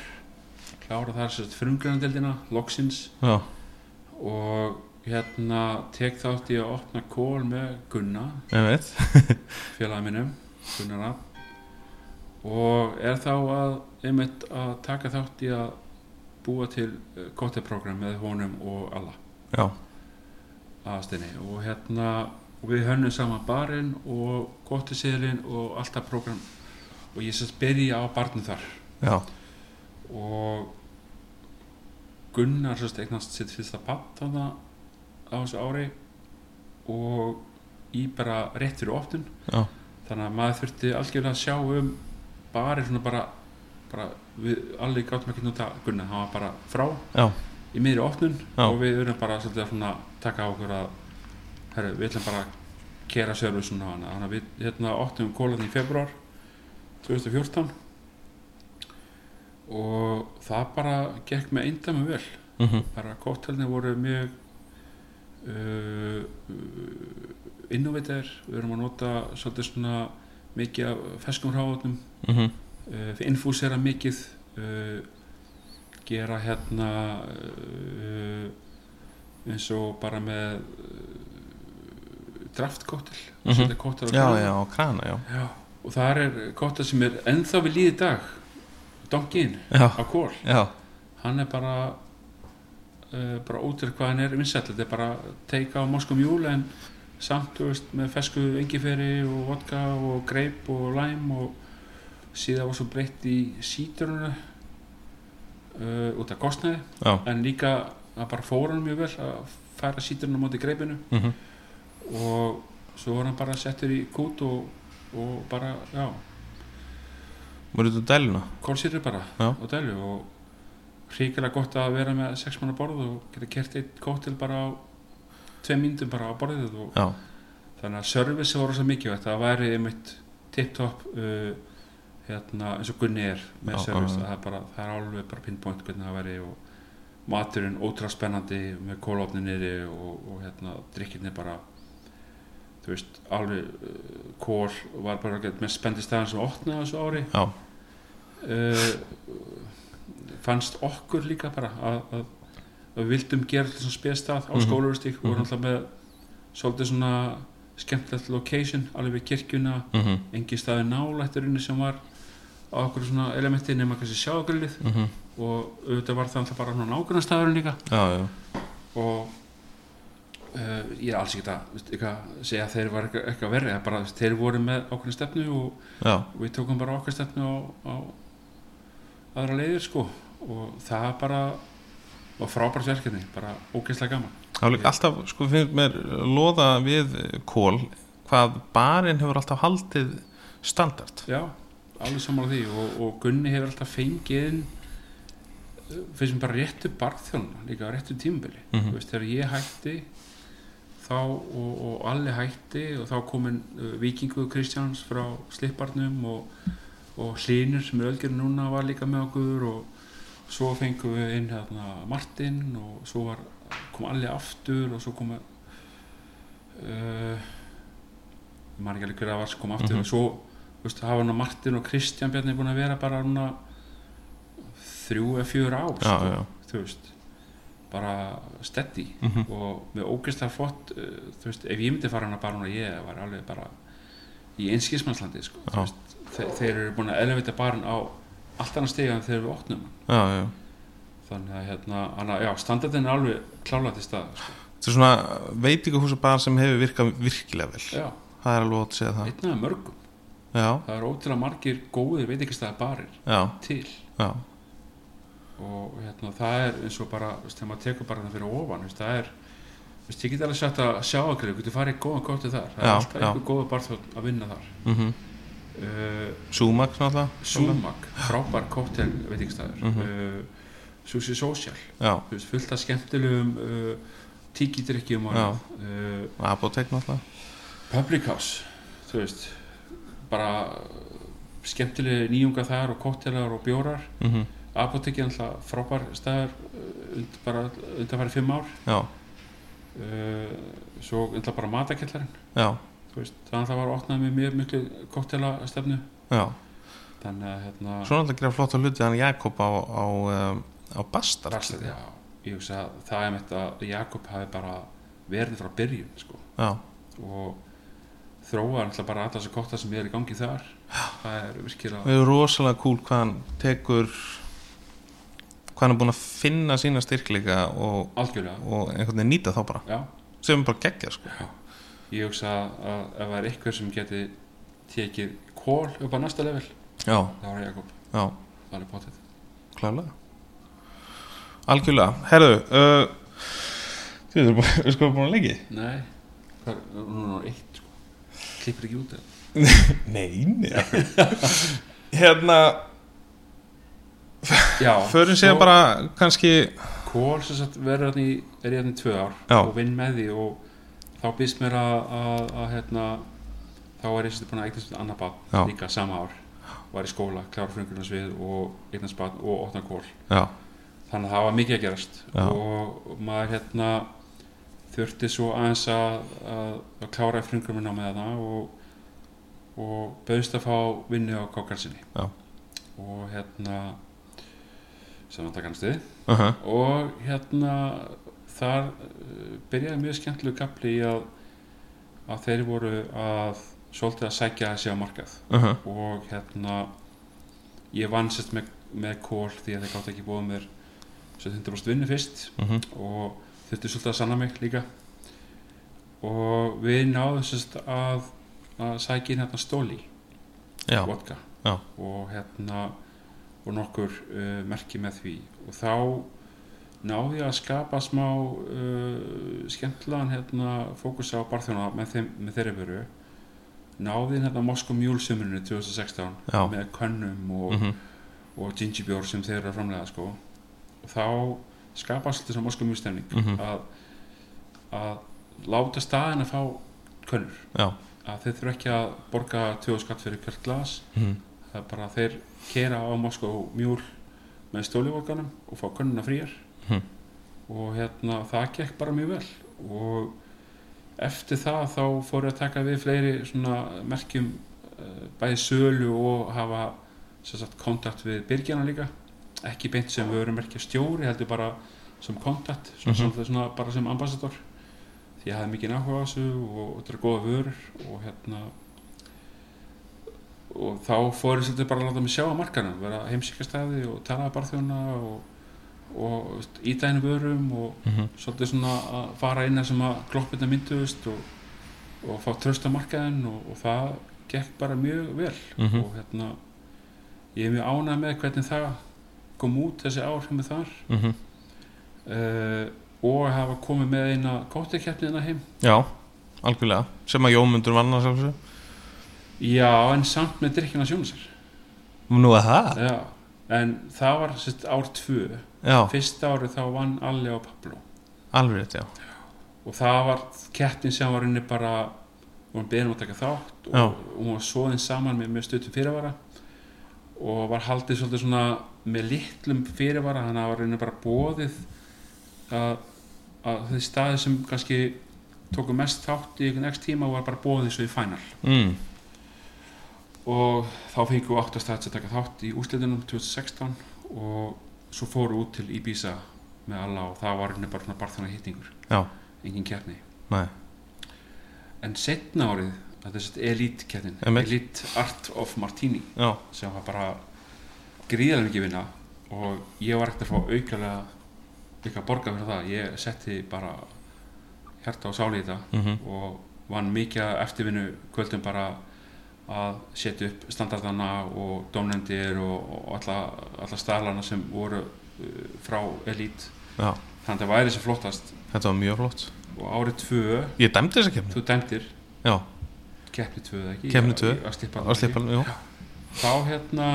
Speaker 2: klára þar sérst frumgrænadeldina loksins
Speaker 1: já,
Speaker 2: og hérna tek þátt ég að opna Kór með Gunna
Speaker 1: ég veit
Speaker 2: félagið minnum Gunnar Rapp og er þá að einmitt að taka þátt í að búa til eh, kotteprogram með honum og alla
Speaker 1: Já,
Speaker 2: aðstinni og hérna og við hönnum saman barinn og gottiseðurinn og alltaf program og ég sérst byrja á barnum þar
Speaker 1: já,
Speaker 2: og Gunnar sérst eignast sitt fyrsta papp þarna á þessu ári og í bara rétt fyrir opnun
Speaker 1: já,
Speaker 2: þannig að maður þurfti algjörlega að sjá um barinn svona bara, bara við allir gáttum ekki nota Gunnar, hann var bara frá
Speaker 1: já,
Speaker 2: í miðri opnun
Speaker 1: Já.
Speaker 2: og við verðum bara svolítið að svona taka á okkur að herru, við ætlum bara að kera servisun á hana þannig að við hérna opnum kólan í februar 2014 og það bara gekk með eindæmi vel
Speaker 1: mm
Speaker 2: bara kóttelni voru mjög uh, uh, innovator við erum að nota svolítið svona mikið af feskum hráðunum
Speaker 1: -hmm.
Speaker 2: uh, infúsera mikið uh, gera hérna uh, eins og bara með uh, draftkóttil
Speaker 1: Mhm.
Speaker 2: setja kóttil
Speaker 1: já,
Speaker 2: á krana.
Speaker 1: já, og krana, já,
Speaker 2: Já, og þar er kóttil sem er ennþá við líði dag donkin
Speaker 1: já,
Speaker 2: á kól
Speaker 1: já,
Speaker 2: hann er bara uh, bara útir hvað hann er vinsæll þetta er bara teika á morskum júl en samt, þú veist, með fesku engiferi og vodka og greip og læm og síðan var svo breytt í síturunu uh, út af kostnaði
Speaker 1: já,
Speaker 2: en líka að bara fór hann mjög vel að færa síturunu móti greipinu
Speaker 1: mm -hmm.
Speaker 2: og svo var hann bara settur í kút og, og bara, já,
Speaker 1: voru þetta dæluna?
Speaker 2: kólsýri bara
Speaker 1: Já.
Speaker 2: og dælu og ríkilega gott að vera með sex manna borð og geta kert eitt kóttil bara á tvei myndum bara á borðið og
Speaker 1: Já,
Speaker 2: þannig að service voru svo mikilvægt að það væri einmitt tip-top uh, hérna, eins og Gunni er með
Speaker 1: Já,
Speaker 2: service
Speaker 1: já, já.
Speaker 2: að það, er bara, það er alveg bara pinpoint hvernig það væri og maturinn ótrá spennandi með kólofni niðri og, og hérna, drikkinni bara þú veist, alveg uh, kól var bara gett með spendi staðan sem opnaði á þessu ári
Speaker 1: já,
Speaker 2: uh, fannst okkur líka bara að, að, að við vildum gera alltaf svona spestað á
Speaker 1: Mhm.
Speaker 2: mm skólaustík og vorum
Speaker 1: Mhm.
Speaker 2: alltaf með svolítið svona skemmtilegt location alveg við kirkjuna,
Speaker 1: mm -hmm.
Speaker 2: engin staði nálætturinnu sem var á okkur svona elementi nema kannski sjáagrillið og auðvitað var það alltaf bara svona nágrannstæðurinn líka
Speaker 1: já, já,
Speaker 2: og uh, ég er alls ekki að veist, ekki að segja að þeir var eitthvað, eitthvað verri eða bara veist, þeir voru með okkur stefnu og
Speaker 1: já,
Speaker 2: við tókum bara okkar stefnu á, á aðra leiðir sko og það bara var frábært verkefni, bara ógeðslega gaman
Speaker 1: það var líka alltaf, sko, finnst mér loða við kól hvað barinn hefur alltaf haldið standard
Speaker 2: já, alveg saman á því og, og Gunni hefur alltaf fengið inn, uh, finnst mér bara réttu barþjóna líka á réttu tímabili
Speaker 1: Mhm.
Speaker 2: Þú veist, þegar ég hætti þá og, og allir hætti og þá komin uh, vikingu Kristjáns frá slipparnum og, og hlínur sem er ölgerinn núna var líka með okkur og svo fengum við inn hérna Martin og svo var, kom allir aftur og svo kom uh, maður ekki alveg hver að var sem kom aftur
Speaker 1: Mhm.
Speaker 2: og svo þú veist, hafa hann Martin og Kristján Bjarni búin að vera bara núna þrjú eða fjör
Speaker 1: já,
Speaker 2: ár sko,
Speaker 1: já,
Speaker 2: þú veist bara steady
Speaker 1: mm
Speaker 2: og með ógeðslega flott uh, þú veist, ef ég myndi fara hana bara núna ég var alveg bara í einskismannslandi sko, þú
Speaker 1: Já.
Speaker 2: veist, þe þeir eru búin að elevita barinn á allt annað stiga en þegar við opnum hann.
Speaker 1: já, já
Speaker 2: þannig að hérna, hana, já, standardin er alveg klálega til stað sko.
Speaker 1: þetta er svona veitingahúsabar sem hefur virkað virkilega vel
Speaker 2: já,
Speaker 1: það er alveg ótt að segja það
Speaker 2: einn af mörgum
Speaker 1: já,
Speaker 2: það eru ótrúlega margir góðir veit ekki staða barir
Speaker 1: já,
Speaker 2: til
Speaker 1: já,
Speaker 2: og hérna, það er eins og bara þú veist, þegar maður tekur bara það fyrir ofan þú veist, það er, þú veist, ég get alveg sagt að sjá okkur, þú getur farið í góðan kóttu þar það er
Speaker 1: Já,
Speaker 2: alltaf
Speaker 1: já.
Speaker 2: einhver góða barþjóð að vinna þar
Speaker 1: mhm mm
Speaker 2: uh,
Speaker 1: Súmak náttúrulega
Speaker 2: Súmak, frábær kóttel veitingstæður mm
Speaker 1: Mhm.
Speaker 2: -hmm. uh, Susi Social
Speaker 1: Já,
Speaker 2: þú veist, fullt af skemmtilegum uh, tíkidrykkjum og
Speaker 1: Já.
Speaker 2: uh,
Speaker 1: apotek náttúrulega
Speaker 2: Public House þú veist, bara uh, skemmtileg nýjunga þar og kóttelar og bjórar
Speaker 1: mm
Speaker 2: apotekki alltaf frábær stæður uh, und, bara undanfæri fimm ár
Speaker 1: Já,
Speaker 2: uh, svo alltaf bara matakjallarinn
Speaker 1: já,
Speaker 2: þú veist, þannig að það var opnað með mjög miklu kóttelastefnu
Speaker 1: já
Speaker 2: þannig að hérna
Speaker 1: Svo náttúrulega gera flott að hluti hann Jakob á, á, um, á Bastard
Speaker 2: Bastard, já, ég hugsa að það er mitt að Jakob hafi bara verið frá byrjun sko,
Speaker 1: já,
Speaker 2: og þróa alltaf bara alla þessu kotta sem er í gangi þar það er virkilega
Speaker 1: það er rosalega cool hvað hann tekur hvað hann er búin að finna sína styrkleika og,
Speaker 2: algjörlega
Speaker 1: og einhvern veginn nýta þá bara
Speaker 2: já,
Speaker 1: sem er bara geggja sko
Speaker 2: já. ég hugsa að ef það er eitthvað sem geti tekið kól upp á næsta level
Speaker 1: já,
Speaker 2: þá er Jakob,
Speaker 1: já,
Speaker 2: það er potið
Speaker 1: klálega
Speaker 3: Algjörlega, herðu uh, Þið erum búin, sko, búin að leiki
Speaker 2: nei, hvað, er- núna er eitt sko. klippir ekki út eða?
Speaker 3: Nei, nei Hérna,
Speaker 2: já,
Speaker 3: förum
Speaker 2: svo-
Speaker 3: síðan bara kannski
Speaker 2: Kól sem sagt verður hérna í, er ég hérna í tvö ár
Speaker 3: Já.
Speaker 2: og vinn með því og þá býst mér að, að, að hérna, þá er ég sem sagt búin að eignast annað
Speaker 3: Já.
Speaker 2: barn líka sama ár var í skóla, klára frungurnas við og eignast barn og opna kól
Speaker 3: Já,
Speaker 2: þannig að það var mikið að gerast
Speaker 3: Já.
Speaker 2: og maður hérna þurfti svo aðeins að, að, að klára frungurinn á með það og, og bauðst að fá vinnu á kókarsinni
Speaker 3: Já.
Speaker 2: og hérna sem þetta kannast við
Speaker 3: uh
Speaker 2: og hérna þar uh, byrjaði mjög skemmtilegu kapli í að, að þeir voru að svolítið að sækja þessi á markað
Speaker 3: uh-huh.
Speaker 2: og hérna ég vann sérst með, með kól því að þeir gátt ekki búið mér sem 100% vinnu fyrst
Speaker 3: Uh-huh.
Speaker 2: og þurfti svolítið að sanna mig líka og við náðum sérst að, að sækja inn hérna stóli
Speaker 3: já,
Speaker 2: vodka
Speaker 3: Já.
Speaker 2: og hérna og nokkur uh, merki með því og þá náði ég að skapa smá uh, skemmtlaðan hérna, fókus á barþjóna með, þeim, með þeirri veru náði hérna Moskva Mjúlsumrinu 2016
Speaker 3: já Uh-huh,
Speaker 2: með könnum og,
Speaker 3: Mhm.
Speaker 2: og gingibjór sem þeir eru að framlega sko. og þá skapast svolítið svona Moskva Mjúlstemning
Speaker 3: Mhm.
Speaker 2: að, að láta staðin að fá könnur
Speaker 3: Já.
Speaker 2: að þeir þurfa ekki að borga 20 skatt fyrir hvert glas
Speaker 3: Mhm.
Speaker 2: það er bara að þeir kera á Moskó mjúl með stólivorganum og fá könnuna frýjar
Speaker 3: Mhm.
Speaker 2: og hérna það gekk bara mjög vel og eftir það þá fóru að taka við fleiri svona merkjum eh, bæði sölu og hafa sem sagt kontakt við byrgjana líka ekki beint sem við verum merkja stjóri heldur bara sem kontakt svona,
Speaker 3: Mhm.
Speaker 2: svolítið svona bara sem ambassador því ég hafði mikið náhuga á þessu og, og þetta er góða vörur og hérna og þá fór ég svolítið bara að láta mig sjá á markanum vera heimsíkastæði og talaði bara þjóna og, og veist, íta henni vörum og
Speaker 3: Mhm.
Speaker 2: svolítið svona að fara inn að sem að gloppinna mynduðust og, og fá tröst á markaðin og, og það gekk bara mjög vel
Speaker 3: Mhm.
Speaker 2: og hérna ég er mjög ánægð með hvernig það kom út þessi ár hjá mig þar
Speaker 3: Mhm.
Speaker 2: uh, og hafa komið með eina kóttekeppnina heim
Speaker 3: Já, algjörlega Sem að Jómundur vann að sjálfsög
Speaker 2: já en samt með drikkina sjónusar
Speaker 3: Nú að það?
Speaker 2: já en það var sérst ár tvö
Speaker 3: Já,
Speaker 2: fyrsta árið þá vann Alli og Pablo
Speaker 3: alveg rétt, já
Speaker 2: og það var kettin sem var inni bara og hann beðin um að taka þátt og,
Speaker 3: Já.
Speaker 2: og hún var svoðin saman með, með stöttum fyrirvara og var haldið svolítið svona með litlum fyrirvara þannig að það var inni bara bóðið að, að þau staðið sem kannski tóku mest þátt í einhvern ekst tíma var bara bóðið svo í fænal
Speaker 3: mm.
Speaker 2: og þá fengum við áttastæðs að taka þátt í úrslitunum 2016 og svo fóru út til Ibiza með alla og það var henni bara svona barþjóna hittingur
Speaker 3: Já.
Speaker 2: engin keppni
Speaker 3: Nei.
Speaker 2: en setna árið, þetta er sett elite keppnin
Speaker 3: Einmitt.
Speaker 2: elite art of martini
Speaker 3: Já,
Speaker 2: sem var bara gríðarlega mikið vinna og ég var ekkert að fá aukalega líka borga fyrir það ég setti bara hjarta og sáli í þetta
Speaker 3: mm
Speaker 2: og vann mikið af eftirvinnu kvöldum bara að setja upp standardana og dómnendir og, og alla, alla staðlana sem voru uh, frá elít
Speaker 3: já
Speaker 2: þannig að það væri sem flottast
Speaker 3: Þetta var mjög flott
Speaker 2: og árið tvö,
Speaker 3: Ég dæmdi þessa kemni
Speaker 2: þú dæmdir
Speaker 3: Já,
Speaker 2: keppni tvö eða ekki
Speaker 3: Keppni
Speaker 2: Ég-
Speaker 3: tvö,
Speaker 2: ég- að slippa
Speaker 3: að slippa, já
Speaker 2: þá hérna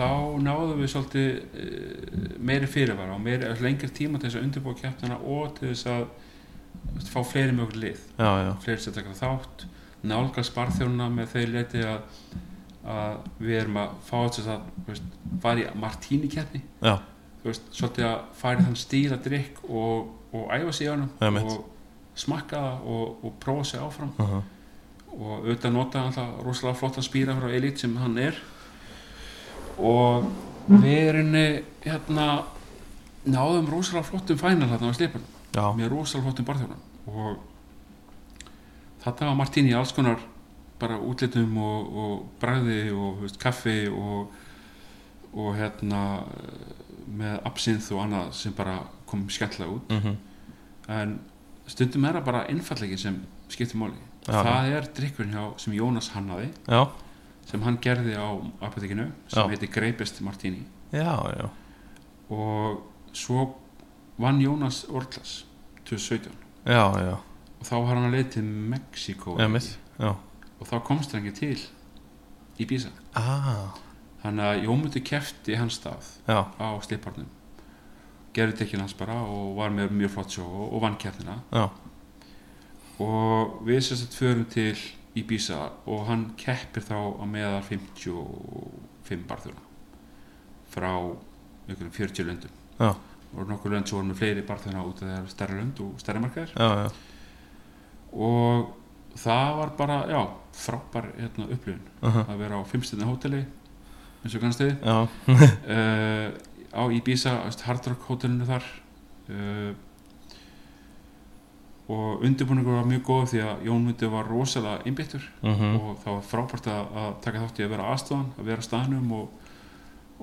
Speaker 2: þá náðum við svolítið uh, meiri fyrirvara og meiri, lengri tíma til þess að undirbúa keppnina og til þess að þú veist, fá fleiri með okkur lið
Speaker 3: Já, já,
Speaker 2: fleiri sem taka þátt nálgast barþjónuna með þeir leti að, að við erum að fá þess að þú veist, fara í martíni keppni
Speaker 3: Já.
Speaker 2: veist, svolítið að fara í þann stíl að drikk og, og æfa sig í honum
Speaker 3: Einmitt.
Speaker 2: og smakka það og, og prófa sig áfram
Speaker 3: uh -huh.
Speaker 2: og auðvitað nota hann alltaf rosalega flottan spýra frá Elite sem hann er og við erum hérna náðum rosalega flottum fænal hérna á slipan
Speaker 3: já,
Speaker 2: með rosalega flottum barþjóðan og þetta var Martín í alls konar bara útlitum og, og bræði og þú veist, kaffi og, og hérna eh, með absinth og annað sem bara kom skemmtilega út
Speaker 3: mhm,
Speaker 2: en stundum er það bara einfallegi sem skiptir máli
Speaker 1: Já.
Speaker 2: það er drikkurinn hjá sem Jónas hannaði
Speaker 1: já,
Speaker 2: sem hann gerði á apotekinu sem
Speaker 1: Já.
Speaker 2: heitir Greipest Martini
Speaker 1: já, já
Speaker 2: og svo vann Jónas Orklas 2017
Speaker 1: já, já,
Speaker 2: og þá var hann að leið til Mexiko
Speaker 1: emið já,
Speaker 2: og þá komst hann ekki til í Bísa
Speaker 1: ah,
Speaker 2: þannig að Jómundur kefti hans stað
Speaker 1: já,
Speaker 2: á sliparnum gerði tekinn hans bara og var með mjög flott sjó og, og vann kefnina
Speaker 1: já
Speaker 2: og við sérst að förum til í Bísa og hann keppir þá á meðal 55 barþjóna frá einhverjum 40 löndum
Speaker 1: Já.
Speaker 2: og nokkur lönd svo voru með fleiri barþjóna út af þegar stærra lönd og stærra markaðir
Speaker 1: já, já,
Speaker 2: og það var bara, já, frábær hérna, upplifun
Speaker 1: uh
Speaker 2: að vera á fimmstinni hóteli eins og kannast þið
Speaker 1: já,
Speaker 2: uh, á Ibiza þú veist, Hard Rock hótelinu þar uh, og undirbúningur var mjög góð því að Jón Mundi var rosalega innbyttur
Speaker 1: mhm,
Speaker 2: og það var frábært að, að taka þátt í að vera aðstofan, að vera á staðnum og,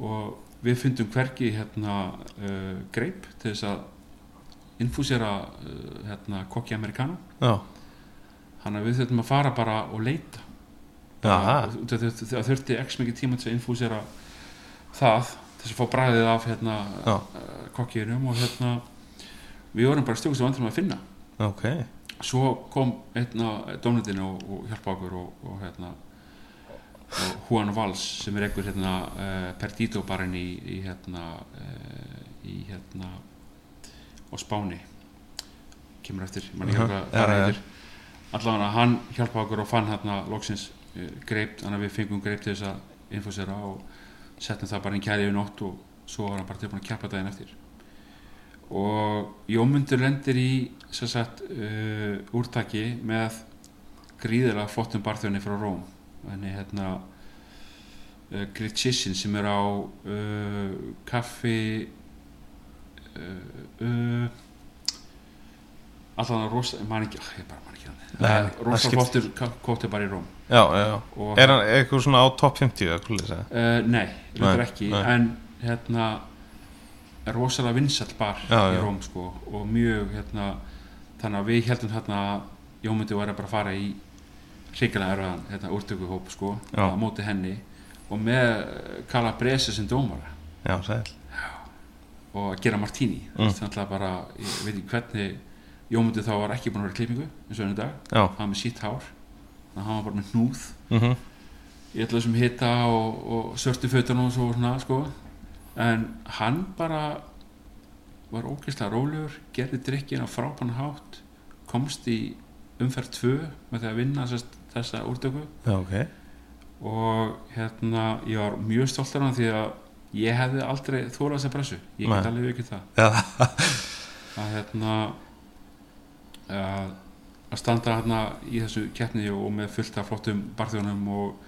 Speaker 2: og við fundum hvergi hérna uh, greip til þess að infúsera uh, hérna kokki amerikana
Speaker 1: já,
Speaker 2: þannig að við þurftum að fara bara og leita
Speaker 1: já,
Speaker 2: Og það þurfti, það þurfti x mikið tíma til að infúsera það þess að fá bræðið af hérna,
Speaker 1: Já.
Speaker 2: kokkiðurum og hérna við vorum bara stjókast og vandrum að finna
Speaker 1: ok,
Speaker 2: svo kom hérna dónundin og, og hjálpa okkur og, og hérna og Juan Valls sem er einhver hérna uh, Perdido barinn í, í hérna uh, í hérna á Spáni kemur eftir, mann ekki
Speaker 1: Mhm.
Speaker 2: hvað
Speaker 1: Já,
Speaker 2: það
Speaker 1: já, já.
Speaker 2: heitir allavega hann hjálpa okkur og fann hérna loksins uh, greip, þannig að við fengum greip til þess að infosera og settum það bara í kæri yfir nótt og svo var hann bara tilbúin að keppa daginn eftir og Jómundur lendir í sem sagt uh, úrtaki með gríðilega flottum barþjóni frá Róm þannig hérna uh, Gritchissin sem er á uh, kaffi uh, uh, allan að rosa ég man ekki, ah, ég bara man ekki hann
Speaker 1: Nei,
Speaker 2: En
Speaker 1: það
Speaker 2: rosa
Speaker 1: skipt-
Speaker 2: flottur kóttir bara í Róm
Speaker 1: já, já, já
Speaker 2: og,
Speaker 1: er hann eitthvað svona á topp 50 eða hvað lýsa,
Speaker 2: Uh, nei, reyndar ekki
Speaker 1: nei.
Speaker 2: en hérna er rosalega vinsall bar
Speaker 1: Já,
Speaker 2: í
Speaker 1: já.
Speaker 2: Róm sko og mjög hérna þannig að við heldum hérna að Jómundi var að bara fara í hrikalega erfiðan hérna, úrtökuhóp sko
Speaker 1: Já.
Speaker 2: á móti henni og með eh, Kala Bresi sem dómara
Speaker 1: já, sæl
Speaker 2: og að gera martíni
Speaker 1: Mm.
Speaker 2: þannig að bara, ég veit ekki hvernig Jómundi þá var ekki búin að vera í klippingu eins og henni dag,
Speaker 1: já,
Speaker 2: hann var með sítt hár þannig að hann var bara með hnúð
Speaker 1: mhm,
Speaker 2: í öllu þessum hita og, og svörtu fötunum og svo svona sko. en hann bara var ógeðslega rólegur gerði drikkin á frábæn hátt komst í umferð 2 með því að vinna sest, þessa úrtöku
Speaker 1: já, ok
Speaker 2: og hérna ég var mjög stoltar hann því að ég hefði aldrei þórað þessa pressu ég
Speaker 1: Nei.
Speaker 2: get alveg ekki það
Speaker 1: já,
Speaker 2: að hérna að, að standa hérna í þessu keppni og með fullt af flottum barþjónum og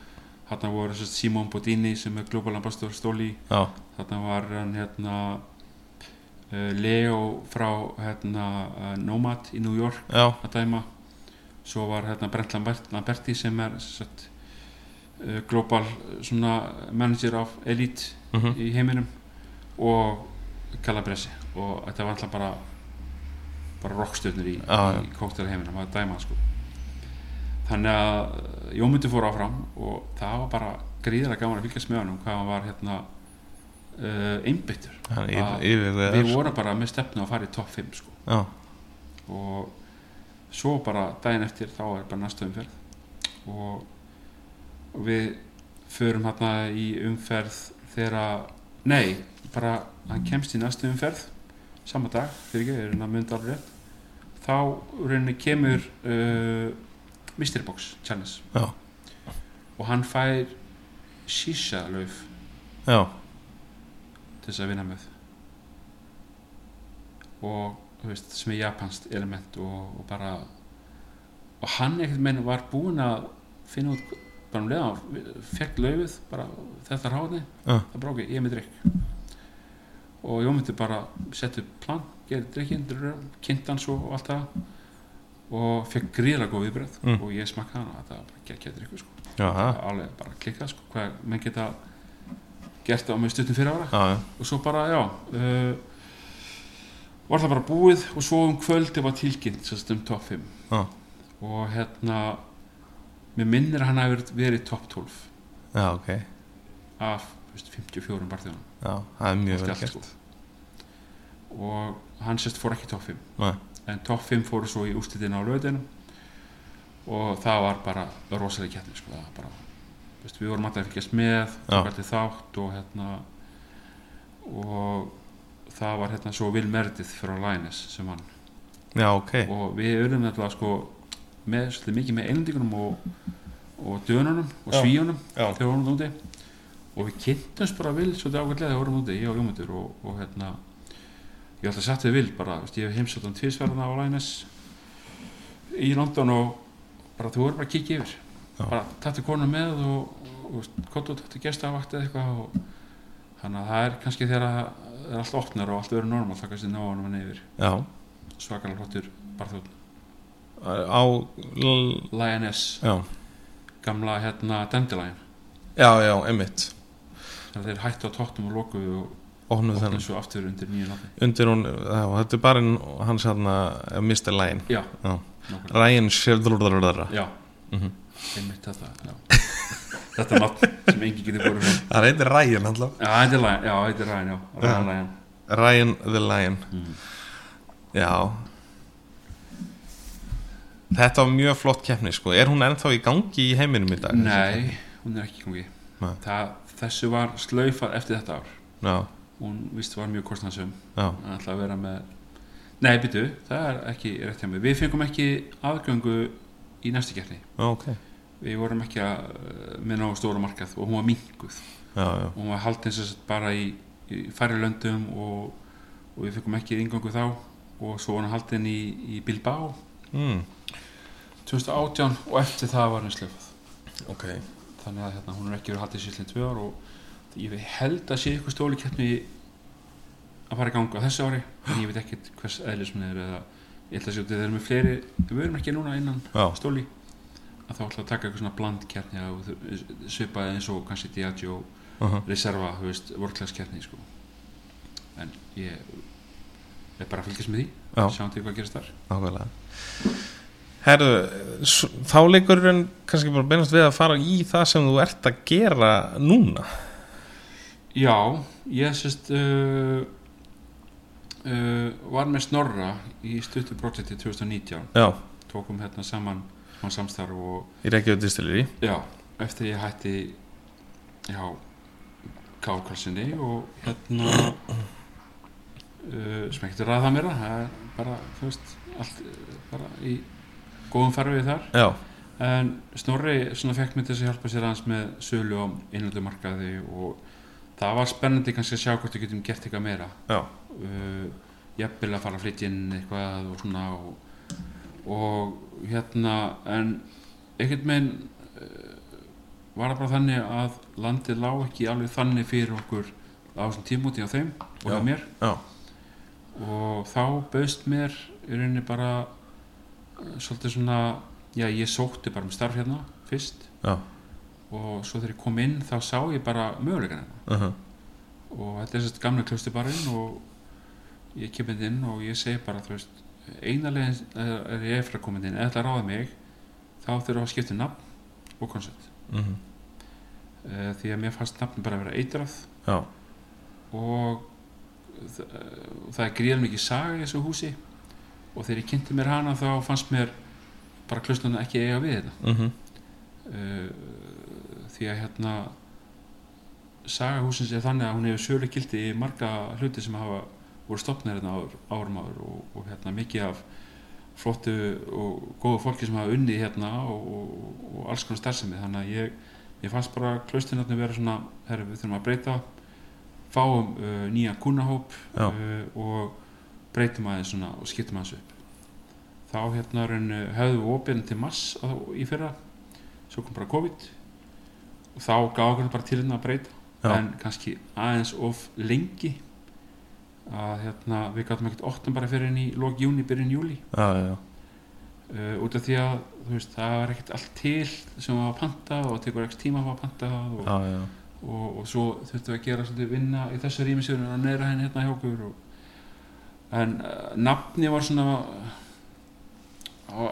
Speaker 2: hérna voru þessast Simon Bodini sem er Global Ambassador Stóli
Speaker 1: já,
Speaker 2: hérna var hann hérna eh, Leo frá hérna eh, Nomad í New York
Speaker 1: já,
Speaker 2: að dæma svo var hérna Brent Lambert- Lamberti sem er sem sagt, eh, global eh, svona manager of elite
Speaker 1: mhm,
Speaker 2: í heiminum og Calabresi og þetta var alltaf bara bara rockstöðnir í,
Speaker 1: Já, já.
Speaker 2: í kóktel heiminum að dæma hann, sko þannig að eh, Jómundur fór áfram og það var bara gríðilega gaman að fylgjast með honum hvað hann var hérna uh, einbyttur
Speaker 1: hann
Speaker 2: Að-
Speaker 1: yfirvegar
Speaker 2: Ah. við vorum bara með stefnu að fara í topp 5 sko
Speaker 1: já,
Speaker 2: og svo bara daginn eftir þá er bara næsta umferð og, og við förum hérna í umferð þegar, nei bara hann kemst í næstu umferð sama dag, fyrir ekki, er hann að mynda alveg rétt þá rauninni kemur uh, Mystery Box Challenge
Speaker 1: Já.
Speaker 2: og hann fær shisha lauf
Speaker 1: já,
Speaker 2: til þess að vinna með og þú veist, sem er japanskt element og, og bara og hann ekkert menn var búinn að finna út bara um leiðan fekk laufið bara þetta ráði
Speaker 1: Já.
Speaker 2: það bróki, ég er með drikk og ég myndi bara setja upp plan gera drikkin, kynnt hann svo og allt það og fekk gríðlega góð viðbröð
Speaker 1: Mm. Ah.
Speaker 2: og ég smakkaði hann og þetta var bara gekkja drikku sko.
Speaker 1: já, já,
Speaker 2: alveg bara klikkað sko, hvað menn geta gert á með stuttum fyrir ára
Speaker 1: já,
Speaker 2: og svo bara, já uh, var það bara búið og svo um kvöldi var tilkynnt sem sagt, um top 5
Speaker 1: Já.
Speaker 2: og hérna mér minnir að hann hafi verið- verið top 12
Speaker 1: já, ok
Speaker 2: af þú veist, 54 barþjóðan
Speaker 1: já, það er mjög
Speaker 2: Allt í
Speaker 1: vel
Speaker 2: allt,
Speaker 1: gert
Speaker 2: sko. og hann sérst fór ekki top 5
Speaker 1: Nei.
Speaker 2: en top 5 fóru svo í úrslitinu á löðinu og það var bara rosalega keppni sko, það var bara, veist, við vorum alltaf að fylgjast með
Speaker 1: Já.
Speaker 2: hvernig þátt og hérna og það var hérna svo Will Meredith frá Lines sem hann
Speaker 1: já, ok,
Speaker 2: og við erum alltaf sko með svolítið mikið með einlendingunum og, og dönunum og
Speaker 1: Já.
Speaker 2: svíunum
Speaker 1: já,
Speaker 2: þegar við vorum þarna úti og við kynntumst bara vil svolítið ágætlega þegar við vorum úti, ég og Jómundur og, og hérna ég ætla að satt við vil bara, þú veist, ég hef heimsótt hann tvisverðna á Lænes í London og bara þú voru bara að kíkja yfir
Speaker 1: Já.
Speaker 2: bara tattu konu með og, og, og kottu og tattu gestavakt eða eitthvað og þannig að það er kannski þegar að það er allt opnar og allt verður normal þá kannski ná honum hann yfir
Speaker 1: já
Speaker 2: svakalega hlottur barþjóðn
Speaker 1: á l-
Speaker 2: Lioness,
Speaker 1: já,
Speaker 2: gamla hérna Dandelion,
Speaker 1: já, já, einmitt
Speaker 2: þannig að þeir hættu á tóttum og lokuðu og
Speaker 1: opnum
Speaker 2: opnuðu
Speaker 1: þennan
Speaker 2: svo aftur undir nýju nafni
Speaker 1: undir hún, já, þetta er bara hans hann að Mr. Lion
Speaker 2: Já,
Speaker 1: Já.
Speaker 2: nákvæmlega.
Speaker 1: Ryan Sheldrúðarðara
Speaker 2: Já,
Speaker 1: Mhm.
Speaker 2: einmitt þetta já. Þetta er nátt sem engin getur borðið fram
Speaker 1: það reyndi Ryan alltaf
Speaker 2: Já, þetta er lægin, já, þetta er lægin, já Ryan Lion.
Speaker 1: Ryan the Lion
Speaker 2: Mhm.
Speaker 1: já þetta var mjög flott keppni sko. er hún ennþá í gangi í heiminum í dag
Speaker 2: Nei, hún er ekki í gangi
Speaker 1: Nei.
Speaker 2: Það, Þessu var slaufað eftir þetta ár
Speaker 1: já,
Speaker 2: Hún vist var mjög kostnaðsum
Speaker 1: já,
Speaker 2: Hann ætlaði að vera með Nei, byrju, það er ekki rétt hjá mig Við fengum ekki aðgöngu í næstu gerni
Speaker 1: já, ok já,
Speaker 2: Við vorum ekki að, eh, með nógu stóra markað og hún var minguð
Speaker 1: já,
Speaker 2: hún var haldin sem sagt bara í, í færri löndum og, og við fengum ekki yngöngu þá og svo var hann haldin í, í Bilbao
Speaker 1: mm.
Speaker 2: 2018 og eftir það var hann slefað
Speaker 1: ok
Speaker 2: þannig að hérna, hún er ekki verið haldin síðan tvö ár og ég held að sé eitthvað stólikeppni að fara í ganga á þessu ári en ég veit ekkert hvers eðlis hún er eða ég held að sé út þegar með fleiri við erum ekki núna innan
Speaker 1: já,
Speaker 2: stóli að þá ætla að taka eitthvað svona blandkerni að svipaði eins og kannski Diageo
Speaker 1: uh -huh.
Speaker 2: reserva, þú veist, vorklagskeppni sko. en ég er bara að fylgjast með því
Speaker 1: já,
Speaker 2: sjáum til hvað gerist þar
Speaker 1: nákvæmlega herru, s- þá leikur kannski bara beinast við að fara í það sem þú ert að gera núna
Speaker 2: já, ég sérst uh, uh, var með Snorra í stuttu projekti 2019
Speaker 1: já,
Speaker 2: tókum hérna saman hann samstarf og
Speaker 1: í Reykjavík Distillery
Speaker 2: já, eftir ég hætti já Kálkarsinni og hérna uh, smektur að það mér það er bara, þú veist, allt eh, bara í góðum farfið þar
Speaker 1: já,
Speaker 2: En Snorri svona fekk mér til þess að hjálpa sér aðeins með sölu á innlöndumarkaði og það var spennandi kannski að sjá hvort við getum gert eitthvað meira.
Speaker 1: já,
Speaker 2: Uh, jafnvel að fara að flytja inn eitthvað og svona og, og hérna en einhvern veginn uh, var það bara þannig að landið lá ekki alveg þannig fyrir okkur á þessum tímúti á þeim og
Speaker 1: Já.
Speaker 2: hjá mér
Speaker 1: já,
Speaker 2: og þá bauðst mér í rauninni bara eh, svolítið svona, já ég sótti bara um starf hérna fyrst
Speaker 1: já
Speaker 2: og svo þegar ég kom inn þá sá ég bara möguleikana
Speaker 1: uh -huh.
Speaker 2: og þetta er sérst gamla klöstubarinn og ég kem hérna inn inn og ég segi bara þú veist, eina leiðin er ég eftir að koma inn, eða það ráða mig þá þurfum við að skipta um nafn og koncept
Speaker 1: Uh-huh.
Speaker 2: Eh, því að mér fannst nafn bara að vera eitrað
Speaker 1: já,
Speaker 2: og þa- það er gríðan mikið saga í þessu húsi og þegar ég kynnti mér hana þá fannst mér bara klustuna ekki eiga við þetta
Speaker 1: uh
Speaker 2: uh, því að hérna saga húsins er þannig að hún hefur söguleg gildi í marga hluti sem hafa voru stopnir hérna áður, árum áður og, og hérna mikið af flottu og góðu fólki sem hafa unnið hérna og, og, og alls konar starfsemi þannig að ég, ég fannst bara klaustinarni vera svona, herri við þurfum að breyta fáum uh, nýja kunnahóp
Speaker 1: Já.
Speaker 2: uh, og breytum aðeins svona og skiptum aðeins upp þá hérna raun höfðu við opinn til mass á, í fyrra svo kom bara COVID og þá gaf okkur bara til hérna að breyta
Speaker 1: Já.
Speaker 2: en kannski aðeins of lengi að hérna, við gáttum ekkert óttum bara fyrir henni í lók júni, byrjun júli
Speaker 1: já, já, já.
Speaker 2: uh, út af því að þú veist, það var ekkert allt til sem var að panta og tekur ekkert tíma að panta og,
Speaker 1: já, já.
Speaker 2: og, og svo þurftum við að gera svolítið vinna í þessu rýmisjónu hérna og neðra henni hérna hjá okkur og, en uh, nafni var svona og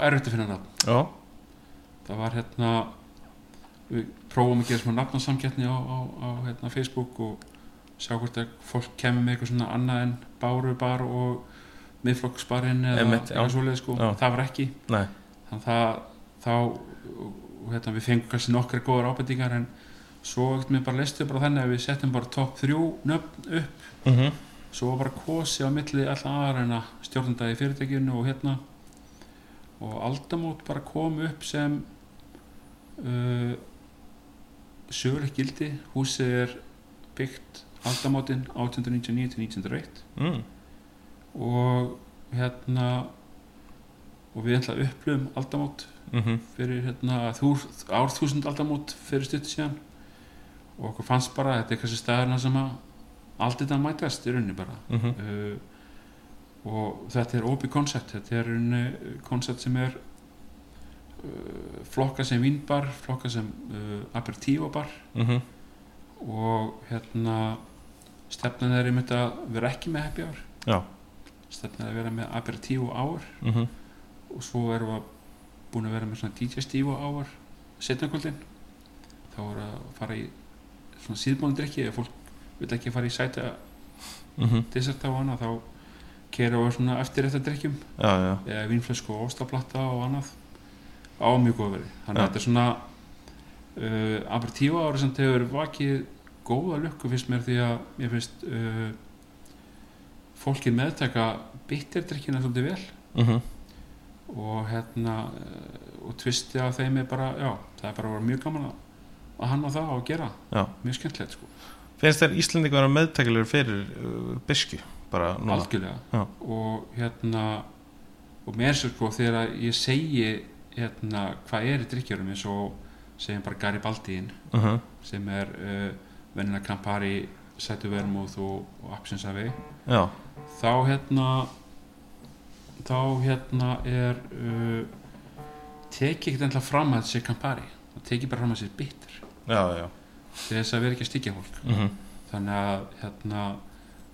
Speaker 2: erfitt að finna nafn
Speaker 1: já,
Speaker 2: það var hérna við prófum að gera svona nafnarsamkettni á, á, á hérna, Facebook og sjá hvort að fólk kemur með eitthvað svona annað en Bárubar og miðflokksbarinn eða
Speaker 1: Einmitt, já.
Speaker 2: eitthvað svoleið sko,
Speaker 1: Já.
Speaker 2: það var ekki
Speaker 1: nei,
Speaker 2: þannig að það, þá og hérna, við fengum kannski nokkra góðar ábendingar en svo ekkert mér bara listu bara þannig að við settum bara topp þrjú nöfn upp,
Speaker 1: mhm
Speaker 2: svo var bara kosi á milli alltaf aðra en að stjórnenda í fyrirtækinu og hérna og aldamót bara kom upp sem uh, söguleg gildi húsið er byggt aldamótin 1899-1901
Speaker 1: mm.
Speaker 2: og hérna og við ætla upplöfum aldamót
Speaker 1: Mm -hmm.
Speaker 2: fyrir hérna, þúr, árþúsund aldamót fyrir stutt síðan og okkur fannst bara að þetta er kannski staðurna sem að aldrei það mætast í rauninni bara
Speaker 1: Mm -hmm.
Speaker 2: uh, Eh, og þetta er opið koncept þetta er í rauninni koncept sem er uh, flokka sem vínbar flokka sem uh, aperitívabar
Speaker 1: Mm -hmm.
Speaker 2: og hérna stefnan er einmitt að vera ekki með happy hour
Speaker 1: Já.
Speaker 2: stefnan er að vera með aperitívu ár
Speaker 1: Mm -hmm.
Speaker 2: og svo erum við búin að vera með svona DJ Steve og ávar setnakvöldin þá erum við að fara í svona síðbónum drikki ef fólk vil ekki fara í sæta
Speaker 1: Mm -hmm.
Speaker 2: dessert á hana þá kera við svona eftir þetta drikkjum
Speaker 1: Já, já,
Speaker 2: eða vínflösku og óstaplatta og annað á mjög góð verið þannig
Speaker 1: Já.
Speaker 2: að þetta er svona uh, aperitífa ári sem þegar vakið góða lukku finnst mér því að mér finnst uh, fólkið meðtaka bitterdrikkina svolítið vel
Speaker 1: mm -hmm.
Speaker 2: og hérna eh, og tvistið af þeim er bara já, það er bara voru mjög gaman að, að hanna það og gera,
Speaker 1: Já.
Speaker 2: mjög skemmtilegt sko
Speaker 1: Finnst þér Íslendingu vera meðtækilegur fyrir uh, Bisku, bara núna
Speaker 2: algjörlega
Speaker 1: Já.
Speaker 2: og hérna og mér sér sko þegar að ég segi hérna hvað er í drikkjörum eins og segjum bara Garibaldiin
Speaker 1: uh -huh.
Speaker 2: sem er uh, venina Campari, Sætu Vermúð og, og Absinsavi
Speaker 1: Já,
Speaker 2: þá hérna þá hérna er uh, tekið ekkert ennlega fram að þetta sé Campari það tekið bara fram að þetta sé bitter
Speaker 1: já, já
Speaker 2: til þess að vera ekki að styggja fólk
Speaker 1: mm -hmm.
Speaker 2: þannig að hérna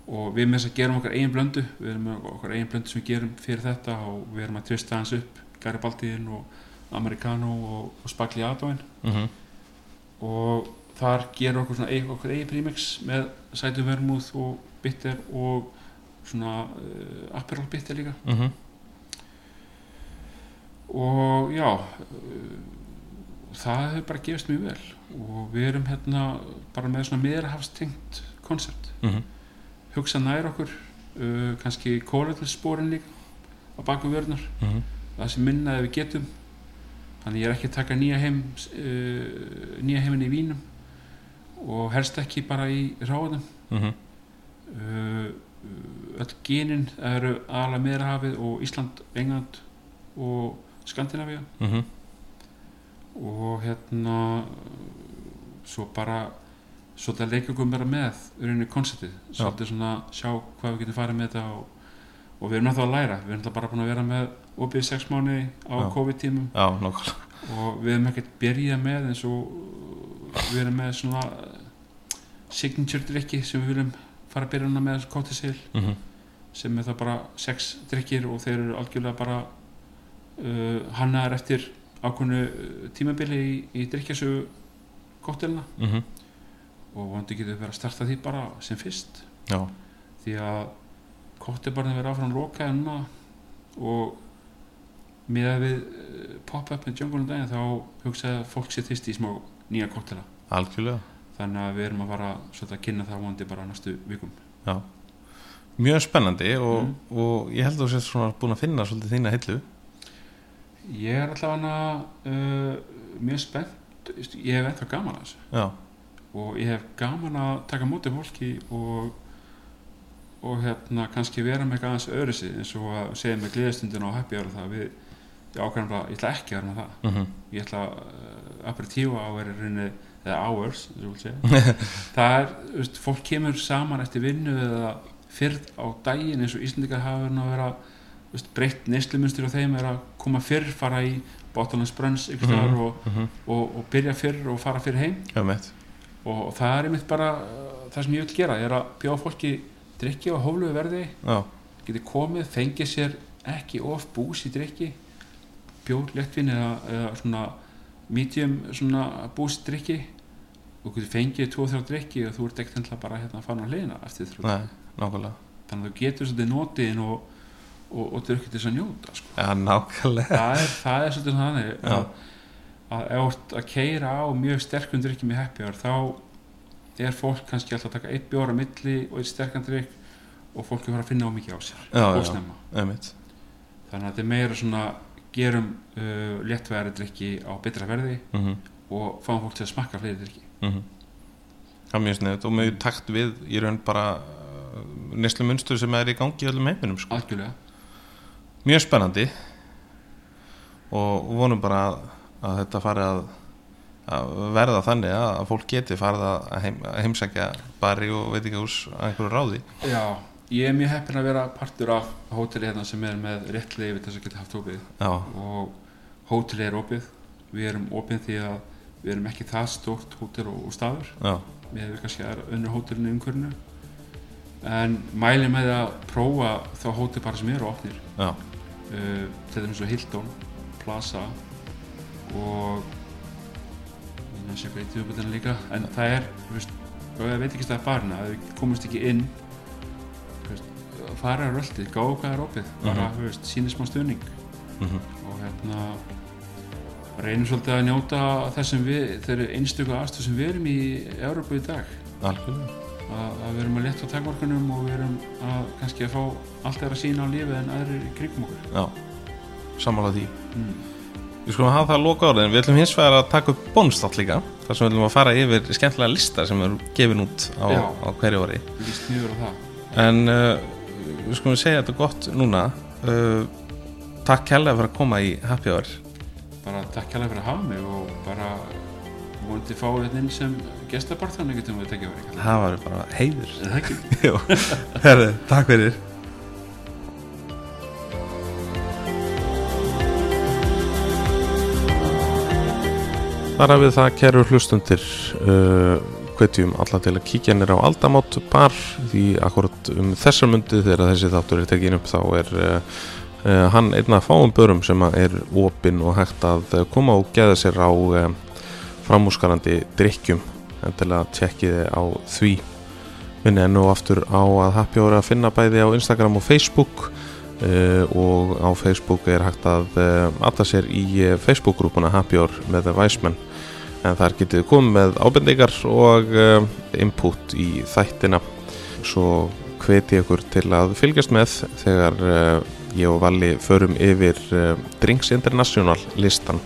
Speaker 2: og við með þess að gerum okkar eigin blöndu við erum með okkar eigin blöndu sem við gerum fyrir þetta og við erum að tvista hans upp Garibaldiðin og Americano og, og Spagliatoin
Speaker 1: Mm -hmm.
Speaker 2: og þar gerum okkur svona eig, okkar eigin prímix með sætum vermúð og bitter og svona uh, Aperol bitter líka
Speaker 1: Mm -hmm.
Speaker 2: og já uh, það hefur bara gefist mjög vel og við erum hérna bara með svona meðrahafstengt koncept
Speaker 1: Uh-huh.
Speaker 2: hugsa nær okkur uh, kannski kólætlissporin líka á baku vörðnar, það sem minna ef við getum þannig ég er ekki að taka nýja heim uh, nýja heiminn í vínum og helst ekki bara í ráðum
Speaker 1: Uh-huh.
Speaker 2: uh, öll genin það eru aðalega meðrahafið og Ísland, England og Skandinavíu
Speaker 1: Uh-huh.
Speaker 2: og hérna svo bara svolítið að leika okkur bara með í rauninni konceptið, svolítið svona sjá hvað við getum farið með þetta og, og við erum náttúrulega að læra, við erum náttúrulega bara búin að vera með opið í sex mánu á
Speaker 1: Já.
Speaker 2: COVID-tímum
Speaker 1: Já, nokkala
Speaker 2: og við erum ekkert byrjað með eins og við erum með svona signature drikki sem við viljum fara að byrja hana með kótisil
Speaker 1: mm -hmm.
Speaker 2: sem er það bara sex drikkir og þeir eru algjörlega bara uh, hannaðar eftir ákvönu uh, tímabili í, í drikkjasögu kóttelina
Speaker 1: Mm -hmm.
Speaker 2: og vandi getur verið að starta því bara sem fyrst
Speaker 1: Já,
Speaker 2: því að kóttelbarnir verið áfram loka núna og meða við uh, pop-up með jungle um daginn þá hugsaði að fólk sér fyrst í smá nýja kóttela
Speaker 1: algjörlega
Speaker 2: þannig að við erum að fara svolítið að kynna það vandi bara á næstu vikum
Speaker 1: Mjög spennandi og,
Speaker 2: Mhm.
Speaker 1: og ég held að þú sér svona búin að finna svolítið þína hillu
Speaker 2: Ég er alltaf hana uh, mjög spennt, ég hef ennþá gaman að þessu
Speaker 1: Já,
Speaker 2: og ég hef gaman að taka á móti fólki og, og hérna kannski vera með eitthvað aðeins öðru sig eins og að segja með gleðistundin og happy hour og það við, ég ákvæmum bara, ég ætla ekki að vera með það
Speaker 1: mm
Speaker 2: ég ætla uh, aperitífa hour er rauninni, eða hours, eins og vil segja það er, þú veist, fólk kemur saman eftir vinnu eða fyrr á daginn eins og Íslandingar hafa verið að vera þú veist, breytt neyslumunstri á þeim er að koma fyrr, fara í bottomless brunch ykkur mm
Speaker 1: Mhm.
Speaker 2: og, og, og byrja fyrr og fara fyrr heim
Speaker 1: já mitt
Speaker 2: og það er einmitt bara uh, það sem ég vil gera, ég er að bjóða fólki drikki og hóflugu verði
Speaker 1: Já,
Speaker 2: geti komið, fengið sér ekki of bús í drikki bjór, léttvin eða, eða svona medium svona búst drikki og þú getur fengið 2-3 drikki og þú ert ekkert hendla bara hérna að fara á hliðina eftir þrjú
Speaker 4: Nei, nákvæmlega
Speaker 2: þannig að þú getur svolítið notiðin og, og, og drukkið til þess að njóta sko.
Speaker 4: Já, nákvæmlega
Speaker 2: það, er, það er svolítið þannig
Speaker 4: Já.
Speaker 2: að, að ef þú ert að keira á mjög sterkum drikki með happy hour þá er fólk kannski alltaf að taka eitt bjór á milli og eitt sterkan drikk og fólk er bara að finna á mikið á sér
Speaker 4: Já,
Speaker 2: og
Speaker 4: já.
Speaker 2: snemma
Speaker 4: Einmitt.
Speaker 2: þannig að þetta er meira svona gerum uh, léttværi drikki á betra verði
Speaker 4: Mm
Speaker 1: Mhm,
Speaker 2: og fáum fólk til að smakka fleiri drikki
Speaker 4: Það er mjög sniðið og mjög takt við í raun bara uh, neyslu munstur sem er í gangi í öllum heiminum sko.
Speaker 2: algjörlega
Speaker 4: Mjög spennandi og vonum bara að, að þetta fari að, að verða þannig að, að fólk geti farið að, heim, að heimsækja bari og veit ekki ús einhverju ráði
Speaker 2: já, ég er mjög heppin að vera partur af hóteli hérna sem er með rétt leiði til þess að geta haft opið
Speaker 4: Já,
Speaker 2: og hóteli er opið við erum opið því að við erum ekki það stort hótel og, og staður
Speaker 4: já,
Speaker 2: við hefum kannski aðra önnur hótelinu umhverfinu en mæli með að prófa þá hótel bara sem eru opnir
Speaker 4: já,
Speaker 2: uh, til dæmis og Hilton, Plaza og ég næst ekki eitthvað í uppbyrðinu líka en það er, þú veist, og ég veit ekki það barna, að við komumst ekki inn þú veist, fara á röltið, gá hvað er opið bara,
Speaker 4: Mhm.
Speaker 2: þú veist, sína smá stöðning
Speaker 4: mm
Speaker 2: og hérna reynum svolítið að njóta þessum við, þeirri einstöku aðstöð sem við erum í Európa í dag
Speaker 4: algjörlega
Speaker 2: að, að við erum að leta á takvorkunum og við erum að kannski að fá allt þeirra sína á lífið en aðrir í krigum okkur
Speaker 4: Já, sammála því
Speaker 2: mm.
Speaker 4: Við skulum hafa það að loka orðin, við ætlum hins vegar að taka upp bónustátt líka þar sem við ætlum að fara yfir skemmtilega lista sem er gefin út á,
Speaker 2: Já.
Speaker 4: á hverju orði
Speaker 2: líst mjög á það
Speaker 4: En uh, við skulum segja þetta gott núna uh, Takk kærlega fyrir að koma í Happy Hour
Speaker 2: bara takk hérlega fyrir að hafa mig og bara vonandi fá þetta inn sem gestabartan einhvern veginn við tekja verið
Speaker 4: Það var bara heiður
Speaker 2: Það ekki
Speaker 4: Jú. Herðu, Takk fyrir
Speaker 1: Þar hafið það kæru hlustundir uh, hvetjum alla til að kíkja nýr á Aldamót bar því akkurat um þessar myndið þegar þessi þáttur er tekin upp þá er uh, uh, hann einn af fáum börum sem að er opinn og hægt að uh, koma og geða sér á uh, framúskarandi drikkjum en til að tjekkiði á því minni enn og aftur á að happy hour er að finna bæði á Instagram og Facebook uh, og á Facebook er hægt að uh, atta sér í uh, Facebook-grúpuna Happy Hour með The Weisman en þar getið þið komið með ábendingar og uh, input í þættina svo hveti ég ykkur til að fylgjast með þegar uh, ég og Valli förum yfir uh, Drinks International listan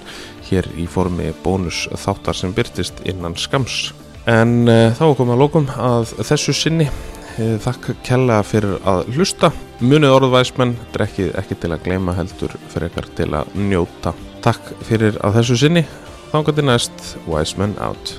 Speaker 1: hér í formi bónus þáttar sem byrtist innan skams en uh, þá komum við að lókum að þessu sinni Eh, Þakk kella fyrir að hlusta. Munið orðvæsmenn, drekkið ekki til að gleyma heldur fyrir ekkar til að njóta. Takk fyrir að þessu sinni. Þangandi næst, Wiseman out.